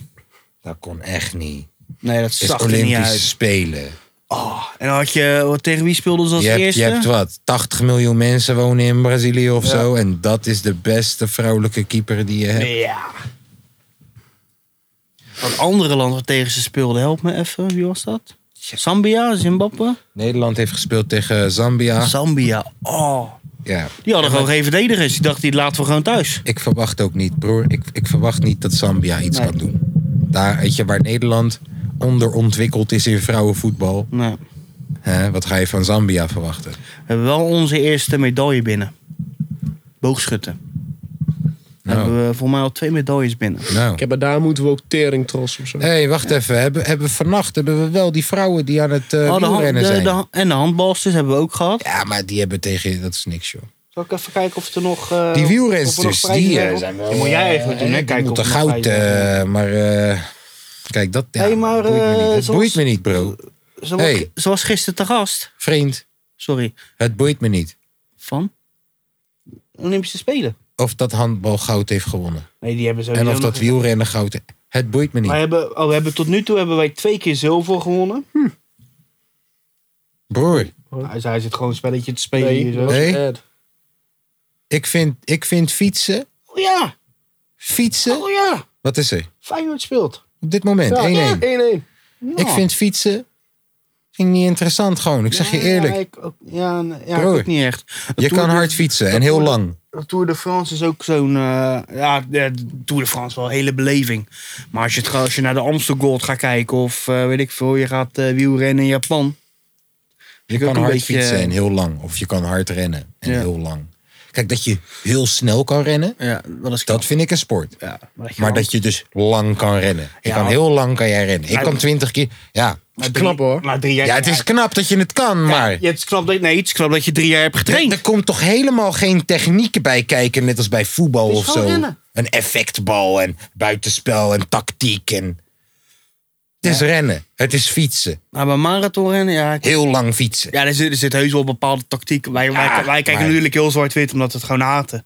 Speaker 1: Dat kon echt niet.
Speaker 2: Nee, dat
Speaker 1: Het is
Speaker 2: zag er niet
Speaker 1: Olympische
Speaker 2: uit.
Speaker 1: Spelen.
Speaker 2: En dan had je, wat, tegen wie speelden ze als
Speaker 1: Je hebt,
Speaker 2: eerste?
Speaker 1: je hebt wat, 80 miljoen mensen wonen in Brazilië of zo. En dat is de beste vrouwelijke keeper die je hebt.
Speaker 2: Ja. Dat andere land wat tegen ze speelde, help me even. Wie was dat? Zambia, Zimbabwe?
Speaker 1: Nederland heeft gespeeld tegen Zambia.
Speaker 2: Zambia. Oh.
Speaker 1: Ja,
Speaker 2: Die hadden gewoon geen verdedigers. Die dachten, die laten we gewoon thuis.
Speaker 1: Ik verwacht ook niet, broer. Ik, ik verwacht niet dat Zambia iets
Speaker 2: Nee.
Speaker 1: kan doen. Daar, weet je, waar Nederland onderontwikkeld is in vrouwenvoetbal.
Speaker 2: Nou,
Speaker 1: Hè, wat ga je van Zambia verwachten?
Speaker 2: we hebben wel onze eerste medaille binnen. Boogschutten. Dan hebben we voor mij al twee medailles binnen.
Speaker 1: Nou.
Speaker 3: Ik heb, maar daar moeten we ook tering trots of zo.
Speaker 1: Hé, hey, wacht even. Hebben, hebben vannacht hebben we wel die vrouwen die aan het eh
Speaker 2: Oh, de hand-
Speaker 1: wielrennen
Speaker 2: de-
Speaker 1: zijn.
Speaker 2: de han- en de handbalsters hebben we ook gehad.
Speaker 1: Ja, maar die hebben tegen... Dat is niks, joh.
Speaker 4: Zal ik even kijken of er nog... eh,
Speaker 1: Die
Speaker 4: of er nog
Speaker 1: wielrensters,
Speaker 4: prijzen
Speaker 1: die
Speaker 4: zijn?
Speaker 1: eh, zijn wel...
Speaker 4: Die moet jij eigenlijk doen, hè?
Speaker 1: Kijk,
Speaker 4: Kijken
Speaker 1: moet
Speaker 4: of
Speaker 1: er
Speaker 4: er nog
Speaker 1: goud...
Speaker 4: prijzen zijn.
Speaker 1: eh, maar... eh, kijk, dat, ja,
Speaker 4: Hey, maar,
Speaker 1: dat boeit, me
Speaker 4: eh,
Speaker 1: niet. Dat
Speaker 4: zoals-
Speaker 1: boeit me niet, bro.
Speaker 2: Ze was,
Speaker 1: Hey.
Speaker 2: ze was gisteren te gast.
Speaker 1: Vriend,
Speaker 2: Sorry.
Speaker 1: het boeit me niet.
Speaker 2: Van?
Speaker 4: Olympische Spelen.
Speaker 1: Of dat handbal goud heeft gewonnen.
Speaker 4: Nee, die hebben ze
Speaker 1: En of dat
Speaker 4: wiel.
Speaker 1: wielrennen goud... he- Het boeit me
Speaker 4: Maar
Speaker 1: niet.
Speaker 4: hebben, oh, we hebben tot nu toe hebben wij twee keer zilver gewonnen. Nou,
Speaker 1: Broer,
Speaker 4: Hij, hij zit gewoon een spelletje te spelen hier zo.
Speaker 1: nee. Ik vind, ik vind fietsen...
Speaker 4: Oh ja,
Speaker 1: Fietsen?
Speaker 4: oh ja.
Speaker 1: Wat is er?
Speaker 4: Feyenoord speelt. Nou.
Speaker 1: Op dit moment, 1-1.
Speaker 3: 1-1.
Speaker 1: Ik vind fietsen... Ging niet interessant gewoon. Ik zeg je eerlijk.
Speaker 4: Ja, ik, ook- ja, nee, ja, ik
Speaker 1: Broer.
Speaker 4: ook niet echt.
Speaker 1: Je
Speaker 4: Tour
Speaker 1: kan
Speaker 4: de-
Speaker 1: hard fietsen en heel lang.
Speaker 4: de Tour de France is ook zo'n... eh, ja, de Tour de France wel een hele beleving.
Speaker 2: Maar als je, het, ga- als je naar de Amstel Gold gaat kijken of eh, weet ik veel, je gaat eh, wielrennen in Japan.
Speaker 1: Je
Speaker 2: ook
Speaker 1: kan
Speaker 2: een
Speaker 1: hard
Speaker 2: beetje-
Speaker 1: fietsen en heel lang. Of je kan hard rennen en
Speaker 2: Ja.
Speaker 1: heel lang. Kijk, dat je heel snel kan rennen,
Speaker 2: Ja, dat is
Speaker 1: dat vind ik een sport.
Speaker 2: Ja, maar dat je
Speaker 1: Maar
Speaker 2: wel-
Speaker 1: dat je dus lang kan rennen. Je
Speaker 2: Ja.
Speaker 1: kan heel lang kan jij rennen. Ik kan twintig keer. Ja.
Speaker 4: Maar
Speaker 3: knap, hoor.
Speaker 4: Maar drie jaar...
Speaker 1: ja, het is knap dat je het kan, maar...
Speaker 4: Ja, het is knap dat, nee, het is knap dat je drie jaar hebt getraind.
Speaker 1: Er komt toch helemaal geen technieken bij kijken, net als bij voetbal
Speaker 4: is
Speaker 1: of
Speaker 4: gewoon
Speaker 1: zo.
Speaker 4: rennen.
Speaker 1: Een effectbal en buitenspel en tactiek en... Het is rennen. Het is fietsen.
Speaker 2: Maar bij marathonrennen, ja. ik-
Speaker 1: Heel lang fietsen.
Speaker 2: Ja, er zit, er zit heus wel bepaalde tactiek. Wij, wij, wij kijken
Speaker 1: maar-
Speaker 2: natuurlijk heel zwart-wit omdat we het gewoon haten.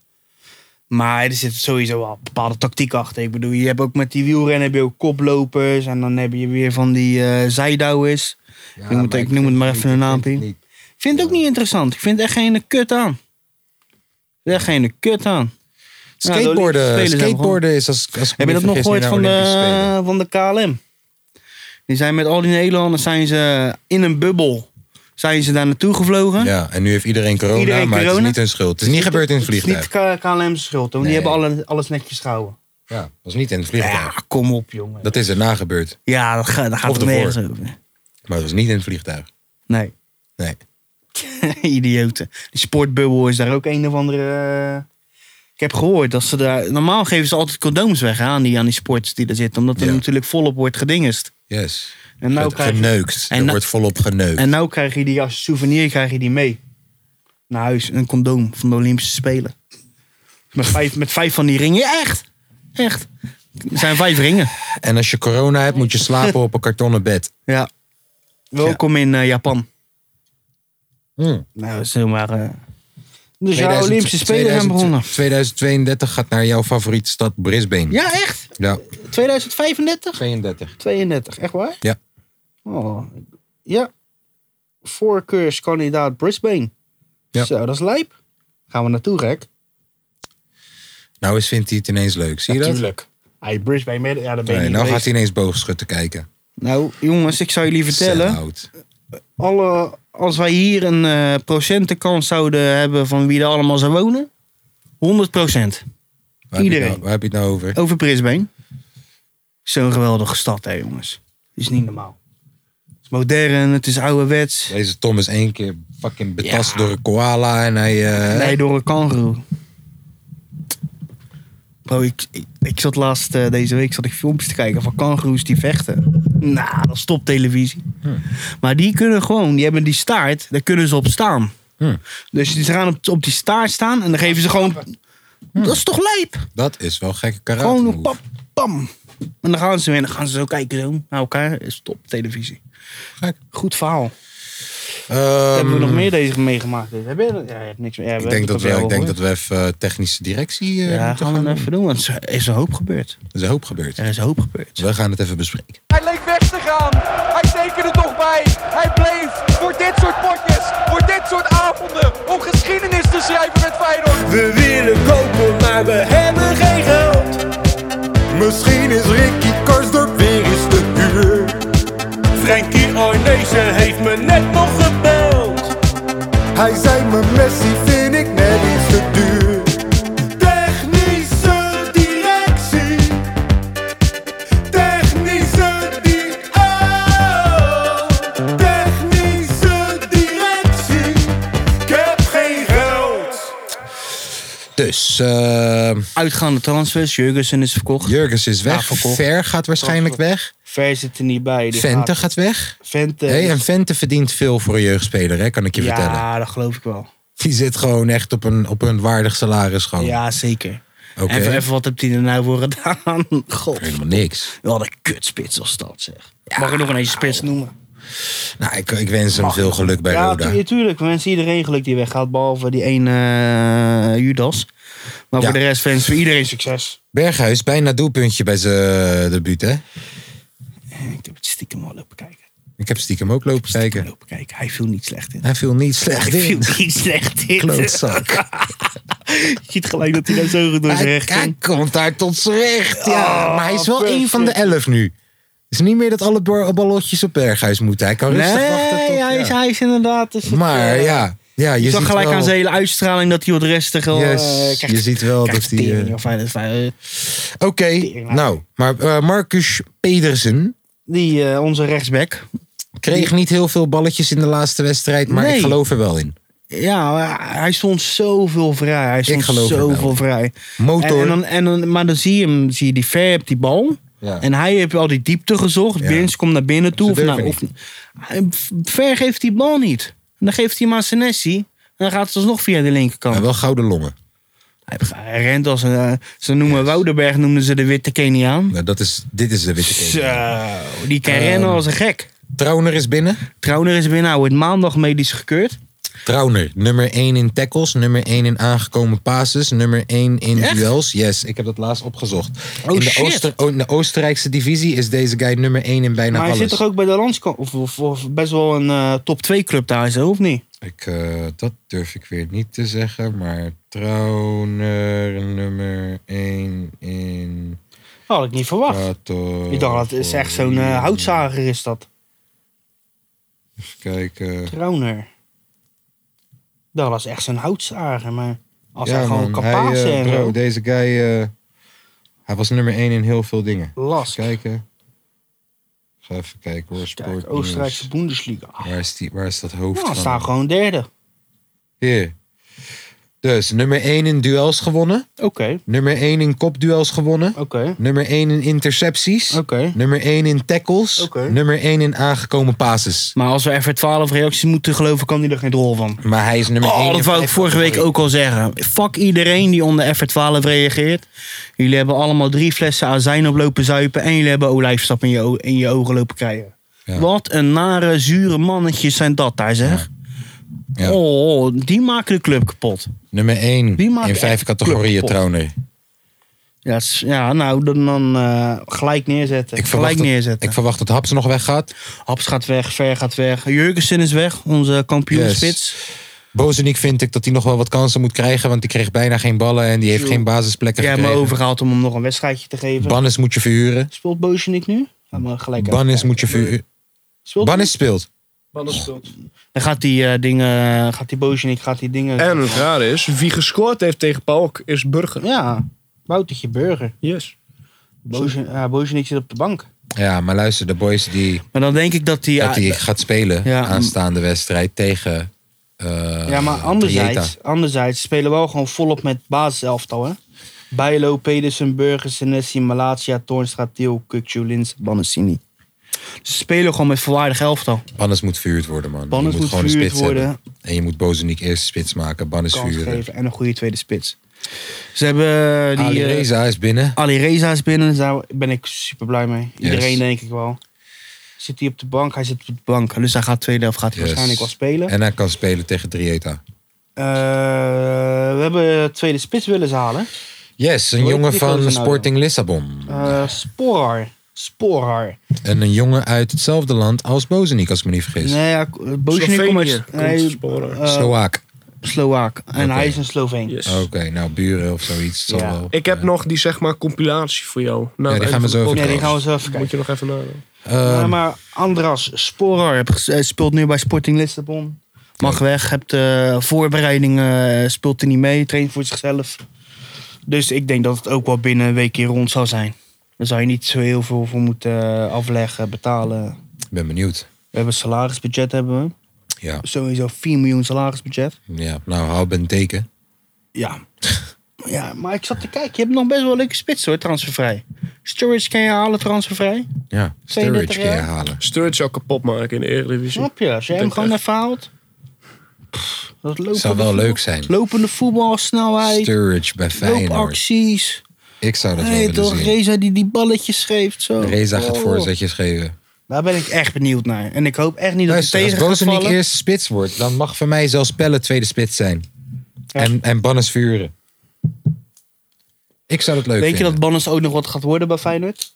Speaker 2: Maar er zit sowieso wel bepaalde tactiek achter. Ik bedoel, je hebt ook met die wielrennen heb je ook koplopers. En dan heb je weer van die eh zijdouwers. ik noem het, ik noem het maar even een naampje. Ik vind het ook niet interessant. Ik vind er echt geen kut aan. Ik vind echt geen kut aan. Ja, de Olympische Spelen
Speaker 1: Skateboarden,
Speaker 2: zijn begonnen.
Speaker 1: skateboarden is als, als ik
Speaker 2: Heb je
Speaker 1: me
Speaker 2: dat nog
Speaker 1: niet
Speaker 2: gehoord
Speaker 1: vergis,
Speaker 2: van
Speaker 1: nu naar Olympische Spelen.
Speaker 2: de, van de KLM? Die zijn met al die Nederlanders zijn ze in een bubbel. Zijn ze daar naartoe gevlogen?
Speaker 1: Ja, en nu heeft iedereen corona,
Speaker 2: Iedereen
Speaker 1: maar het is
Speaker 2: corona?
Speaker 1: niet hun schuld. Het is niet gebeurd in het
Speaker 4: Het is
Speaker 1: vliegtuig.
Speaker 4: niet KLM's schuld, hoor.
Speaker 1: Nee.
Speaker 4: Die hebben alle, alles netjes gehouden.
Speaker 1: Ja, dat was niet in het vliegtuig.
Speaker 2: Ja, kom op, jongen.
Speaker 1: Dat is erna gebeurd,
Speaker 2: Ja, dat, ga, dat gaat
Speaker 1: Of
Speaker 2: er
Speaker 1: ervoor.
Speaker 2: nergens over.
Speaker 1: maar het was niet in het vliegtuig.
Speaker 2: Nee.
Speaker 1: Nee.
Speaker 2: Idioten. Die sportbubbel is daar ook een of andere... eh, Ik heb gehoord dat ze daar... Normaal geven ze altijd condooms weg hè, aan die, aan die sports die er zitten. Omdat er
Speaker 1: Ja.
Speaker 2: natuurlijk volop wordt gedingest.
Speaker 1: Yes.
Speaker 2: En nou,
Speaker 1: Ge-
Speaker 2: krijg je,
Speaker 1: geneukt.
Speaker 2: en
Speaker 1: er
Speaker 2: nou-
Speaker 1: wordt volop geneukt.
Speaker 2: en nou krijg je die als souvenir krijg je die mee. Naar huis. Een condoom van de Olympische Spelen. Met vijf, met vijf van die ringen. Ja, echt. Echt. Er zijn vijf ringen.
Speaker 1: En als je corona hebt, moet je slapen op een kartonnen bed.
Speaker 2: Ja. Welkom in eh, Japan.
Speaker 1: Hmm.
Speaker 2: Nou, dat is helemaal... eh,
Speaker 4: Dus ja,
Speaker 1: 2000
Speaker 4: Olympische Spelen zijn
Speaker 1: 2000
Speaker 4: begonnen.
Speaker 1: 2032 gaat naar jouw favoriete stad Brisbane.
Speaker 4: Ja, echt?
Speaker 1: Ja,
Speaker 4: 2035?
Speaker 1: 32.
Speaker 4: 32, echt waar?
Speaker 1: Ja.
Speaker 4: Oh, ja. Voorkeurskandidaat Brisbane.
Speaker 1: Ja.
Speaker 4: Zo, dat is lijp. Gaan we naartoe, gek?
Speaker 1: Nou eens vindt hij het ineens leuk, zie je dat?
Speaker 4: Natuurlijk. Hij Brisbane, mede- ja, dat ben je niet
Speaker 1: Nee, nou gaat
Speaker 4: geweest.
Speaker 1: hij ineens boogschutten kijken.
Speaker 2: Nou, jongens, ik zou jullie vertellen.
Speaker 1: Sellout.
Speaker 2: Alle, als wij hier een eh, procentenkans zouden hebben van wie er allemaal zou wonen. 100
Speaker 1: Waar heb je het
Speaker 2: Iedereen.
Speaker 1: nou- Waar heb je het nou over?
Speaker 2: Over Brisbane. Zo'n geweldige stad, hè, jongens. Is niet normaal. Het is modern, het is ouderwets.
Speaker 1: Deze Tom is één keer fucking betast door een koala en hij... eh,
Speaker 2: Nee, door een kangaroo. Bro, ik, ik, ik zat laatst eh, deze week zat ik filmpjes te kijken van kangaroes die vechten. Nou, dat is toptelevisie. Maar die kunnen gewoon, die hebben die staart, daar kunnen ze op staan.
Speaker 1: Hm.
Speaker 2: Dus die gaan op, op die staart staan en dan geven ze gewoon. Dat is toch lijp?
Speaker 1: Dat is wel gekke karate
Speaker 2: Gewoon
Speaker 1: move.
Speaker 2: pam, pam. En dan gaan ze weer en dan gaan ze zo kijken zo naar elkaar. Dat is top televisie.
Speaker 1: Gek.
Speaker 2: Goed verhaal.
Speaker 1: Ehm,
Speaker 4: Hebben we nog meer deze meegemaakt? Heb je, ja, je hebt niks meer. Ja, we hebben
Speaker 1: Ik denk,
Speaker 4: het
Speaker 1: dat
Speaker 4: op
Speaker 1: we,
Speaker 4: jou
Speaker 1: ik denk
Speaker 4: gehoord.
Speaker 1: dat we even eh, technische directie eh, moeten
Speaker 2: Ja, gaan
Speaker 1: gaan
Speaker 2: we
Speaker 1: doen.
Speaker 2: dat even doen, want er is een hoop gebeurd.
Speaker 1: Er is een hoop gebeurd.
Speaker 2: Er is een hoop gebeurd.
Speaker 1: We gaan het even bespreken.
Speaker 6: Hij leek weg te gaan. Hij tekende toch bij. Hij bleef voor dit soort potjes, voor dit soort avonden, om geschiedenis te schrijven met Feyenoord. We willen kopen, maar we hebben geen geld. Misschien is Ricky Karsdorp weer eens te duur. Frankie Arnezen heeft me net nog gebeld. Hij zei me Messi vind ik net iets te duur. Technische directie. Technische di- oh, technische directie. Ik heb geen geld.
Speaker 1: Dus eh
Speaker 2: Uitgaande transfers. Jurgensen is verkocht.
Speaker 1: Jurgens is
Speaker 2: Ja,
Speaker 1: weg.
Speaker 2: verkocht.
Speaker 1: Ver gaat waarschijnlijk weg.
Speaker 2: Ver zit er niet bij. die
Speaker 1: Vente
Speaker 2: gaat-
Speaker 1: gaat weg.
Speaker 2: Vente.
Speaker 1: Hey, en Vente verdient veel voor een jeugdspeler, hè, kan ik je vertellen.
Speaker 2: ja, dat geloof ik wel.
Speaker 1: Die zit gewoon echt op een, op een waardig salaris. Gewoon.
Speaker 2: Ja, zeker.
Speaker 1: Oh. Oké.
Speaker 2: Even, even wat hebt hij er nou voor gedaan? God.
Speaker 1: Helemaal niks.
Speaker 2: Wel een kutspits als dat zeg. Mag ik nog ineens spits noemen?
Speaker 1: Nou, ik, ik wens hem veel geluk bij
Speaker 2: Ja,
Speaker 1: Roda.
Speaker 2: tu tuurlijk. We wensen iedereen geluk die weggaat. Behalve die ene eh, Judas. Maar
Speaker 1: Ja.
Speaker 2: voor de rest wensen we iedereen succes.
Speaker 1: Berghuis, bijna doelpuntje bij zijn eh, debuut, hè?
Speaker 2: Ik heb het stiekem al lopen kijken.
Speaker 1: Ik heb stiekem ook lopen
Speaker 2: Stiekem
Speaker 1: kijken.
Speaker 2: Lopen kijken. Hij viel niet slecht in.
Speaker 1: Hij viel niet slecht
Speaker 2: Hij viel
Speaker 1: in.
Speaker 2: niet slecht in.
Speaker 1: Klootzak.
Speaker 2: Je ziet gelijk dat hij nou zo goed door zijn
Speaker 1: Hij,
Speaker 2: recht
Speaker 1: hij
Speaker 2: ging.
Speaker 1: komt daar tot z'n recht, ja.
Speaker 2: Oh,
Speaker 1: maar hij is wel
Speaker 2: perfect.
Speaker 1: één van de elf nu. Het is niet meer dat alle bor- ballotjes op Berghuis moeten. Hij kan rustig wachten tot...
Speaker 2: Nee, hij
Speaker 1: ja.
Speaker 2: is, hij is inderdaad... een soort,
Speaker 1: Maar
Speaker 2: eh,
Speaker 1: ja, ja je
Speaker 2: Je zag
Speaker 1: ziet
Speaker 2: gelijk
Speaker 1: wel...
Speaker 2: aan zijn hele uitstraling dat hij wat rustig al... eh,
Speaker 1: Yes,
Speaker 2: krijgt-
Speaker 1: je ziet wel dat
Speaker 2: krijgt
Speaker 1: hij... eh,
Speaker 2: tering of hij- of hij, eh,
Speaker 1: Oké,
Speaker 2: Tering,
Speaker 1: nou, maar eh, Marcus Pedersen
Speaker 2: Die, eh, onze rechtsback.
Speaker 1: kreeg niet heel veel balletjes in de laatste wedstrijd, maar
Speaker 2: Nee.
Speaker 1: ik geloof er wel in.
Speaker 2: Ja, maar hij stond zoveel vrij. Hij stond
Speaker 1: geloof er wel
Speaker 2: zoveel
Speaker 1: in.
Speaker 2: vrij.
Speaker 1: Motor.
Speaker 2: En, en dan, en dan, maar dan zie je hem, zie je die ver op die bal.
Speaker 1: Ja.
Speaker 2: En hij heeft al die diepte gezocht.
Speaker 1: Ja.
Speaker 2: Bins komt naar binnen toe.
Speaker 1: Ze
Speaker 2: Of nou, of,
Speaker 1: durven
Speaker 2: Hij- ver geeft die bal niet. En dan geeft hij hem aan Senesi. En dan gaat het alsnog via de linkerkant.
Speaker 1: Maar Eh, wel gouden longen.
Speaker 2: Hij, hij rent als een... eh, ze noemen Woudenberg noemden ze de witte Keniaan.
Speaker 1: Nou, dat is, dit is de witte Eh. keeper.
Speaker 2: Zo, die kan rennen als een gek.
Speaker 1: Trauner is binnen.
Speaker 2: Trouwner is binnen. Hij wordt maandag medisch gekeurd.
Speaker 1: Trauner, nummer 1 in tackles, nummer 1 in aangekomen passes, nummer 1 in
Speaker 2: Echt?
Speaker 1: duels. Yes, ik heb dat laatst opgezocht.
Speaker 2: Oh,
Speaker 1: in, de
Speaker 2: shit.
Speaker 1: oh, in de Oostenrijkse divisie is deze guy nummer 1 in bijna
Speaker 2: maar hij
Speaker 1: alles.
Speaker 2: zit toch ook bij de landskant... Of, of, of best wel een eh, top 2 club daar, zo, of niet?
Speaker 1: ik, eh, dat durf ik weer niet te zeggen, maar Trauner, nummer 1 in...
Speaker 2: Dat had ik niet verwacht.
Speaker 1: Prato-
Speaker 2: ik dacht, dat is echt zo'n eh, houtzager is dat.
Speaker 1: Even kijken.
Speaker 2: Trouwner. Dat was echt zo'n houtzager, maar... Als
Speaker 1: Ja,
Speaker 2: hij gewoon
Speaker 1: man, hij,
Speaker 2: kapaas
Speaker 1: eh,
Speaker 2: en
Speaker 1: bro,
Speaker 2: zo.
Speaker 1: deze guy, eh, hij was nummer 1 in heel veel dingen.
Speaker 2: Lask.
Speaker 1: Even kijken. Ik Ga even kijken hoor. Sport
Speaker 2: Kijk, Oostenrijkse Bundesliga.
Speaker 1: Waar is, die, waar is dat hoofd
Speaker 2: Nou, dan staan
Speaker 1: van?
Speaker 2: we gewoon derde.
Speaker 1: Hier. Dus nummer 1 in duels gewonnen.
Speaker 2: Oké,
Speaker 1: Nummer 1 in kopduels gewonnen.
Speaker 2: oké,
Speaker 1: Nummer 1 in intercepties.
Speaker 2: oké.
Speaker 1: Nummer 1 in tackles.
Speaker 2: Oké.
Speaker 1: Nummer 1 in aangekomen passes.
Speaker 2: Maar als we even 12 reacties moeten geloven, kan hij er geen rol van.
Speaker 1: Maar hij is nummer 1.
Speaker 2: Oh, dat wou ik vorige week ook al zeggen. Fuck iedereen die onder F12 reageert. Jullie hebben allemaal drie flessen azijn op lopen zuipen. En jullie hebben olijfstap in je, o- in je ogen lopen krijgen.
Speaker 1: Ja.
Speaker 2: Wat een nare, zure mannetjes zijn dat daar, zeg.
Speaker 1: Ja.
Speaker 2: Oh, die maken de club kapot.
Speaker 1: Nummer 1
Speaker 2: Wie maakt
Speaker 1: in vijf
Speaker 2: echt
Speaker 1: categorieën
Speaker 2: clubpot?
Speaker 1: trouwens.
Speaker 2: Ja, s- ja nou, dan, dan eh, gelijk neerzetten.
Speaker 1: Ik verwacht,
Speaker 2: gelijk
Speaker 1: dat,
Speaker 2: neerzetten.
Speaker 1: ik verwacht dat Haps nog weggaat.
Speaker 2: Haps gaat weg, Ver gaat weg. Jurgensen is weg, onze kampioenspits.
Speaker 1: Bozenik vind ik dat hij nog wel wat kansen moet krijgen. Want die kreeg bijna geen ballen en die heeft
Speaker 2: Joe.
Speaker 1: geen basisplekken
Speaker 2: Jij hebt me
Speaker 1: gekregen.
Speaker 2: overgehaald om hem nog een wedstrijdje te geven.
Speaker 1: Bannis moet je verhuren.
Speaker 2: Speelt Bozenik nu? Laat me gelijk even
Speaker 1: Bannis
Speaker 2: kijken.
Speaker 1: moet je verhuren.
Speaker 2: Speelt hij?
Speaker 1: Bannis speelt.
Speaker 2: Dan gaat die eh, dingen, gaat die Bozenik, gaat die dingen...
Speaker 3: En het raar is, wie gescoord heeft tegen Paok is Burger.
Speaker 2: Ja, Woutertje Burger.
Speaker 3: Yes.
Speaker 2: Bozen, ja, Bozenik zit op de bank.
Speaker 1: Ja, maar luister, de boys die,
Speaker 2: Maar dan denk ik dat die...
Speaker 1: dat die gaat spelen
Speaker 2: Ja.
Speaker 1: aanstaande wedstrijd tegen. eh,
Speaker 2: ja, maar
Speaker 1: Trieta.
Speaker 2: anderzijds, anderzijds spelen we wel gewoon volop met basiselftal, hè? Bijlo, Pedersen, Burger, Senesi, Malatia, Toornstra, Til, Kukju, Lins, Bannessini. Ze spelen gewoon met volwaardig elftal.
Speaker 1: Bannis moet verhuurd worden, man.
Speaker 2: Bannis
Speaker 1: je
Speaker 2: moet
Speaker 1: moet, gewoon een
Speaker 2: verhuurd
Speaker 1: spits
Speaker 2: worden.
Speaker 1: hebben. En je moet Bozenik eerst spits maken, Bannis
Speaker 2: Kans
Speaker 1: vuren.
Speaker 2: geven en een goede tweede spits. Ze hebben eh,
Speaker 1: Ali
Speaker 2: die... eh,
Speaker 1: Reza Ah, is binnen.
Speaker 2: Ali Reza is binnen, daar ben ik super blij mee. Iedereen
Speaker 1: Yes.
Speaker 2: denk ik wel. Zit hij op de bank? Hij zit op de bank. Dus hij gaat tweede helft gaat hij
Speaker 1: Yes.
Speaker 2: waarschijnlijk wel spelen.
Speaker 1: En hij kan spelen tegen Drieta.
Speaker 2: Eh, we hebben tweede spits willen ze halen.
Speaker 1: Yes, een
Speaker 2: Hoe heet
Speaker 1: jongen
Speaker 2: die gozer
Speaker 1: van
Speaker 2: nou dan?
Speaker 1: Sporting Lissabon.
Speaker 2: Eh Sporar. Sporar.
Speaker 1: En een jongen uit hetzelfde land als Bozenik, als ik me niet vergis.
Speaker 2: Nee, ja, Bozjenik komt
Speaker 3: Slovenië
Speaker 2: uit
Speaker 3: komt
Speaker 2: nee,
Speaker 3: Sporar.
Speaker 2: eh,
Speaker 1: Sloaak.
Speaker 2: Sloaak. En
Speaker 1: Oké.
Speaker 2: hij is een Sloveen.
Speaker 3: Yes.
Speaker 1: Oké, nou buren of zoiets. het zal
Speaker 2: Ja.
Speaker 1: wel.
Speaker 3: Ik heb nog die zeg maar compilatie voor jou. Nou,
Speaker 1: die gaan we zo
Speaker 2: Nee,
Speaker 1: even
Speaker 2: die gaan we eens even
Speaker 3: Moet
Speaker 2: kijken.
Speaker 3: je nog even nadenken.
Speaker 2: Ja,
Speaker 1: Ehm,
Speaker 2: maar Andras Sporar heb ges- eh, speelt nu bij Sporting Lissabon. Mag weg, hebt de voorbereidingen, eh, speelt er niet mee, traint voor zichzelf. Dus ik denk dat het ook wel binnen een weekje rond zal zijn. Daar zou je niet zo heel veel voor moeten eh, afleggen, betalen.
Speaker 1: Ik ben benieuwd.
Speaker 2: We hebben een salarisbudget, hebben we.
Speaker 1: Ja,
Speaker 2: Sowieso 4 miljoen salarisbudget.
Speaker 1: ja. nou hou ben teken.
Speaker 2: Ja. Ja, maar ik zat te kijken. Je hebt nog best wel leuke spits hoor, transfervrij. Storage kan je halen, transfervrij.
Speaker 1: Ja,
Speaker 2: 32
Speaker 1: storage kan je
Speaker 2: jaar.
Speaker 1: halen.
Speaker 7: Sturridge zou kapot maken in de Eredivisie.
Speaker 2: Snap je? Als je hem
Speaker 7: denk
Speaker 2: gewoon
Speaker 7: echt-
Speaker 2: even haalt. Pff, dat lopende
Speaker 1: Zou wel
Speaker 2: voetbal-
Speaker 1: leuk zijn.
Speaker 2: Lopende voetbal, snelheid,
Speaker 1: Sturridge bij Feyenoord.
Speaker 2: loopacties.
Speaker 1: Ik zou dat
Speaker 2: Nee
Speaker 1: wel willen
Speaker 2: toch,
Speaker 1: zien.
Speaker 2: Reza die die balletjes geeft. Zo.
Speaker 1: Reza gaat
Speaker 2: Oh.
Speaker 1: voorzetjes geven.
Speaker 2: Daar ben ik echt benieuwd naar. En ik hoop echt niet dat
Speaker 1: Luister,
Speaker 2: hij
Speaker 1: als
Speaker 2: tegen gaat
Speaker 1: Bozeniek
Speaker 2: vallen.
Speaker 1: eerste spits wordt, dan mag voor mij zelfs Pelle tweede spits zijn.
Speaker 2: Ja.
Speaker 1: En, en Bannes vuren. Ik zou het leuk
Speaker 2: Weet je
Speaker 1: vinden.
Speaker 2: dat Banners ook nog wat gaat worden bij Feyenoord?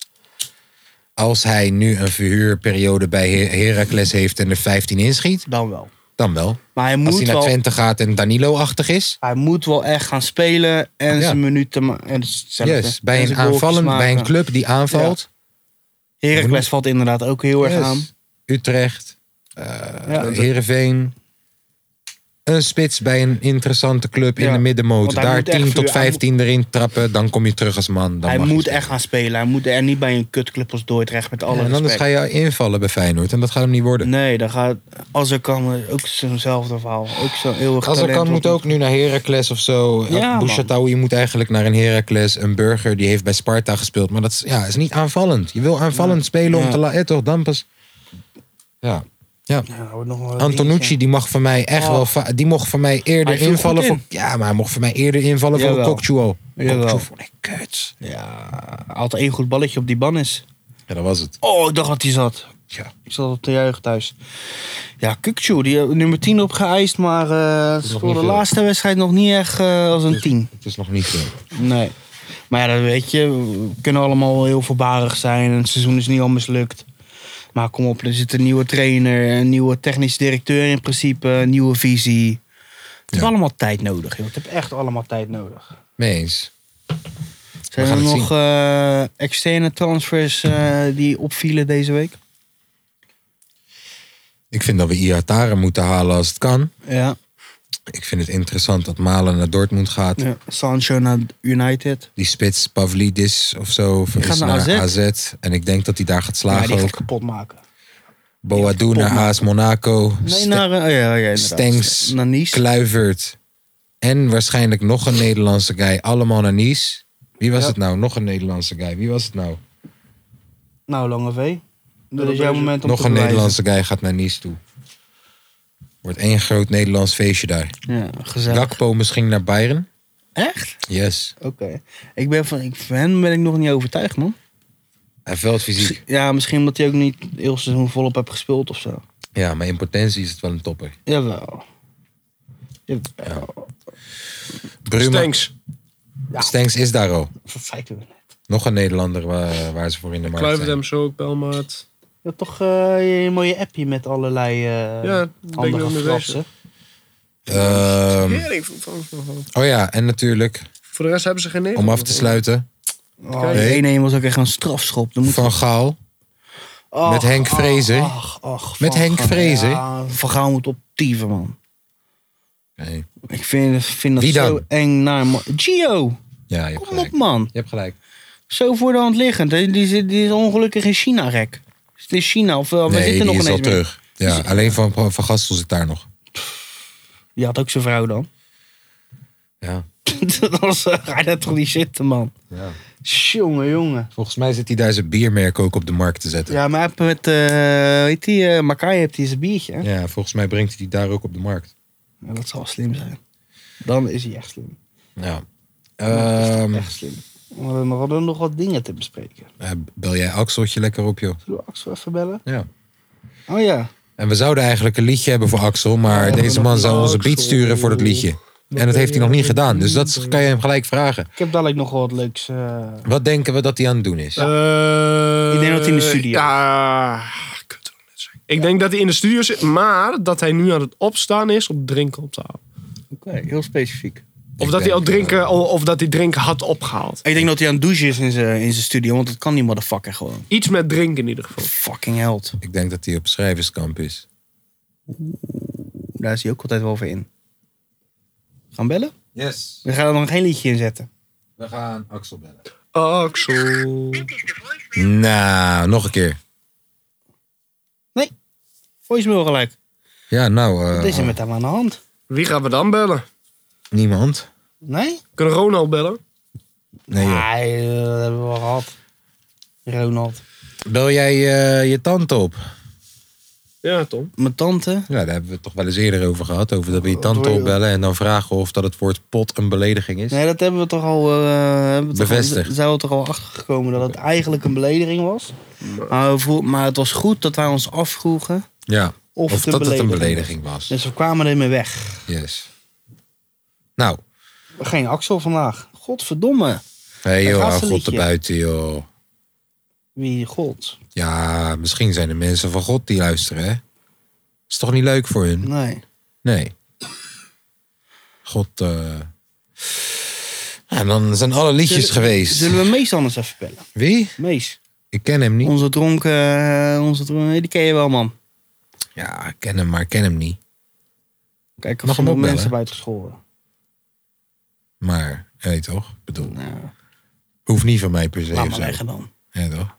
Speaker 1: Als hij nu een verhuurperiode bij Her- Heracles heeft en er 15 inschiet,
Speaker 2: Dan wel.
Speaker 1: dan wel.
Speaker 2: Maar hij
Speaker 1: Als
Speaker 2: moet,
Speaker 1: hij naar
Speaker 2: wel,
Speaker 1: Twente gaat en Danilo-achtig is.
Speaker 2: hij moet wel echt gaan spelen en
Speaker 1: Ja.
Speaker 2: zijn minuten ma- en hetzelfde.
Speaker 1: Yes, bij
Speaker 2: En
Speaker 1: een,
Speaker 2: zijn goaltjes
Speaker 1: aanvallen, bij
Speaker 2: maken.
Speaker 1: een club die aanvalt.
Speaker 2: Heracles valt inderdaad ook heel erg
Speaker 1: Yes.
Speaker 2: aan.
Speaker 1: Utrecht,
Speaker 2: Ja.
Speaker 1: Heerenveen. Een spits bij een interessante club in
Speaker 2: Ja,
Speaker 1: de
Speaker 2: want
Speaker 1: middenmoot.
Speaker 2: hij
Speaker 1: Daar
Speaker 2: moet echt
Speaker 1: 10
Speaker 2: vuur-
Speaker 1: tot
Speaker 2: hij
Speaker 1: 15 erin trappen, dan kom je terug als man. Dan
Speaker 2: Hij
Speaker 1: mag je
Speaker 2: moet
Speaker 1: spelen.
Speaker 2: echt gaan spelen. Hij moet er niet bij een kutclub als Dordrecht met alle
Speaker 1: Ja, en anders
Speaker 2: respect.
Speaker 1: ga je invallen bij Feyenoord en dat gaat hem niet worden.
Speaker 2: Nee, dan gaat als er kan ook zo'nzelfde verhaal. Ook zo'n heel erg
Speaker 1: Als er
Speaker 2: talent
Speaker 1: kan moet
Speaker 2: wat-
Speaker 1: ook nu naar Heracles of zo.
Speaker 2: Ja, man.
Speaker 1: Bouchataoui moet eigenlijk naar een Heracles. Een burger die heeft bij Sparta gespeeld. Maar dat is, ja, is niet aanvallend. Je wil aanvallend spelen om
Speaker 2: Ja.
Speaker 1: te laten. toch, dan pas. Ja.
Speaker 2: Ja, wordt nog wel een
Speaker 1: Antonucci die mag voor mij echt
Speaker 2: Oh.
Speaker 1: wel. va- Die mocht voor mij eerder
Speaker 2: Hij viel
Speaker 1: invallen.
Speaker 2: goed
Speaker 1: voor,
Speaker 2: in.
Speaker 1: ja, maar hij mocht voor mij eerder invallen voor
Speaker 2: Jawel.
Speaker 1: Kokchuo.
Speaker 2: Jawel.
Speaker 1: Kokchu vond ik kut.
Speaker 2: dingetje. Ja, hij had één goed balletje op die ban is.
Speaker 1: Ja, dat was het.
Speaker 2: Oh, ik dacht dat hij zat.
Speaker 1: Ja.
Speaker 2: Ik zat op de juich thuis. Ja, Kukchu, die eh, nummer 10 opgeëist, maar eh,
Speaker 1: is nog
Speaker 2: voor
Speaker 1: niet
Speaker 2: de
Speaker 1: veel. Dus
Speaker 2: laatste wedstrijd nog niet echt eh, als een 10.
Speaker 1: Het is nog niet veel.
Speaker 2: Nee. Maar ja, dat weet je, we kunnen allemaal heel voorbarig zijn en het seizoen is niet al mislukt. Maar kom op, er zit een nieuwe trainer, een nieuwe technisch directeur in principe, een nieuwe visie. Het heeft
Speaker 1: Ja.
Speaker 2: allemaal tijd nodig, joh. Het heeft echt allemaal tijd nodig.
Speaker 1: Mee eens.
Speaker 2: Zijn
Speaker 1: gaan
Speaker 2: er
Speaker 1: het
Speaker 2: nog eh, externe transfers eh, die opvielen deze week?
Speaker 1: Ik vind dat we Iataren moeten halen als het kan.
Speaker 2: Ja.
Speaker 1: Ik vind het interessant dat Malen naar Dortmund gaat.
Speaker 2: ja. Sancho naar United.
Speaker 1: Die spits Pavlidis of zo of
Speaker 2: gaat
Speaker 1: is
Speaker 2: naar
Speaker 1: naar AZ. En ik denk dat hij daar gaat
Speaker 2: Ja,
Speaker 1: slagen
Speaker 2: die gaat
Speaker 1: ook.
Speaker 2: kapot maken.
Speaker 1: Boadu
Speaker 2: kapot
Speaker 1: naar
Speaker 2: maken.
Speaker 1: AS Monaco.
Speaker 2: Nee,
Speaker 1: Ste-
Speaker 2: naar, eh, oh ja, ja, inderdaad.
Speaker 1: Stengs,
Speaker 2: Naar Nice.
Speaker 1: Kluivert en waarschijnlijk nog een Nederlandse guy. Allemaal naar Nice. Wie was het nou? Nog een Nederlandse guy. Wie was het nou?
Speaker 2: nou, Lange V. Dat is jouw moment om
Speaker 1: nog
Speaker 2: te
Speaker 1: een
Speaker 2: bewijzen.
Speaker 1: Nederlandse guy gaat naar Nice toe. Wordt één groot Nederlands feestje daar.
Speaker 2: Ja, gezellig.
Speaker 1: Gakpo misschien naar Bayern.
Speaker 2: Echt?
Speaker 1: Yes.
Speaker 2: Oké. Ik ben van, ik, van hem ben ik nog niet overtuigd, man.
Speaker 1: Hij veld fysiek.
Speaker 2: Misschien- Ja, misschien omdat hij ook niet heel seizoen volop heeft gespeeld of zo.
Speaker 1: Ja, maar in potentie is het wel een topper.
Speaker 2: Jawel. Jawel.
Speaker 1: Bruma, Stengs.
Speaker 7: Stenks.
Speaker 1: is daar al.
Speaker 2: Dat feiten we net.
Speaker 1: Nog een Nederlander waar, waar ze voor in de markt
Speaker 7: Kluivert
Speaker 1: zijn.
Speaker 7: hem zo ook, Belmaat.
Speaker 2: Je hebt toch eh, een mooie appje met allerlei eh,
Speaker 7: Ja, daar ben ik wel
Speaker 2: handige
Speaker 7: mee
Speaker 2: fratsen.
Speaker 7: bezig.
Speaker 1: Ehm,
Speaker 7: Hering van- van- van- van-
Speaker 1: oh ja, en natuurlijk,
Speaker 7: Voor de rest hebben ze geen Nederlander.
Speaker 1: om af te sluiten,
Speaker 2: Oh,
Speaker 1: Kijk.
Speaker 2: die ene was ook echt een strafschop. Dan moet
Speaker 1: Van Gaal. met Henk Vrezer.
Speaker 2: ach, ach,
Speaker 1: Met
Speaker 2: Van
Speaker 1: Henk
Speaker 2: Gaal.
Speaker 1: Vrezer.
Speaker 2: Ja, van Gaal moet optieven, man.
Speaker 1: Nee.
Speaker 2: Ik vind, vind dat
Speaker 1: Wie dan?
Speaker 2: zo eng naar... man. Gio,
Speaker 1: Ja, je hebt
Speaker 2: kom op,
Speaker 1: gelijk.
Speaker 2: man.
Speaker 1: Je hebt gelijk.
Speaker 2: Zo voor de hand liggend. Die, die, zit- die is ongelukkig in China, gek. Is het in China of wel? we
Speaker 1: Nee,
Speaker 2: zitten
Speaker 1: die
Speaker 2: nog
Speaker 1: is al
Speaker 2: ineens mee.
Speaker 1: terug. Ja, alleen van, van Gastel zit daar nog.
Speaker 2: Die had ook zijn vrouw dan.
Speaker 1: Ja.
Speaker 2: Anders eh, ga je daar toch niet zitten, man.
Speaker 1: Ja.
Speaker 2: Jongen, jongen.
Speaker 1: Volgens mij zit hij daar zijn biermerk ook op de markt te zetten.
Speaker 2: Ja, maar hij heeft met, eh weet die, eh Makai heeft hij zijn biertje. hè?
Speaker 1: Ja, volgens mij brengt hij die daar ook op de markt.
Speaker 2: Ja, dat zal slim zijn. Dan is hij echt slim.
Speaker 1: Ja. Ehm,
Speaker 2: Echt slim. We hadden nog- hadden nog wat dingen te bespreken.
Speaker 1: eh, bel jij Axeltje lekker op, joh.
Speaker 2: Zullen we Axel even bellen?
Speaker 1: Ja.
Speaker 2: Oh ja.
Speaker 1: En we zouden eigenlijk een liedje hebben voor Axel, maar deze man zou onze beat sturen voor dat liedje. En dat heeft hij nog niet gedaan, dus dat is- kan je hem gelijk vragen.
Speaker 2: Ik heb dadelijk nog wel wat leuks. eh,
Speaker 1: Wat denken we dat hij aan het doen is?
Speaker 7: Eh,
Speaker 2: Ik denk dat hij in de studio is.
Speaker 7: Ja, kut, ik wou net zeggen. Ik denk dat hij in de studio zit, maar dat hij nu aan het opstaan is om drinken op te halen.
Speaker 2: Oké, heel specifiek.
Speaker 7: Of
Speaker 1: Ik
Speaker 7: dat hij
Speaker 1: denk,
Speaker 7: al drinken,
Speaker 1: eh,
Speaker 7: of of dat hij drinken had opgehaald.
Speaker 2: Ik denk dat hij aan het douchen is in zijn in zijn studio, want dat kan die motherfucker gewoon.
Speaker 7: Iets met drinken in ieder geval.
Speaker 2: Fucking held.
Speaker 1: Ik denk dat hij op schrijverskamp is.
Speaker 2: Daar is hij ook altijd wel voor in. Gaan bellen?
Speaker 1: Yes,
Speaker 2: We gaan er nog geen liedje in zetten.
Speaker 1: we gaan Axel bellen.
Speaker 7: Axel.
Speaker 1: Nou, nog een keer.
Speaker 2: Voicemail gelijk.
Speaker 1: Ja, nou, eh,
Speaker 2: Wat is er met hem aan de hand?
Speaker 7: Wie gaan we dan bellen?
Speaker 1: niemand.
Speaker 2: Nee?
Speaker 3: Kunnen Ronald bellen?
Speaker 1: Nee, joh.
Speaker 2: Nee, eh, dat hebben we al gehad. Ronald.
Speaker 1: Bel jij eh, je tante op?
Speaker 3: Ja, Tom.
Speaker 2: Mijn tante.
Speaker 1: Ja, daar hebben we het toch wel eens eerder over gehad. Over dat we je tante opbellen en dan vragen of dat het woord pot een belediging is.
Speaker 2: Nee, dat hebben we toch al... eh, hebben we toch al-
Speaker 1: Bevestigd.
Speaker 2: zijn we toch al achtergekomen dat het eigenlijk een belediging was. Maar, we vroeg- maar het was goed dat wij ons afvroegen
Speaker 1: Ja. Of
Speaker 2: of, het een
Speaker 1: dat het een
Speaker 2: was.
Speaker 1: belediging was.
Speaker 2: Dus we kwamen ermee weg.
Speaker 1: Yes. Nou,
Speaker 2: Geen Axel vandaag. Godverdomme.
Speaker 1: hey joh,
Speaker 2: gaat
Speaker 1: hou
Speaker 2: een
Speaker 1: God
Speaker 2: liedje.
Speaker 1: erbuiten joh.
Speaker 2: Wie god?
Speaker 1: Ja, misschien zijn er mensen van God die luisteren, hè? Is toch niet leuk voor hun?
Speaker 2: Nee.
Speaker 1: Nee. God, eh. En dan zijn alle liedjes
Speaker 2: Zullen-
Speaker 1: geweest.
Speaker 2: Zullen we Mees anders even bellen?
Speaker 1: Wie?
Speaker 2: Mees.
Speaker 1: Ik ken hem niet.
Speaker 2: Onze dronken... eh, onze dronken die ken je wel, man.
Speaker 1: Ja, ik ken hem, maar ik ken hem niet.
Speaker 2: Kijk,
Speaker 1: Mag
Speaker 2: of er
Speaker 1: hem
Speaker 2: nog
Speaker 1: ook bellen?
Speaker 2: mensen buiten school.
Speaker 1: Maar, hé toch? Ik bedoel,
Speaker 2: Nou,
Speaker 1: hoeft niet van mij per se
Speaker 2: laat
Speaker 1: of
Speaker 2: maar
Speaker 1: zo.
Speaker 2: liggen dan.
Speaker 1: Ja, toch?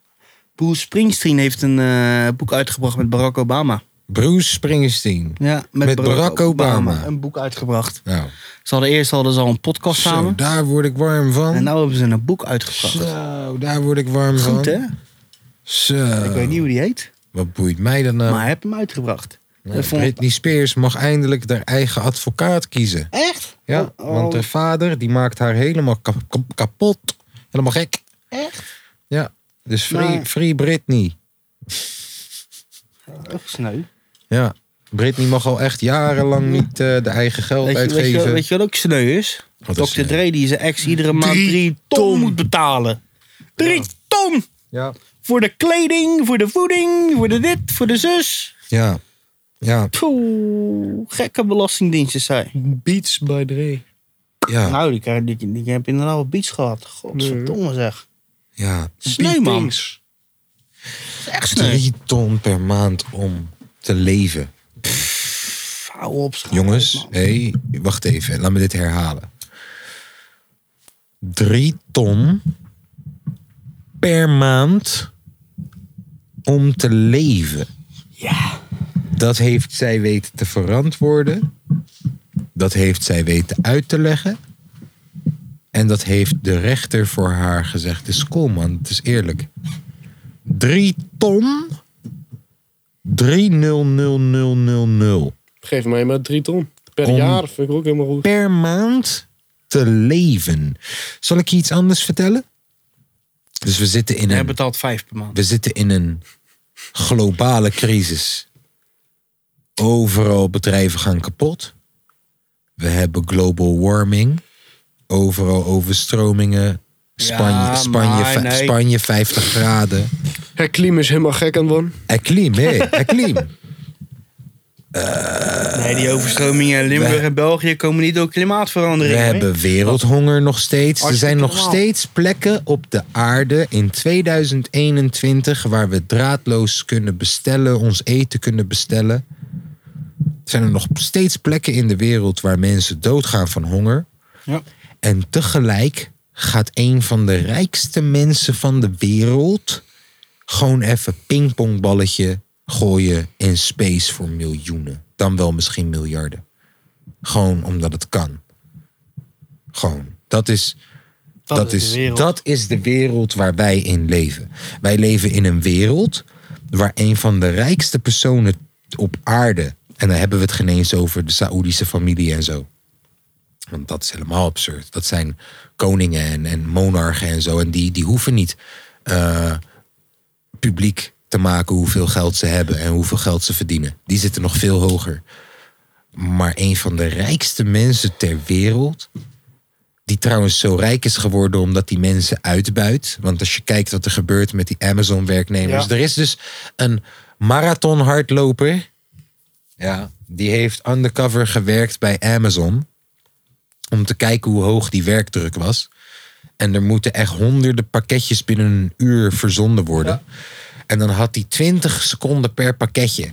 Speaker 2: Bruce Springsteen heeft een eh, boek uitgebracht met Barack Obama.
Speaker 1: Bruce Springsteen.
Speaker 2: Ja,
Speaker 1: Met Barack Obama.
Speaker 2: Een boek uitgebracht.
Speaker 1: Nou,
Speaker 2: Ze hadden eerst hadden ze al een podcast
Speaker 1: zo,
Speaker 2: samen.
Speaker 1: daar word ik warm van.
Speaker 2: En nou hebben ze een boek uitgebracht.
Speaker 1: Zo, daar word ik warm van.
Speaker 2: Goed, hè?
Speaker 1: Zo.
Speaker 2: Ik weet niet hoe die heet.
Speaker 1: Wat boeit mij dan nou?
Speaker 2: Maar hij heeft hem uitgebracht.
Speaker 1: Nou,
Speaker 2: Dat vond ik-
Speaker 1: Britney Spears mag eindelijk haar eigen advocaat kiezen.
Speaker 2: Echt?
Speaker 1: Ja,
Speaker 2: Oh,
Speaker 1: want eh, haar vader die maakt haar helemaal kap- kap- kapot. Helemaal gek.
Speaker 2: Echt?
Speaker 1: Ja, dus free,
Speaker 2: Maar-
Speaker 1: free Britney.
Speaker 2: Ook sneu.
Speaker 1: Ja, Britney mag al echt jarenlang niet eh, de eigen geld
Speaker 2: Mm-hmm. Weet je, weet, je,
Speaker 1: uitgeven.
Speaker 2: weet je wat ook sneu is?
Speaker 1: Wat
Speaker 2: Dr.
Speaker 1: is sneu?
Speaker 2: Dre die zijn ex iedere maand
Speaker 3: Drie
Speaker 2: drie ton moet betalen. Drie ton!
Speaker 1: Ja,
Speaker 2: Voor de kleding, voor de voeding, voor de dit, voor de zus.
Speaker 1: ja, ja,
Speaker 2: Poeh, gekke belastingdienstjes zijn.
Speaker 3: Beats by Dre.
Speaker 1: ja.
Speaker 2: Nou, die, krijg- die, die heb inderdaad wel beats gehad. Godverdomme zeg.
Speaker 1: ja.
Speaker 2: Sneu, man.
Speaker 3: Beatings.
Speaker 2: Dat is echt sneu.
Speaker 1: Drie ton per maand om te leven.
Speaker 2: Pff, Hou op, schat.
Speaker 1: Jongens,
Speaker 2: Man.
Speaker 1: hé, wacht even. Laat me dit herhalen. Drie ton per maand om te leven.
Speaker 2: Ja.
Speaker 1: Dat heeft zij weten te verantwoorden. Dat heeft zij weten uit te leggen. En dat heeft de rechter voor haar gezegd. Dus kom man, het is eerlijk. Drie ton. 300000
Speaker 7: Geef mij maar drie ton. Per
Speaker 1: Om-
Speaker 7: jaar vind ik ook helemaal goed.
Speaker 1: per maand te leven. Zal ik je iets anders vertellen? Dus we zitten in
Speaker 2: Hij
Speaker 1: een,
Speaker 2: betaalt vijf per maand.
Speaker 1: we zitten in een globale crisis. Overal bedrijven gaan kapot. We hebben global warming. Overal overstromingen. Spanje,
Speaker 2: Ja,
Speaker 1: Spanje,
Speaker 2: maar
Speaker 1: vij-
Speaker 2: nee.
Speaker 1: Spanje 50 graden.
Speaker 7: Het klim is helemaal gek aan het worden.
Speaker 1: Eklim, hé, eklim.
Speaker 2: nee,
Speaker 1: eh,
Speaker 2: die overstromingen in Limburg en België komen niet door klimaatverandering.
Speaker 1: We
Speaker 2: hè?
Speaker 1: hebben wereldhonger nog steeds. Er
Speaker 2: Hartstikke
Speaker 1: zijn nog
Speaker 2: normaal.
Speaker 1: steeds plekken op de aarde in 2021 waar we draadloos kunnen bestellen, ons eten kunnen bestellen. Er zijn er nog steeds plekken in de wereld waar mensen doodgaan van honger.
Speaker 2: Ja.
Speaker 1: En tegelijk gaat een van de rijkste mensen van de wereld gewoon even pingpongballetje gooien in space voor miljoenen. Dan wel misschien miljarden. Gewoon omdat het kan. Gewoon. Dat is, dat,
Speaker 2: de
Speaker 1: is,
Speaker 2: wereld.
Speaker 1: dat is de wereld waar wij in leven. Wij leven in een wereld waar een van de rijkste personen op aarde. En dan hebben we het geen eens over de Saoedische familie en zo. Want dat is helemaal absurd. Dat zijn koningen en, en monarchen en zo. En die, die hoeven niet eh, publiek te maken hoeveel geld ze hebben en hoeveel geld ze verdienen. Die zitten nog veel hoger. Maar een van de rijkste mensen ter wereld. Die trouwens zo rijk is geworden omdat die mensen uitbuit. Want als je kijkt wat er gebeurt met die Amazon-werknemers. Er is dus een marathon-hardloper. Ja, die heeft undercover gewerkt bij Amazon. Om te kijken hoe hoog die werkdruk was. En er moeten echt honderden pakketjes binnen een uur verzonden worden. En dan had hij 20 seconden per pakketje.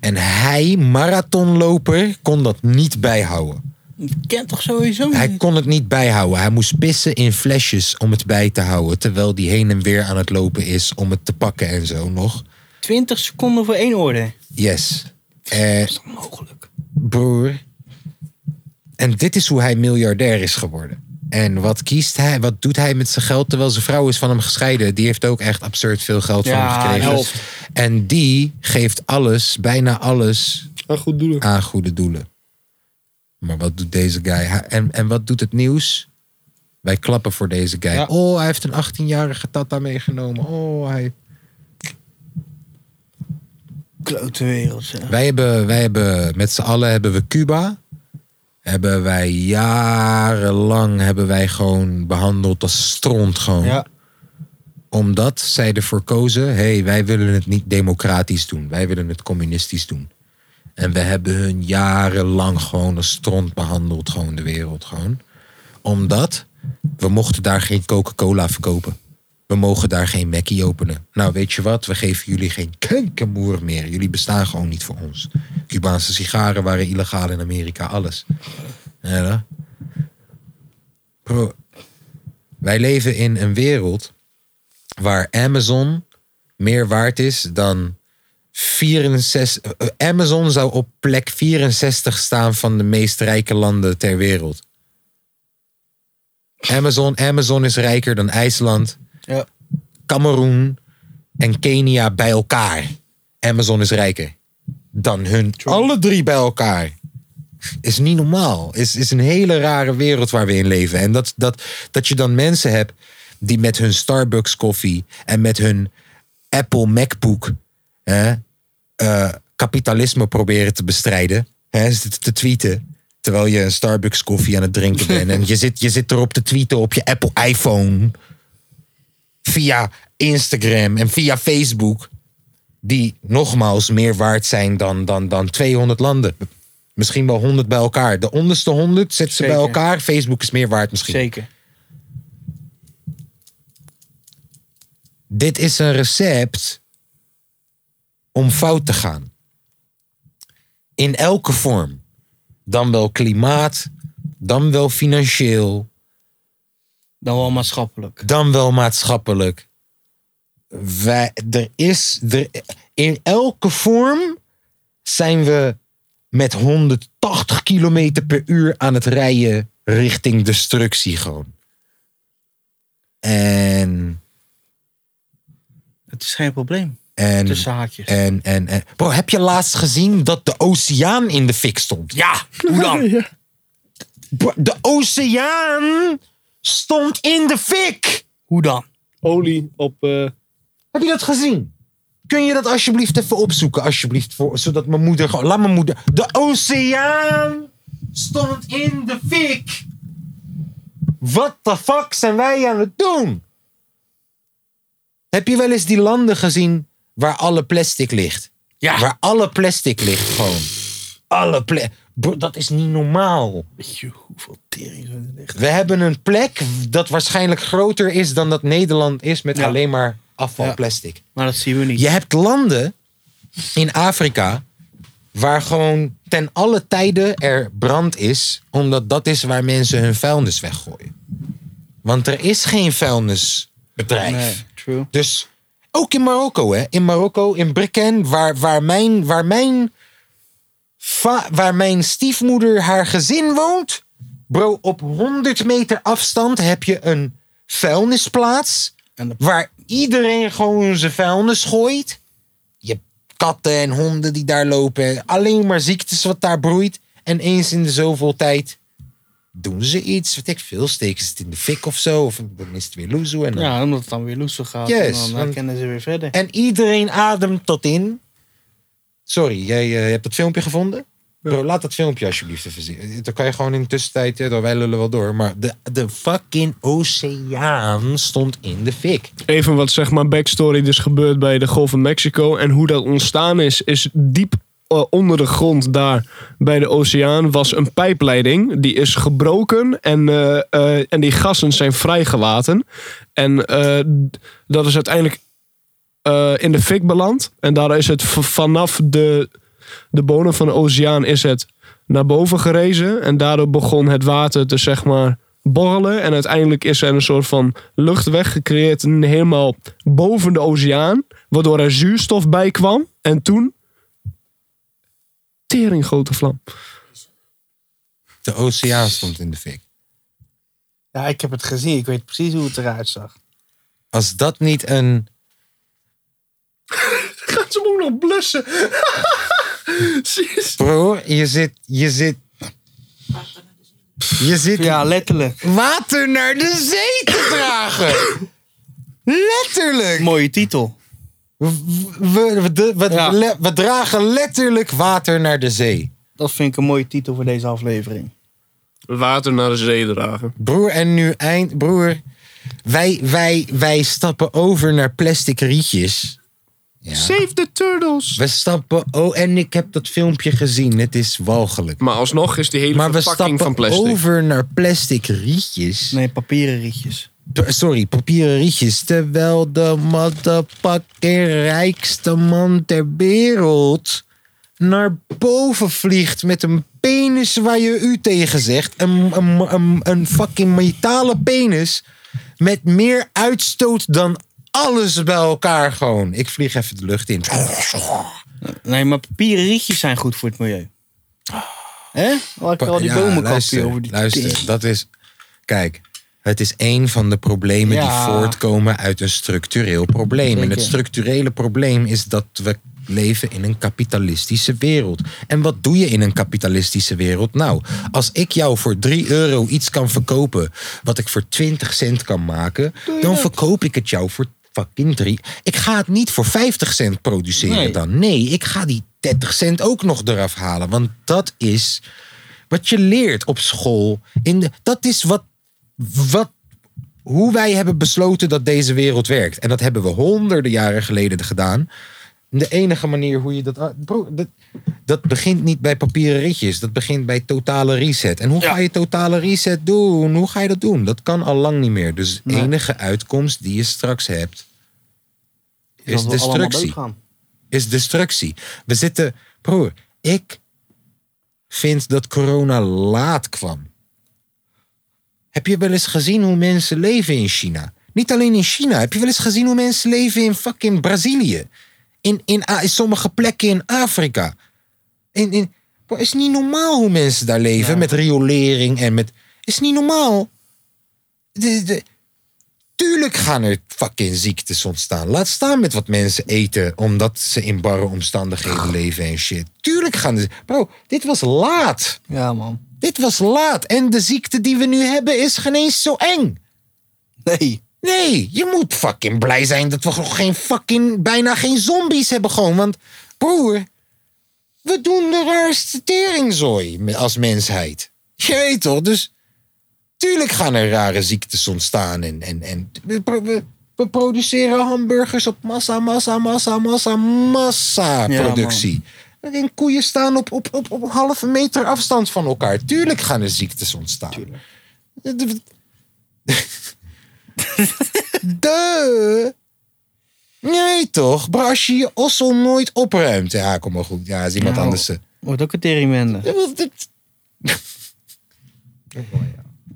Speaker 1: En hij, marathonloper, kon dat niet bijhouden.
Speaker 2: Je kent toch sowieso niet?
Speaker 1: Hij kon het niet bijhouden. Hij moest pissen in flesjes om het bij te houden. Terwijl hij heen en weer aan het lopen is om het te pakken en zo nog.
Speaker 2: 20 seconden voor één orde.
Speaker 1: Yes. Eh,
Speaker 2: Mogelijk.
Speaker 1: broer. En dit is hoe hij miljardair is geworden. En wat kiest hij? Wat doet hij met zijn geld? Terwijl zijn vrouw is van hem gescheiden. Die heeft ook echt absurd veel geld van hem
Speaker 2: Ja,
Speaker 1: gekregen.
Speaker 2: helft.
Speaker 1: En die geeft alles, bijna alles,
Speaker 7: Een goed doelen.
Speaker 1: aan goede doelen. Maar wat doet deze guy? Hij- En, en wat doet het nieuws? Wij klappen voor deze guy.
Speaker 2: Ja.
Speaker 1: Oh, hij heeft een 18-jarige tata meegenomen. Oh, hij...
Speaker 2: Klote wereld, zeg.
Speaker 1: Wij hebben, wij hebben met z'n allen hebben we Cuba. Hebben wij jarenlang hebben wij gewoon behandeld als stront gewoon.
Speaker 2: Ja.
Speaker 1: Omdat zij ervoor kozen, hé, hey, wij willen het niet democratisch doen. Wij willen het communistisch doen. En we hebben hun jarenlang gewoon als stront behandeld, gewoon de wereld gewoon. Omdat we mochten daar geen Coca-Cola verkopen. We mogen daar geen Mackie openen. Nou, weet je wat? We geven jullie geen kankermoer meer. Jullie bestaan gewoon niet voor ons. Cubaanse sigaren waren illegaal in Amerika, alles. Ja, hè? Bro, wij leven in een wereld waar Amazon meer waard is dan 64. eh, eh, Amazon zou op plek 64 staan van de meest rijke landen ter wereld. Amazon, Amazon is rijker dan IJsland,
Speaker 2: Ja.
Speaker 1: Cameroen en Kenia bij elkaar. Amazon is rijker dan hun. Alle drie bij elkaar. Is niet normaal. Is, is een hele rare wereld waar we in leven. En dat, dat, dat je dan mensen hebt die met hun Starbucks koffie en met hun Apple MacBook hè, eh, kapitalisme proberen te bestrijden. Hè, ze te- te tweeten. Terwijl je een Starbucks koffie aan het drinken bent. En je zit, je zit erop te tweeten op je Apple iPhone. Via Instagram en via Facebook. Die nogmaals meer waard zijn dan, dan, dan 200 landen. Misschien wel 100 bij elkaar. De onderste 100 zet ze bij
Speaker 2: Zeker.
Speaker 1: elkaar. Facebook is meer waard misschien.
Speaker 2: Zeker.
Speaker 1: Dit is een recept om fout te gaan. In elke vorm. Dan wel klimaat, dan wel financieel,
Speaker 2: Dan wel maatschappelijk.
Speaker 1: dan wel maatschappelijk. Wij, er is, er, in elke vorm zijn we met 180 km per uur aan het rijden richting destructie gewoon. En,
Speaker 2: Het is geen probleem.
Speaker 1: en
Speaker 2: Tussen haakjes.
Speaker 1: En, en, en. Bro, heb je laatst gezien dat de oceaan in de fik stond? Ja, hoe dan? Bro, de oceaan stond in de fik!
Speaker 2: Hoe dan?
Speaker 7: Olie op... eh,
Speaker 1: Heb je dat gezien? Kun je dat alsjeblieft even opzoeken, alsjeblieft, voor, zodat mijn moeder gewoon... Laat mijn moeder... De oceaan stond in de fik! What the fuck zijn wij aan het doen? Heb je wel eens die landen gezien waar alle plastic ligt?
Speaker 2: Ja.
Speaker 1: Waar alle plastic ligt gewoon. Alle plastic. Dat is niet normaal.
Speaker 2: Weet je hoeveel tering er ligt?
Speaker 1: We hebben een plek dat waarschijnlijk groter is dan dat Nederland is met
Speaker 2: Ja.
Speaker 1: alleen maar afvalplastic.
Speaker 2: Maar dat zien we niet.
Speaker 1: Je hebt landen in Afrika waar gewoon ten alle tijden er brand is, omdat dat is waar mensen hun vuilnis weggooien. Want er is geen vuilnisbedrijf.
Speaker 2: Nee, true.
Speaker 1: Dus ook in Marokko, hè? In Marokko, in Brikken, waar, waar mijn. Waar mijn va- waar mijn stiefmoeder haar gezin woont. Bro, op 100 meter afstand heb je een vuilnisplaats.
Speaker 2: En de-
Speaker 1: Waar iedereen gewoon zijn vuilnis gooit. Je hebt katten en honden die daar lopen. Alleen maar ziektes wat daar broeit. En eens in de zoveel tijd doen ze iets. Weet ik veel, steken ze het in de fik of zo. Of dan is het weer loezoe. En dan
Speaker 2: Ja, omdat het dan weer loesel gaat.
Speaker 1: Yes,
Speaker 2: en dan
Speaker 1: want-
Speaker 2: kennen ze weer verder.
Speaker 1: en iedereen ademt tot in. Sorry, jij eh, hebt dat filmpje gevonden? Bro, laat dat filmpje alsjeblieft even zien. Dan kan je gewoon in de tussentijd, eh, dan wij lullen wel door. Maar de, de fucking oceaan stond in de fik.
Speaker 7: Even wat zeg maar backstory dus gebeurt bij de Golf van Mexico. En hoe dat ontstaan is, is diep eh, onder de grond daar bij de oceaan was een pijpleiding. Die is gebroken en, eh, eh, en die gassen zijn vrijgelaten. En eh, d- dat is uiteindelijk eh, in de fik beland. En daar is het v- vanaf de, de bodem van de oceaan is het naar boven gerezen. En daardoor begon het water te zeg maar borrelen. En uiteindelijk is er een soort van luchtweg gecreëerd en helemaal boven de oceaan. Waardoor er zuurstof bij kwam. En toen... Tering grote vlam.
Speaker 1: De oceaan stond in de fik.
Speaker 2: Ja, ik heb het gezien. Ik weet precies hoe het eruit zag.
Speaker 1: Als dat niet een.
Speaker 3: Gaat ze hem ook nog blussen? Precies.
Speaker 1: Broer, je zit. Je zit. Je zit
Speaker 2: Ja, letterlijk.
Speaker 1: water naar de zee te dragen. Letterlijk.
Speaker 2: Mooie titel.
Speaker 1: We, we, we- we-
Speaker 2: Ja.
Speaker 1: le- we dragen letterlijk water naar de zee.
Speaker 2: Dat vind ik een mooie titel voor deze aflevering.
Speaker 7: Water naar de zee dragen.
Speaker 1: Broer, en nu eind. Broer, wij, wij, wij stappen over naar plastic rietjes. Ja.
Speaker 7: Save the turtles.
Speaker 1: We stappen. Oh, en ik heb dat filmpje gezien. Het is walgelijk.
Speaker 7: Maar alsnog is die hele
Speaker 1: Maar we
Speaker 7: verpakking van
Speaker 1: stappen
Speaker 7: plastic.
Speaker 1: over naar plastic rietjes.
Speaker 2: Nee, papieren rietjes.
Speaker 1: P- Sorry, papieren rietjes. Terwijl de motherfucking rijkste man ter wereld naar boven vliegt met een penis waar je u tegen zegt. Een, een, een, een fucking metalen penis met meer uitstoot dan alles bij elkaar gewoon. Ik vlieg even de lucht in.
Speaker 2: Oh, Nee, maar papieren rietjes zijn goed voor het milieu. Hè? Laat ik al die
Speaker 1: Ja,
Speaker 2: bomen
Speaker 1: luister,
Speaker 2: kappen over die
Speaker 1: Luister,
Speaker 2: tering.
Speaker 1: dat is... Kijk, het is één van de problemen
Speaker 2: Ja.
Speaker 1: die voortkomen uit een structureel probleem. En
Speaker 2: Zeker.
Speaker 1: het structurele probleem is dat we leven in een kapitalistische wereld. En wat doe je in een kapitalistische wereld? Nou, als ik jou voor 3 euro iets kan verkopen... wat ik voor 20 cent kan maken... dan verkoop ik het jou voor fucking 3... Ik ga het niet voor 50 cent produceren
Speaker 2: Nee.
Speaker 1: dan. Nee, ik ga die 30 cent ook nog eraf halen. Want dat is wat je leert op school. In de, dat is wat, wat, hoe wij hebben besloten dat deze wereld werkt. En dat hebben we honderden jaren geleden gedaan. De enige manier hoe je dat. Ah, Bro, dat, dat begint niet bij papieren ritjes. Dat begint bij totale reset. En hoe ga je totale reset doen? Hoe ga je dat doen? Dat kan al lang niet meer. Dus de enige uitkomst die je straks hebt.
Speaker 2: Dat
Speaker 1: is
Speaker 2: we allemaal
Speaker 1: destructie
Speaker 2: doodgaan.
Speaker 1: is destructie. We zitten, broer, ik vind dat corona laat kwam. Heb je wel eens gezien hoe mensen leven in China? Niet alleen in China, heb je wel eens gezien hoe mensen leven in fucking Brazilië? In, in, A- in sommige plekken in Afrika. In, in, broer, is niet normaal hoe mensen daar leven met riolering en met. Is niet normaal. De, de, Tuurlijk gaan er fucking ziektes ontstaan. Laat staan met wat mensen eten omdat ze in barre omstandigheden leven en shit. Tuurlijk gaan er. Bro, dit was laat.
Speaker 2: Ja, man.
Speaker 1: Dit was laat. En de ziekte die we nu hebben is geen eens zo eng.
Speaker 2: Nee.
Speaker 1: Nee, je moet fucking blij zijn dat we gewoon geen fucking, bijna geen zombies hebben gewoon. Want broer, we doen de raarste teringzooi me- als mensheid. Je weet toch, dus tuurlijk gaan er rare ziektes ontstaan. En, en, en we, pro- we, we produceren hamburgers op massa, massa, massa, massa, massa
Speaker 2: Ja, man.
Speaker 1: productie. en koeien staan op, op, op, op een halve meter afstand van elkaar. Tuurlijk gaan er ziektes ontstaan. Duh. Nee toch, bro, als je je ossel nooit opruimt. Ja, kom maar goed. Ja, is iemand
Speaker 2: Nou.
Speaker 1: anders. eh.
Speaker 2: Wordt ook een teringwende.
Speaker 1: Ja, wat- dit-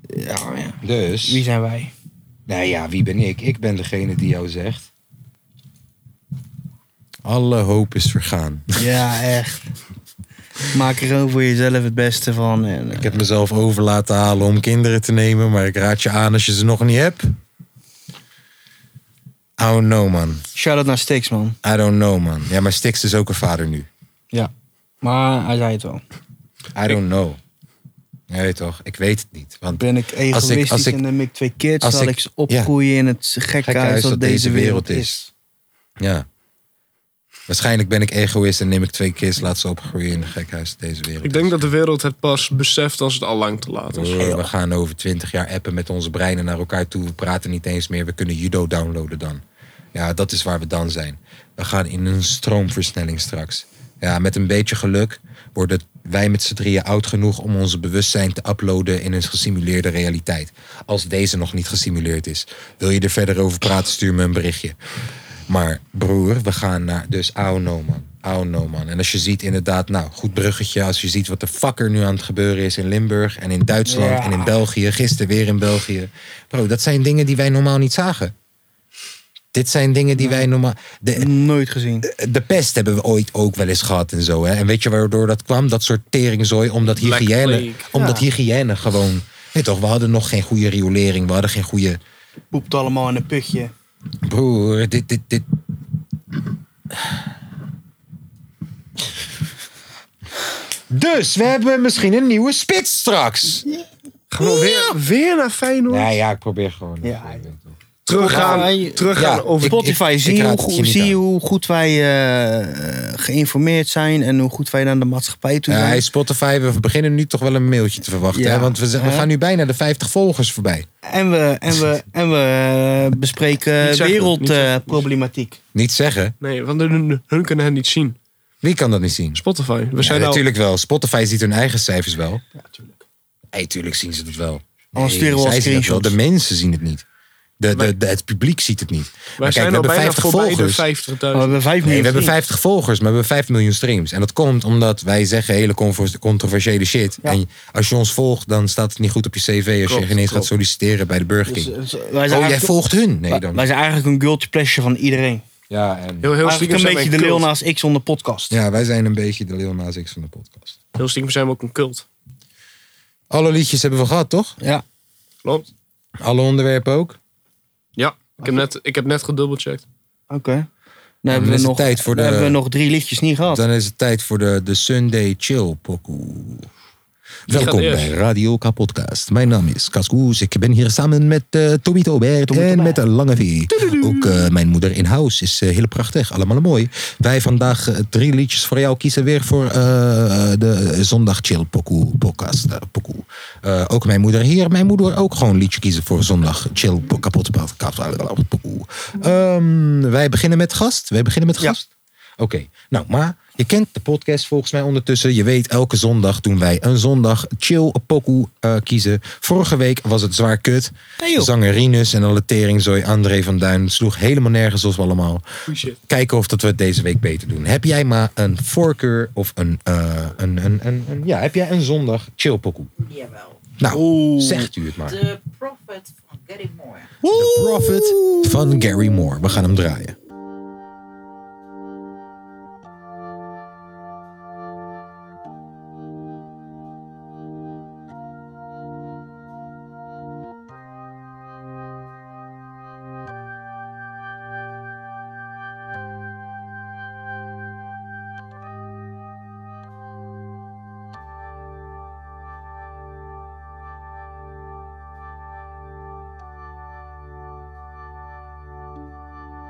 Speaker 2: Ja, ja. Wie
Speaker 1: Dus,
Speaker 2: zijn wij?
Speaker 1: nou ja, wie ben ik? Ik ben degene die jou zegt. Alle hoop is vergaan.
Speaker 2: Ja, echt. Maak er gewoon voor jezelf het beste van. En, eh,
Speaker 1: Ik heb mezelf over laten halen om kinderen te nemen, maar ik raad je aan als je ze nog niet hebt. I don't know, man.
Speaker 2: Shout-out naar Stix, man.
Speaker 1: I don't know, man. Ja, maar Stix is ook een vader nu.
Speaker 2: Maar hij zei het wel.
Speaker 1: I don't know. Nee, toch? Ik weet het niet. Want
Speaker 2: Ben ik egoïstisch
Speaker 1: Als ik- als ik-
Speaker 2: en neem ik twee kids,
Speaker 1: als
Speaker 2: zal
Speaker 1: ik-
Speaker 2: ik ze opgroeien in het gekke
Speaker 1: Gekke
Speaker 2: huis dat deze wereld is.
Speaker 1: Ja. Waarschijnlijk ben ik egoïst en neem ik twee kids, laat ze opgroeien in een gekhuis deze wereld.
Speaker 7: Ik denk dat de wereld het pas beseft als het al lang te laat is.
Speaker 1: Broer, we gaan over twintig jaar appen met onze breinen naar elkaar toe. We praten niet eens meer. We kunnen judo downloaden dan. Ja, dat is waar we dan zijn. We gaan in een stroomversnelling straks. Ja, met een beetje geluk worden wij met z'n drieën oud genoeg om onze bewustzijn te uploaden in een gesimuleerde realiteit. Als deze nog niet gesimuleerd is. Wil je er verder over praten, stuur me een berichtje. Maar broer, we gaan naar. Dus au no man. Au no man. En als je ziet inderdaad, nou goed bruggetje. Als je ziet wat de fuck er nu aan het gebeuren is in Limburg en in Duitsland en in België. Gisteren weer in België. Bro, dat zijn dingen die wij normaal niet zagen. Dit zijn dingen die wij normaal... De,
Speaker 2: Nooit gezien.
Speaker 1: de pest hebben we ooit ook wel eens gehad en zo. Hè? En weet je waardoor dat kwam? Dat soort teringzooi, omdat
Speaker 7: Black
Speaker 1: hygiëne,
Speaker 7: plague.
Speaker 1: omdat hygiëne gewoon... Weet toch, we hadden nog geen goede riolering, we hadden geen goede...
Speaker 2: Poept allemaal in een putje.
Speaker 1: Broer, dit, dit, dit... Dus, we hebben misschien een nieuwe spits straks.
Speaker 3: Gewoon weer, weer naar Feyenoord.
Speaker 1: Ja, ja, ik probeer gewoon.
Speaker 2: Ja,
Speaker 3: Teruggaan,
Speaker 2: Ja,
Speaker 3: teruggaan
Speaker 1: ja,
Speaker 3: over...
Speaker 1: ik-
Speaker 2: Spotify, zie,
Speaker 1: raad
Speaker 2: je
Speaker 1: het
Speaker 2: Dus hoe,
Speaker 1: je
Speaker 2: goed-
Speaker 1: niet
Speaker 2: zie je
Speaker 1: aan.
Speaker 2: hoe goed wij eh, eh, geïnformeerd zijn en hoe goed wij naar de maatschappij toe
Speaker 1: Ja,
Speaker 2: zijn.
Speaker 1: hey, Spotify, we beginnen nu toch wel een mailtje te verwachten.
Speaker 2: Ja.
Speaker 1: Hè? Want we, zijn- we
Speaker 2: Hè?
Speaker 1: gaan nu bijna de 50 volgers voorbij.
Speaker 2: En we, en we, en we eh, bespreken
Speaker 3: Niet zeggen, niet zeggen.
Speaker 2: wereldproblematiek.
Speaker 1: Niet zeggen.
Speaker 3: Nee, want hun, hun kunnen het niet zien.
Speaker 1: Wie kan dat niet zien?
Speaker 3: Spotify. We
Speaker 1: Ja,
Speaker 3: zijn al...
Speaker 1: natuurlijk wel. Spotify ziet hun eigen cijfers wel.
Speaker 3: Ja, tuurlijk.
Speaker 1: Hey, tuurlijk zien ze het wel.
Speaker 2: Anders
Speaker 1: Nee,
Speaker 2: sturen we al
Speaker 1: zij zien het wel.
Speaker 2: screenshots.
Speaker 1: De mensen zien het niet. De, de, de- het publiek ziet het niet. Maar
Speaker 3: Wij
Speaker 1: kijk, we
Speaker 3: zijn al
Speaker 1: hebben
Speaker 3: bijna
Speaker 1: 50
Speaker 3: voorbij
Speaker 1: volgers.
Speaker 3: de
Speaker 2: Oh, we
Speaker 3: 50.000.
Speaker 2: hebben 5
Speaker 1: Nee,
Speaker 2: miljoen.
Speaker 1: we hebben
Speaker 2: vrienden.
Speaker 1: 50 volgers, maar we hebben 5 miljoen streams. En dat komt omdat wij zeggen hele convo- controversiële shit. En als je ons volgt, dan staat het niet goed op je cv als je
Speaker 3: Klopt,
Speaker 1: ineens gaat
Speaker 3: klopt.
Speaker 1: solliciteren bij de Burger King.
Speaker 2: Dus, eh, wij zijn
Speaker 1: oh, jij
Speaker 2: eigenlijk-
Speaker 1: volgt hun? Nee,
Speaker 2: wij-
Speaker 1: dan.
Speaker 2: Wij zijn eigenlijk een guilty pleasure van iedereen.
Speaker 1: Ja, en...
Speaker 3: Heel, heel
Speaker 2: Eigenlijk
Speaker 3: stiekem
Speaker 2: een
Speaker 3: zijn we
Speaker 2: beetje de
Speaker 3: een
Speaker 2: Lil
Speaker 3: cult.
Speaker 2: Nas X onder podcast.
Speaker 1: ja, wij zijn een beetje de Lil Nas X van de podcast.
Speaker 3: Heel stiekem zijn we ook een cult.
Speaker 1: Alle liedjes hebben we gehad, toch?
Speaker 2: Ja.
Speaker 3: Klopt.
Speaker 1: Alle onderwerpen ook?
Speaker 3: Ja, ik heb net, ik heb net gedubbelcheckt.
Speaker 2: Oké. Dan hebben
Speaker 1: dan
Speaker 2: we,
Speaker 1: is het
Speaker 2: nog,
Speaker 1: tijd voor
Speaker 2: dan
Speaker 1: de-
Speaker 2: hebben we nog drie liedjes niet gehad.
Speaker 1: Dan is het tijd voor de, de Sunday Chill pokoe. Welkom
Speaker 3: eerst?
Speaker 1: bij Radio Kapodcast. Mijn naam is Kaskoes. Ik ben hier samen met eh Tommy Tober en met de Lange V. Ook eh, mijn moeder in huis is eh, heel prachtig. Allemaal mooi. Wij vandaag eh, drie liedjes voor jou kiezen weer voor eh, de Zondag Chill pokoe podcast. eh, pokoe. Eh, ook mijn moeder hier. Mijn moeder ook gewoon een liedje kiezen voor Zondag Chill po- kapot podcast. pokoe. Ehm, wij beginnen met gast. Wij beginnen met gast. Oké, nou, maar je kent de podcast volgens mij ondertussen. Je weet, elke zondag doen wij een zondag chill pokoe eh, kiezen. Vorige week was het zwaar kut.
Speaker 2: joh.
Speaker 1: Zanger Rinus en alle teringzooi André van Duin sloeg helemaal nergens op allemaal. Kijken of dat we het deze week beter doen. Heb jij maar een voorkeur of een, eh, een, een, een, een- ja, heb jij een zondag chill pokoe?
Speaker 5: Jawel.
Speaker 1: Nou, zegt u het maar.
Speaker 5: De Prophet van Gary Moore.
Speaker 1: The Prophet van Gary Moore. We gaan hem draaien.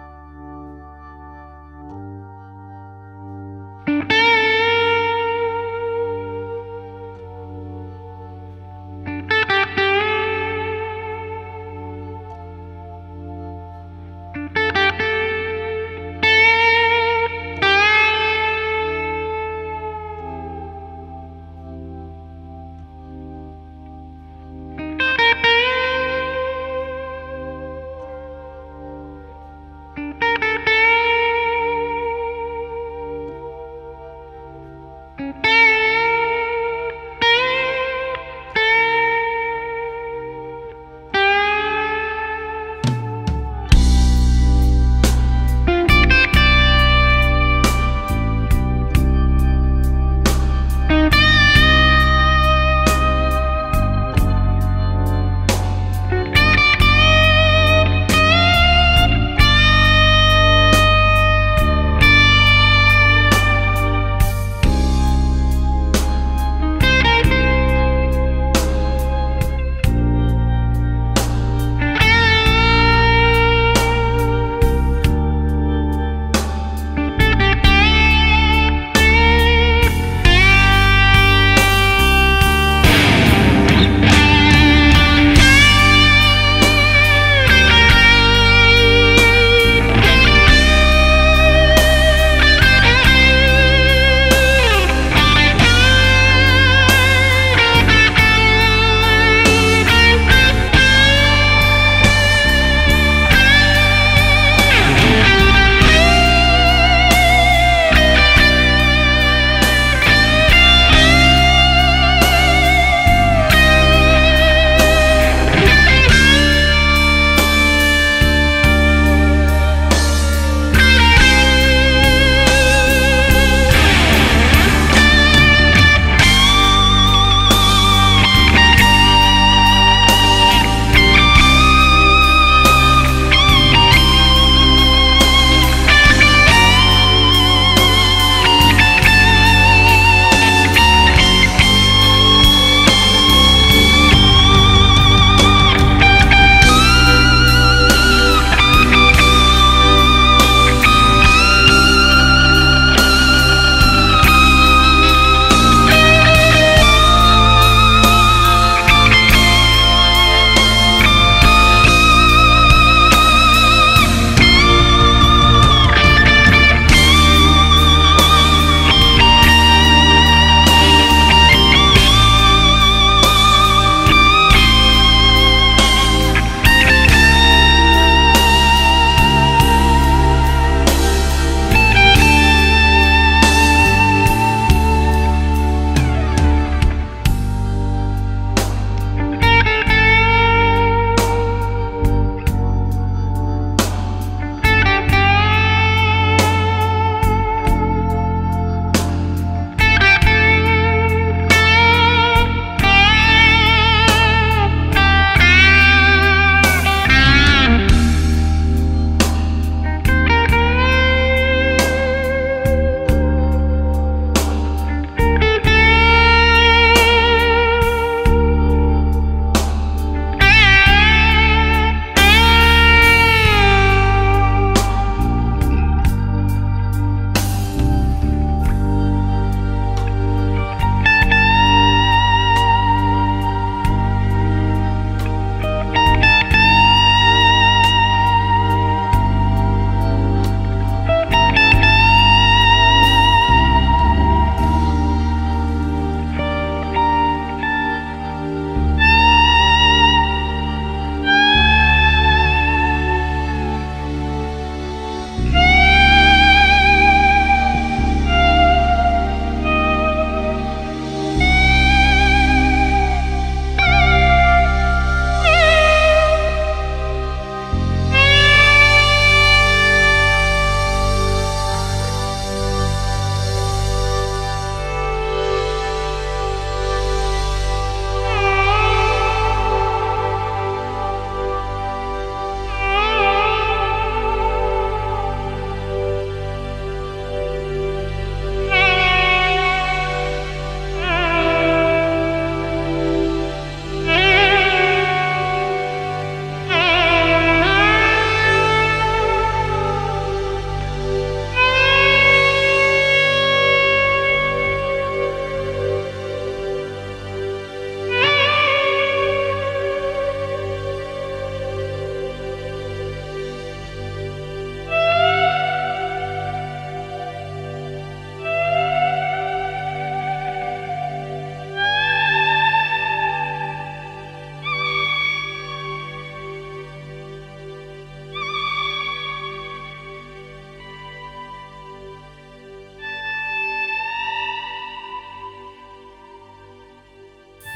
Speaker 12: Thank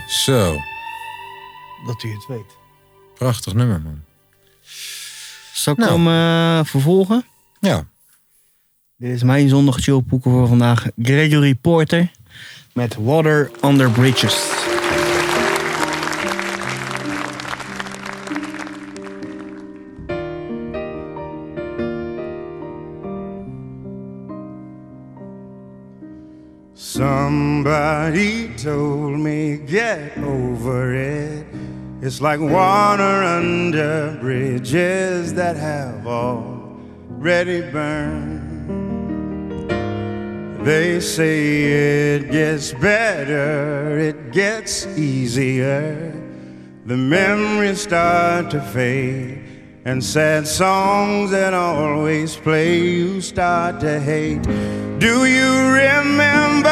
Speaker 1: Zo.
Speaker 13: Dat u het weet.
Speaker 1: Prachtig nummer, man.
Speaker 14: Zal ik
Speaker 15: Nou.
Speaker 14: hem eh, vervolgen?
Speaker 15: Ja.
Speaker 14: Dit is mijn zondag chillpoeken voor vandaag. Gregory Porter met Water Under Bridges.
Speaker 2: Somebody told me get over it. It's like water under bridges that have already burned. They say it gets better, it gets easier. The memories start to fade, and sad songs that always play, you start to hate. Do you remember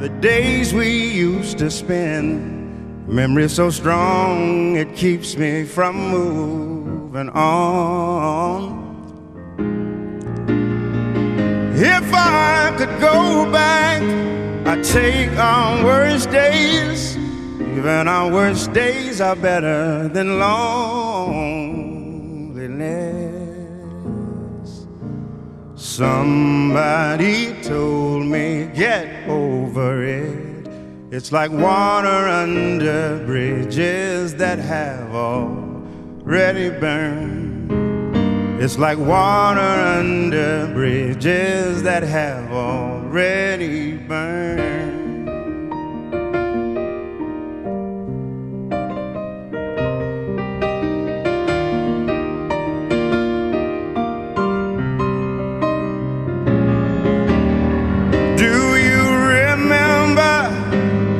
Speaker 2: the days we used to spend? Memory so strong, it keeps me from moving on. If I could go back, I'd take our worst days. Even our worst days are better than loneliness. Somebody told me, get over it. It's like water under bridges that have already burned. It's like water under bridges that have already burned. Do you remember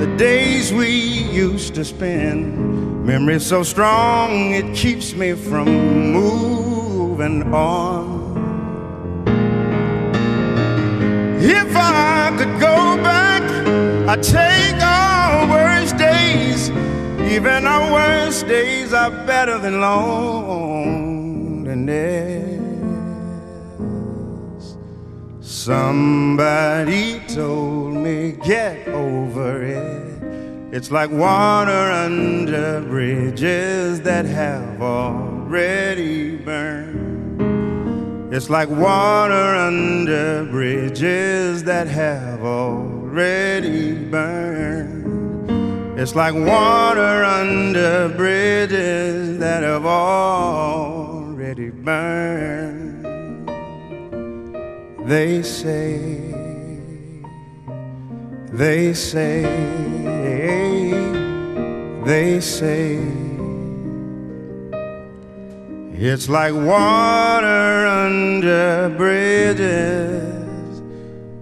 Speaker 2: the days we used to spend? Memory so strong it keeps me from moving on. If I could go back, I'd take our worst days. Even our worst days are better than loneliness. Somebody told me, get over it. It's like water under bridges that have already burned. It's like water under bridges that have already burned. It's like water under bridges that have already burned. They say, they say, they say, it's like water under bridges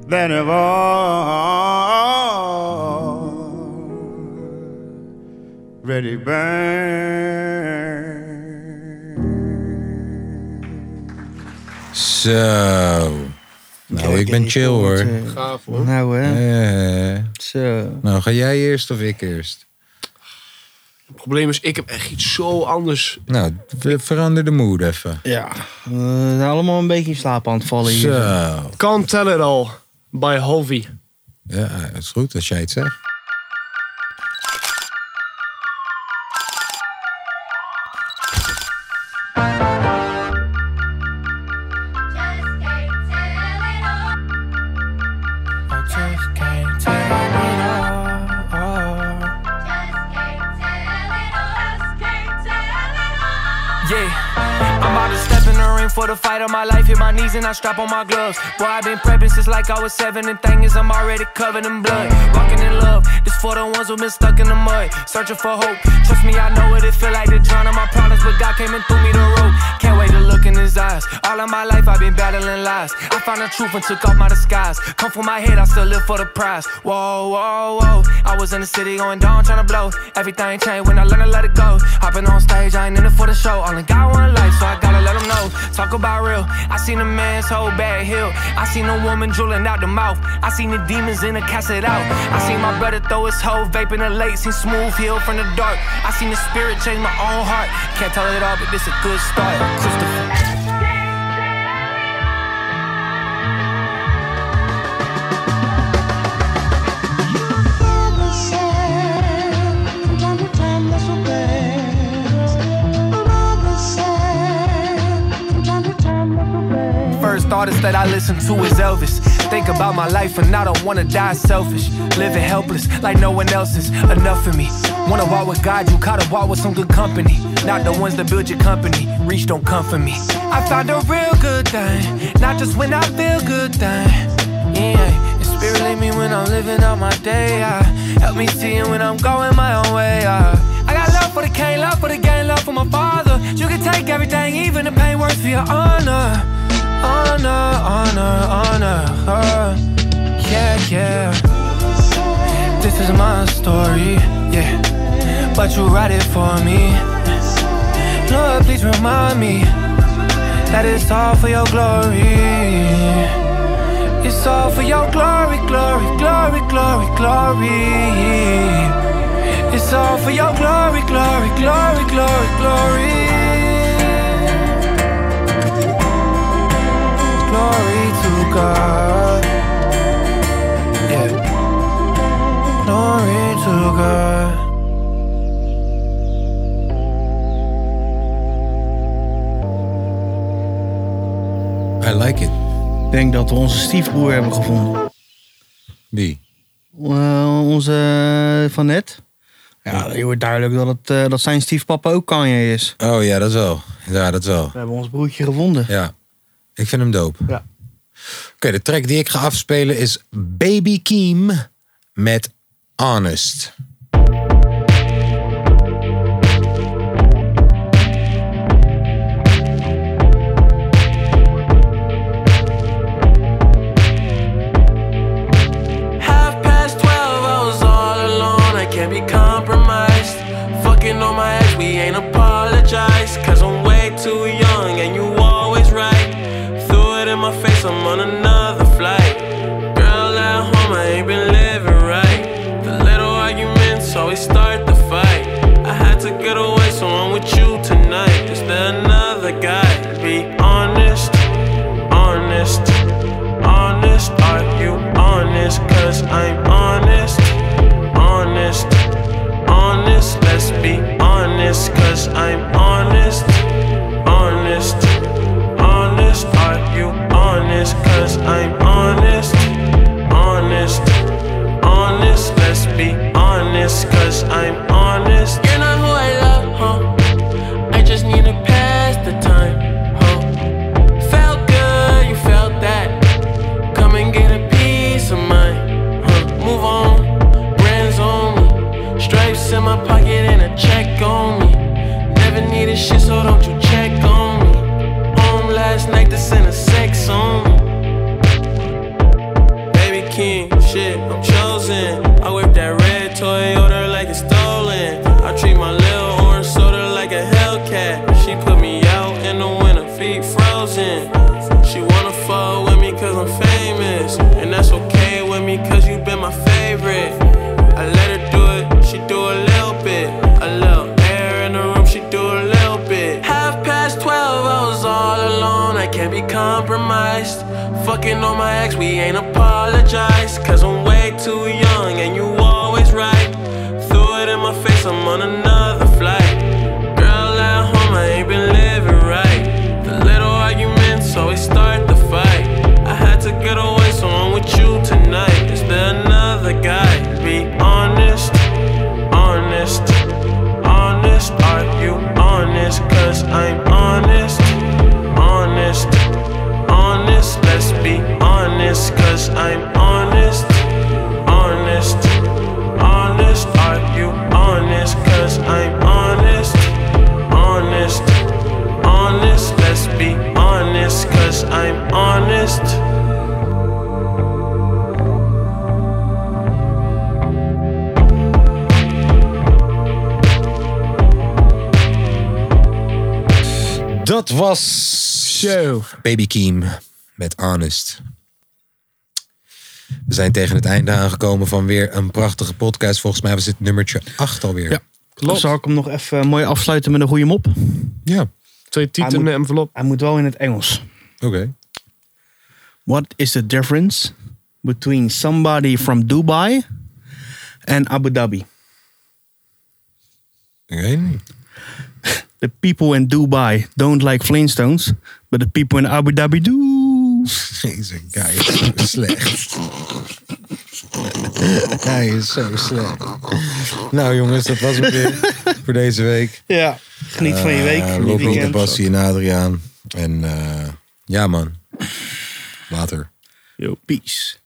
Speaker 2: that have already burned.
Speaker 1: Zo. Nou, ik ben chill hoor.
Speaker 2: eh,
Speaker 3: Gaaf hoor.
Speaker 14: Nou hè,
Speaker 1: Eh,
Speaker 14: zo.
Speaker 1: nou, ga jij eerst of ik eerst?
Speaker 3: Het probleem is, ik heb echt iets zo anders.
Speaker 1: Nou, we- verander de mood even.
Speaker 14: Ja. We zijn allemaal een beetje in slaap aan het vallen hier.
Speaker 1: Zo.
Speaker 3: Can't tell it all. By Halvey.
Speaker 1: Ja, het is goed als jij het zegt.
Speaker 16: Ah, Yeah, I'm about to step in the ring for the fight of my life. Hit my knees and I strap on my gloves. Boy, I've been prepping since like I was seven. And thing is, I'm already covered in blood. Walking in love, this for the ones who've been stuck in the mud. Searching for hope. Trust me, I know what it feel like to drown in my problems. But God came and threw me the rope. Can't wait to look in his eyes. All of my life, I've been battling lies. I found the truth and took off my disguise. Come from my head, I still live for the prize. Whoa, whoa, whoa. I was in the city going down, trying to blow. Everything changed when I learned to let it go. Hopping on stage, I ain't in it for the show. Only got one life, so I gotta let them know. Talk about real. I seen a man's whole bad heel. I seen a woman drooling out the mouth. I seen the demons in the casket out. I seen my brother throw his whole vape in the lake. Seen smooth heel from the dark. I seen the spirit change my own heart. Can't tell it all, but this a good start. Christopher.
Speaker 17: Never said
Speaker 16: that I listen to is Elvis. Think about my life and I don't wanna die selfish. Living helpless like no one else is enough for me. Wanna walk with God, you gotta walk with some good company. Not the ones that build your company. Reach don't come for me. I found a real good thing, not just when I feel good thing. Yeah, and spirit lead me when I'm living out my day. ah. help me see it when I'm going my own way. ah. I got love for the king, love for the game, love for my father. You can take everything, even the pain works for your honor. Honor, honor, honor. uh, yeah, yeah. This is my story, yeah. But you write it for me. Lord, please remind me that it's all for your glory. It's all for your glory, glory, glory, glory, glory. It's all for your glory, glory, glory, glory, glory. Glory to God. Yeah. Glory to God.
Speaker 18: I like it.
Speaker 2: Ik denk dat we onze stiefbroer hebben gevonden. Eh,
Speaker 18: Wie?
Speaker 2: onze eh, van net. Ja, je wordt duidelijk dat, het, eh, dat zijn stiefpapa ook Kanye is.
Speaker 18: Oh ja, dat wel. Ja, dat wel.
Speaker 2: We hebben ons broertje gevonden.
Speaker 18: Ja. Ik vind hem dope.
Speaker 2: Ja.
Speaker 18: Oké, de track die ik ga afspelen is Baby Keem met Honest.
Speaker 16: Half past 12, I was all alone, I can't be compromised. Fucking on my ex, we ain't apologize. Cause I'm way too young and you always right. Threw it in my face, I'm on another flight. Girl at home, I ain't been living right. The little arguments always start the fight. I had to get away, so I'm with you tonight. Is there another guy? Be honest, honest honest? Are you honest? Cause I'm honest, honest, honest. Let's be honest, cause I'm honest, honest, honest. Are you honest? Cause I'm honest, honest, honest. Let's be honest, cause I'm honest. You're not who I love, huh? I just need to pass the time, huh? Felt good, you felt that. Come and get a piece of mine. Huh. Move on, brands on me. Stripes in my pocket and a check on me. Never needed shit, so don't you check on me. Home last night to send a sex on me. Baby King, shit, I'm chosen. I whip that red Toyota like it's stolen. I treat my little orange soda like a Hellcat. She put me out in the winter, feet frozen. She wanna fall with me cause I'm famous. And that's okay with me cause you been my favorite. I let her do it, she do a little bit. A little air in the room, she do a little bit. Half past 12, I was all alone, I can't be compromised. Fucking on my ex, we ain't apologize. Cause I'm way too young and you always right. Threw it in my face, I'm on another flight. Girl at home, I ain't been living right. The little arguments always start the fight. I had to get away, so I'm with you tonight. Is there another guy? Be honest, honest, honest. Are you honest? Cause I'm honest, honest, honest. Let's be honest, cause I'm honest, honest, honest. Are you honest? Cause I'm honest, honest honest. Let's be honest, cause I'm honest.
Speaker 18: Dat was Baby Keem met Honest. We zijn tegen het einde aangekomen van weer een prachtige podcast. Volgens mij was dit nummertje 8 alweer. Ja,
Speaker 2: Dan Dus Zal ik hem nog even mooi afsluiten met een goede mop?
Speaker 18: Ja.
Speaker 2: Twee
Speaker 18: tieten
Speaker 2: en
Speaker 18: en
Speaker 2: envelop. Hij moet wel in het Engels.
Speaker 18: Oké.
Speaker 2: What is the difference between somebody from Dubai and Abu Dhabi?
Speaker 18: Ik weet niet.
Speaker 2: The people in Dubai don't like Flintstones, but the people in Abu Dhabi do.
Speaker 1: Deze guy is zo slecht. Hij is zo slecht. Nou jongens, dat was het weer voor deze week.
Speaker 2: Ja, geniet van je week,
Speaker 1: Eh,
Speaker 2: van je
Speaker 1: Rob, Rob,
Speaker 2: weekend.
Speaker 1: Bassie en Adriaan. En eh, ja man, later.
Speaker 2: Yo, peace.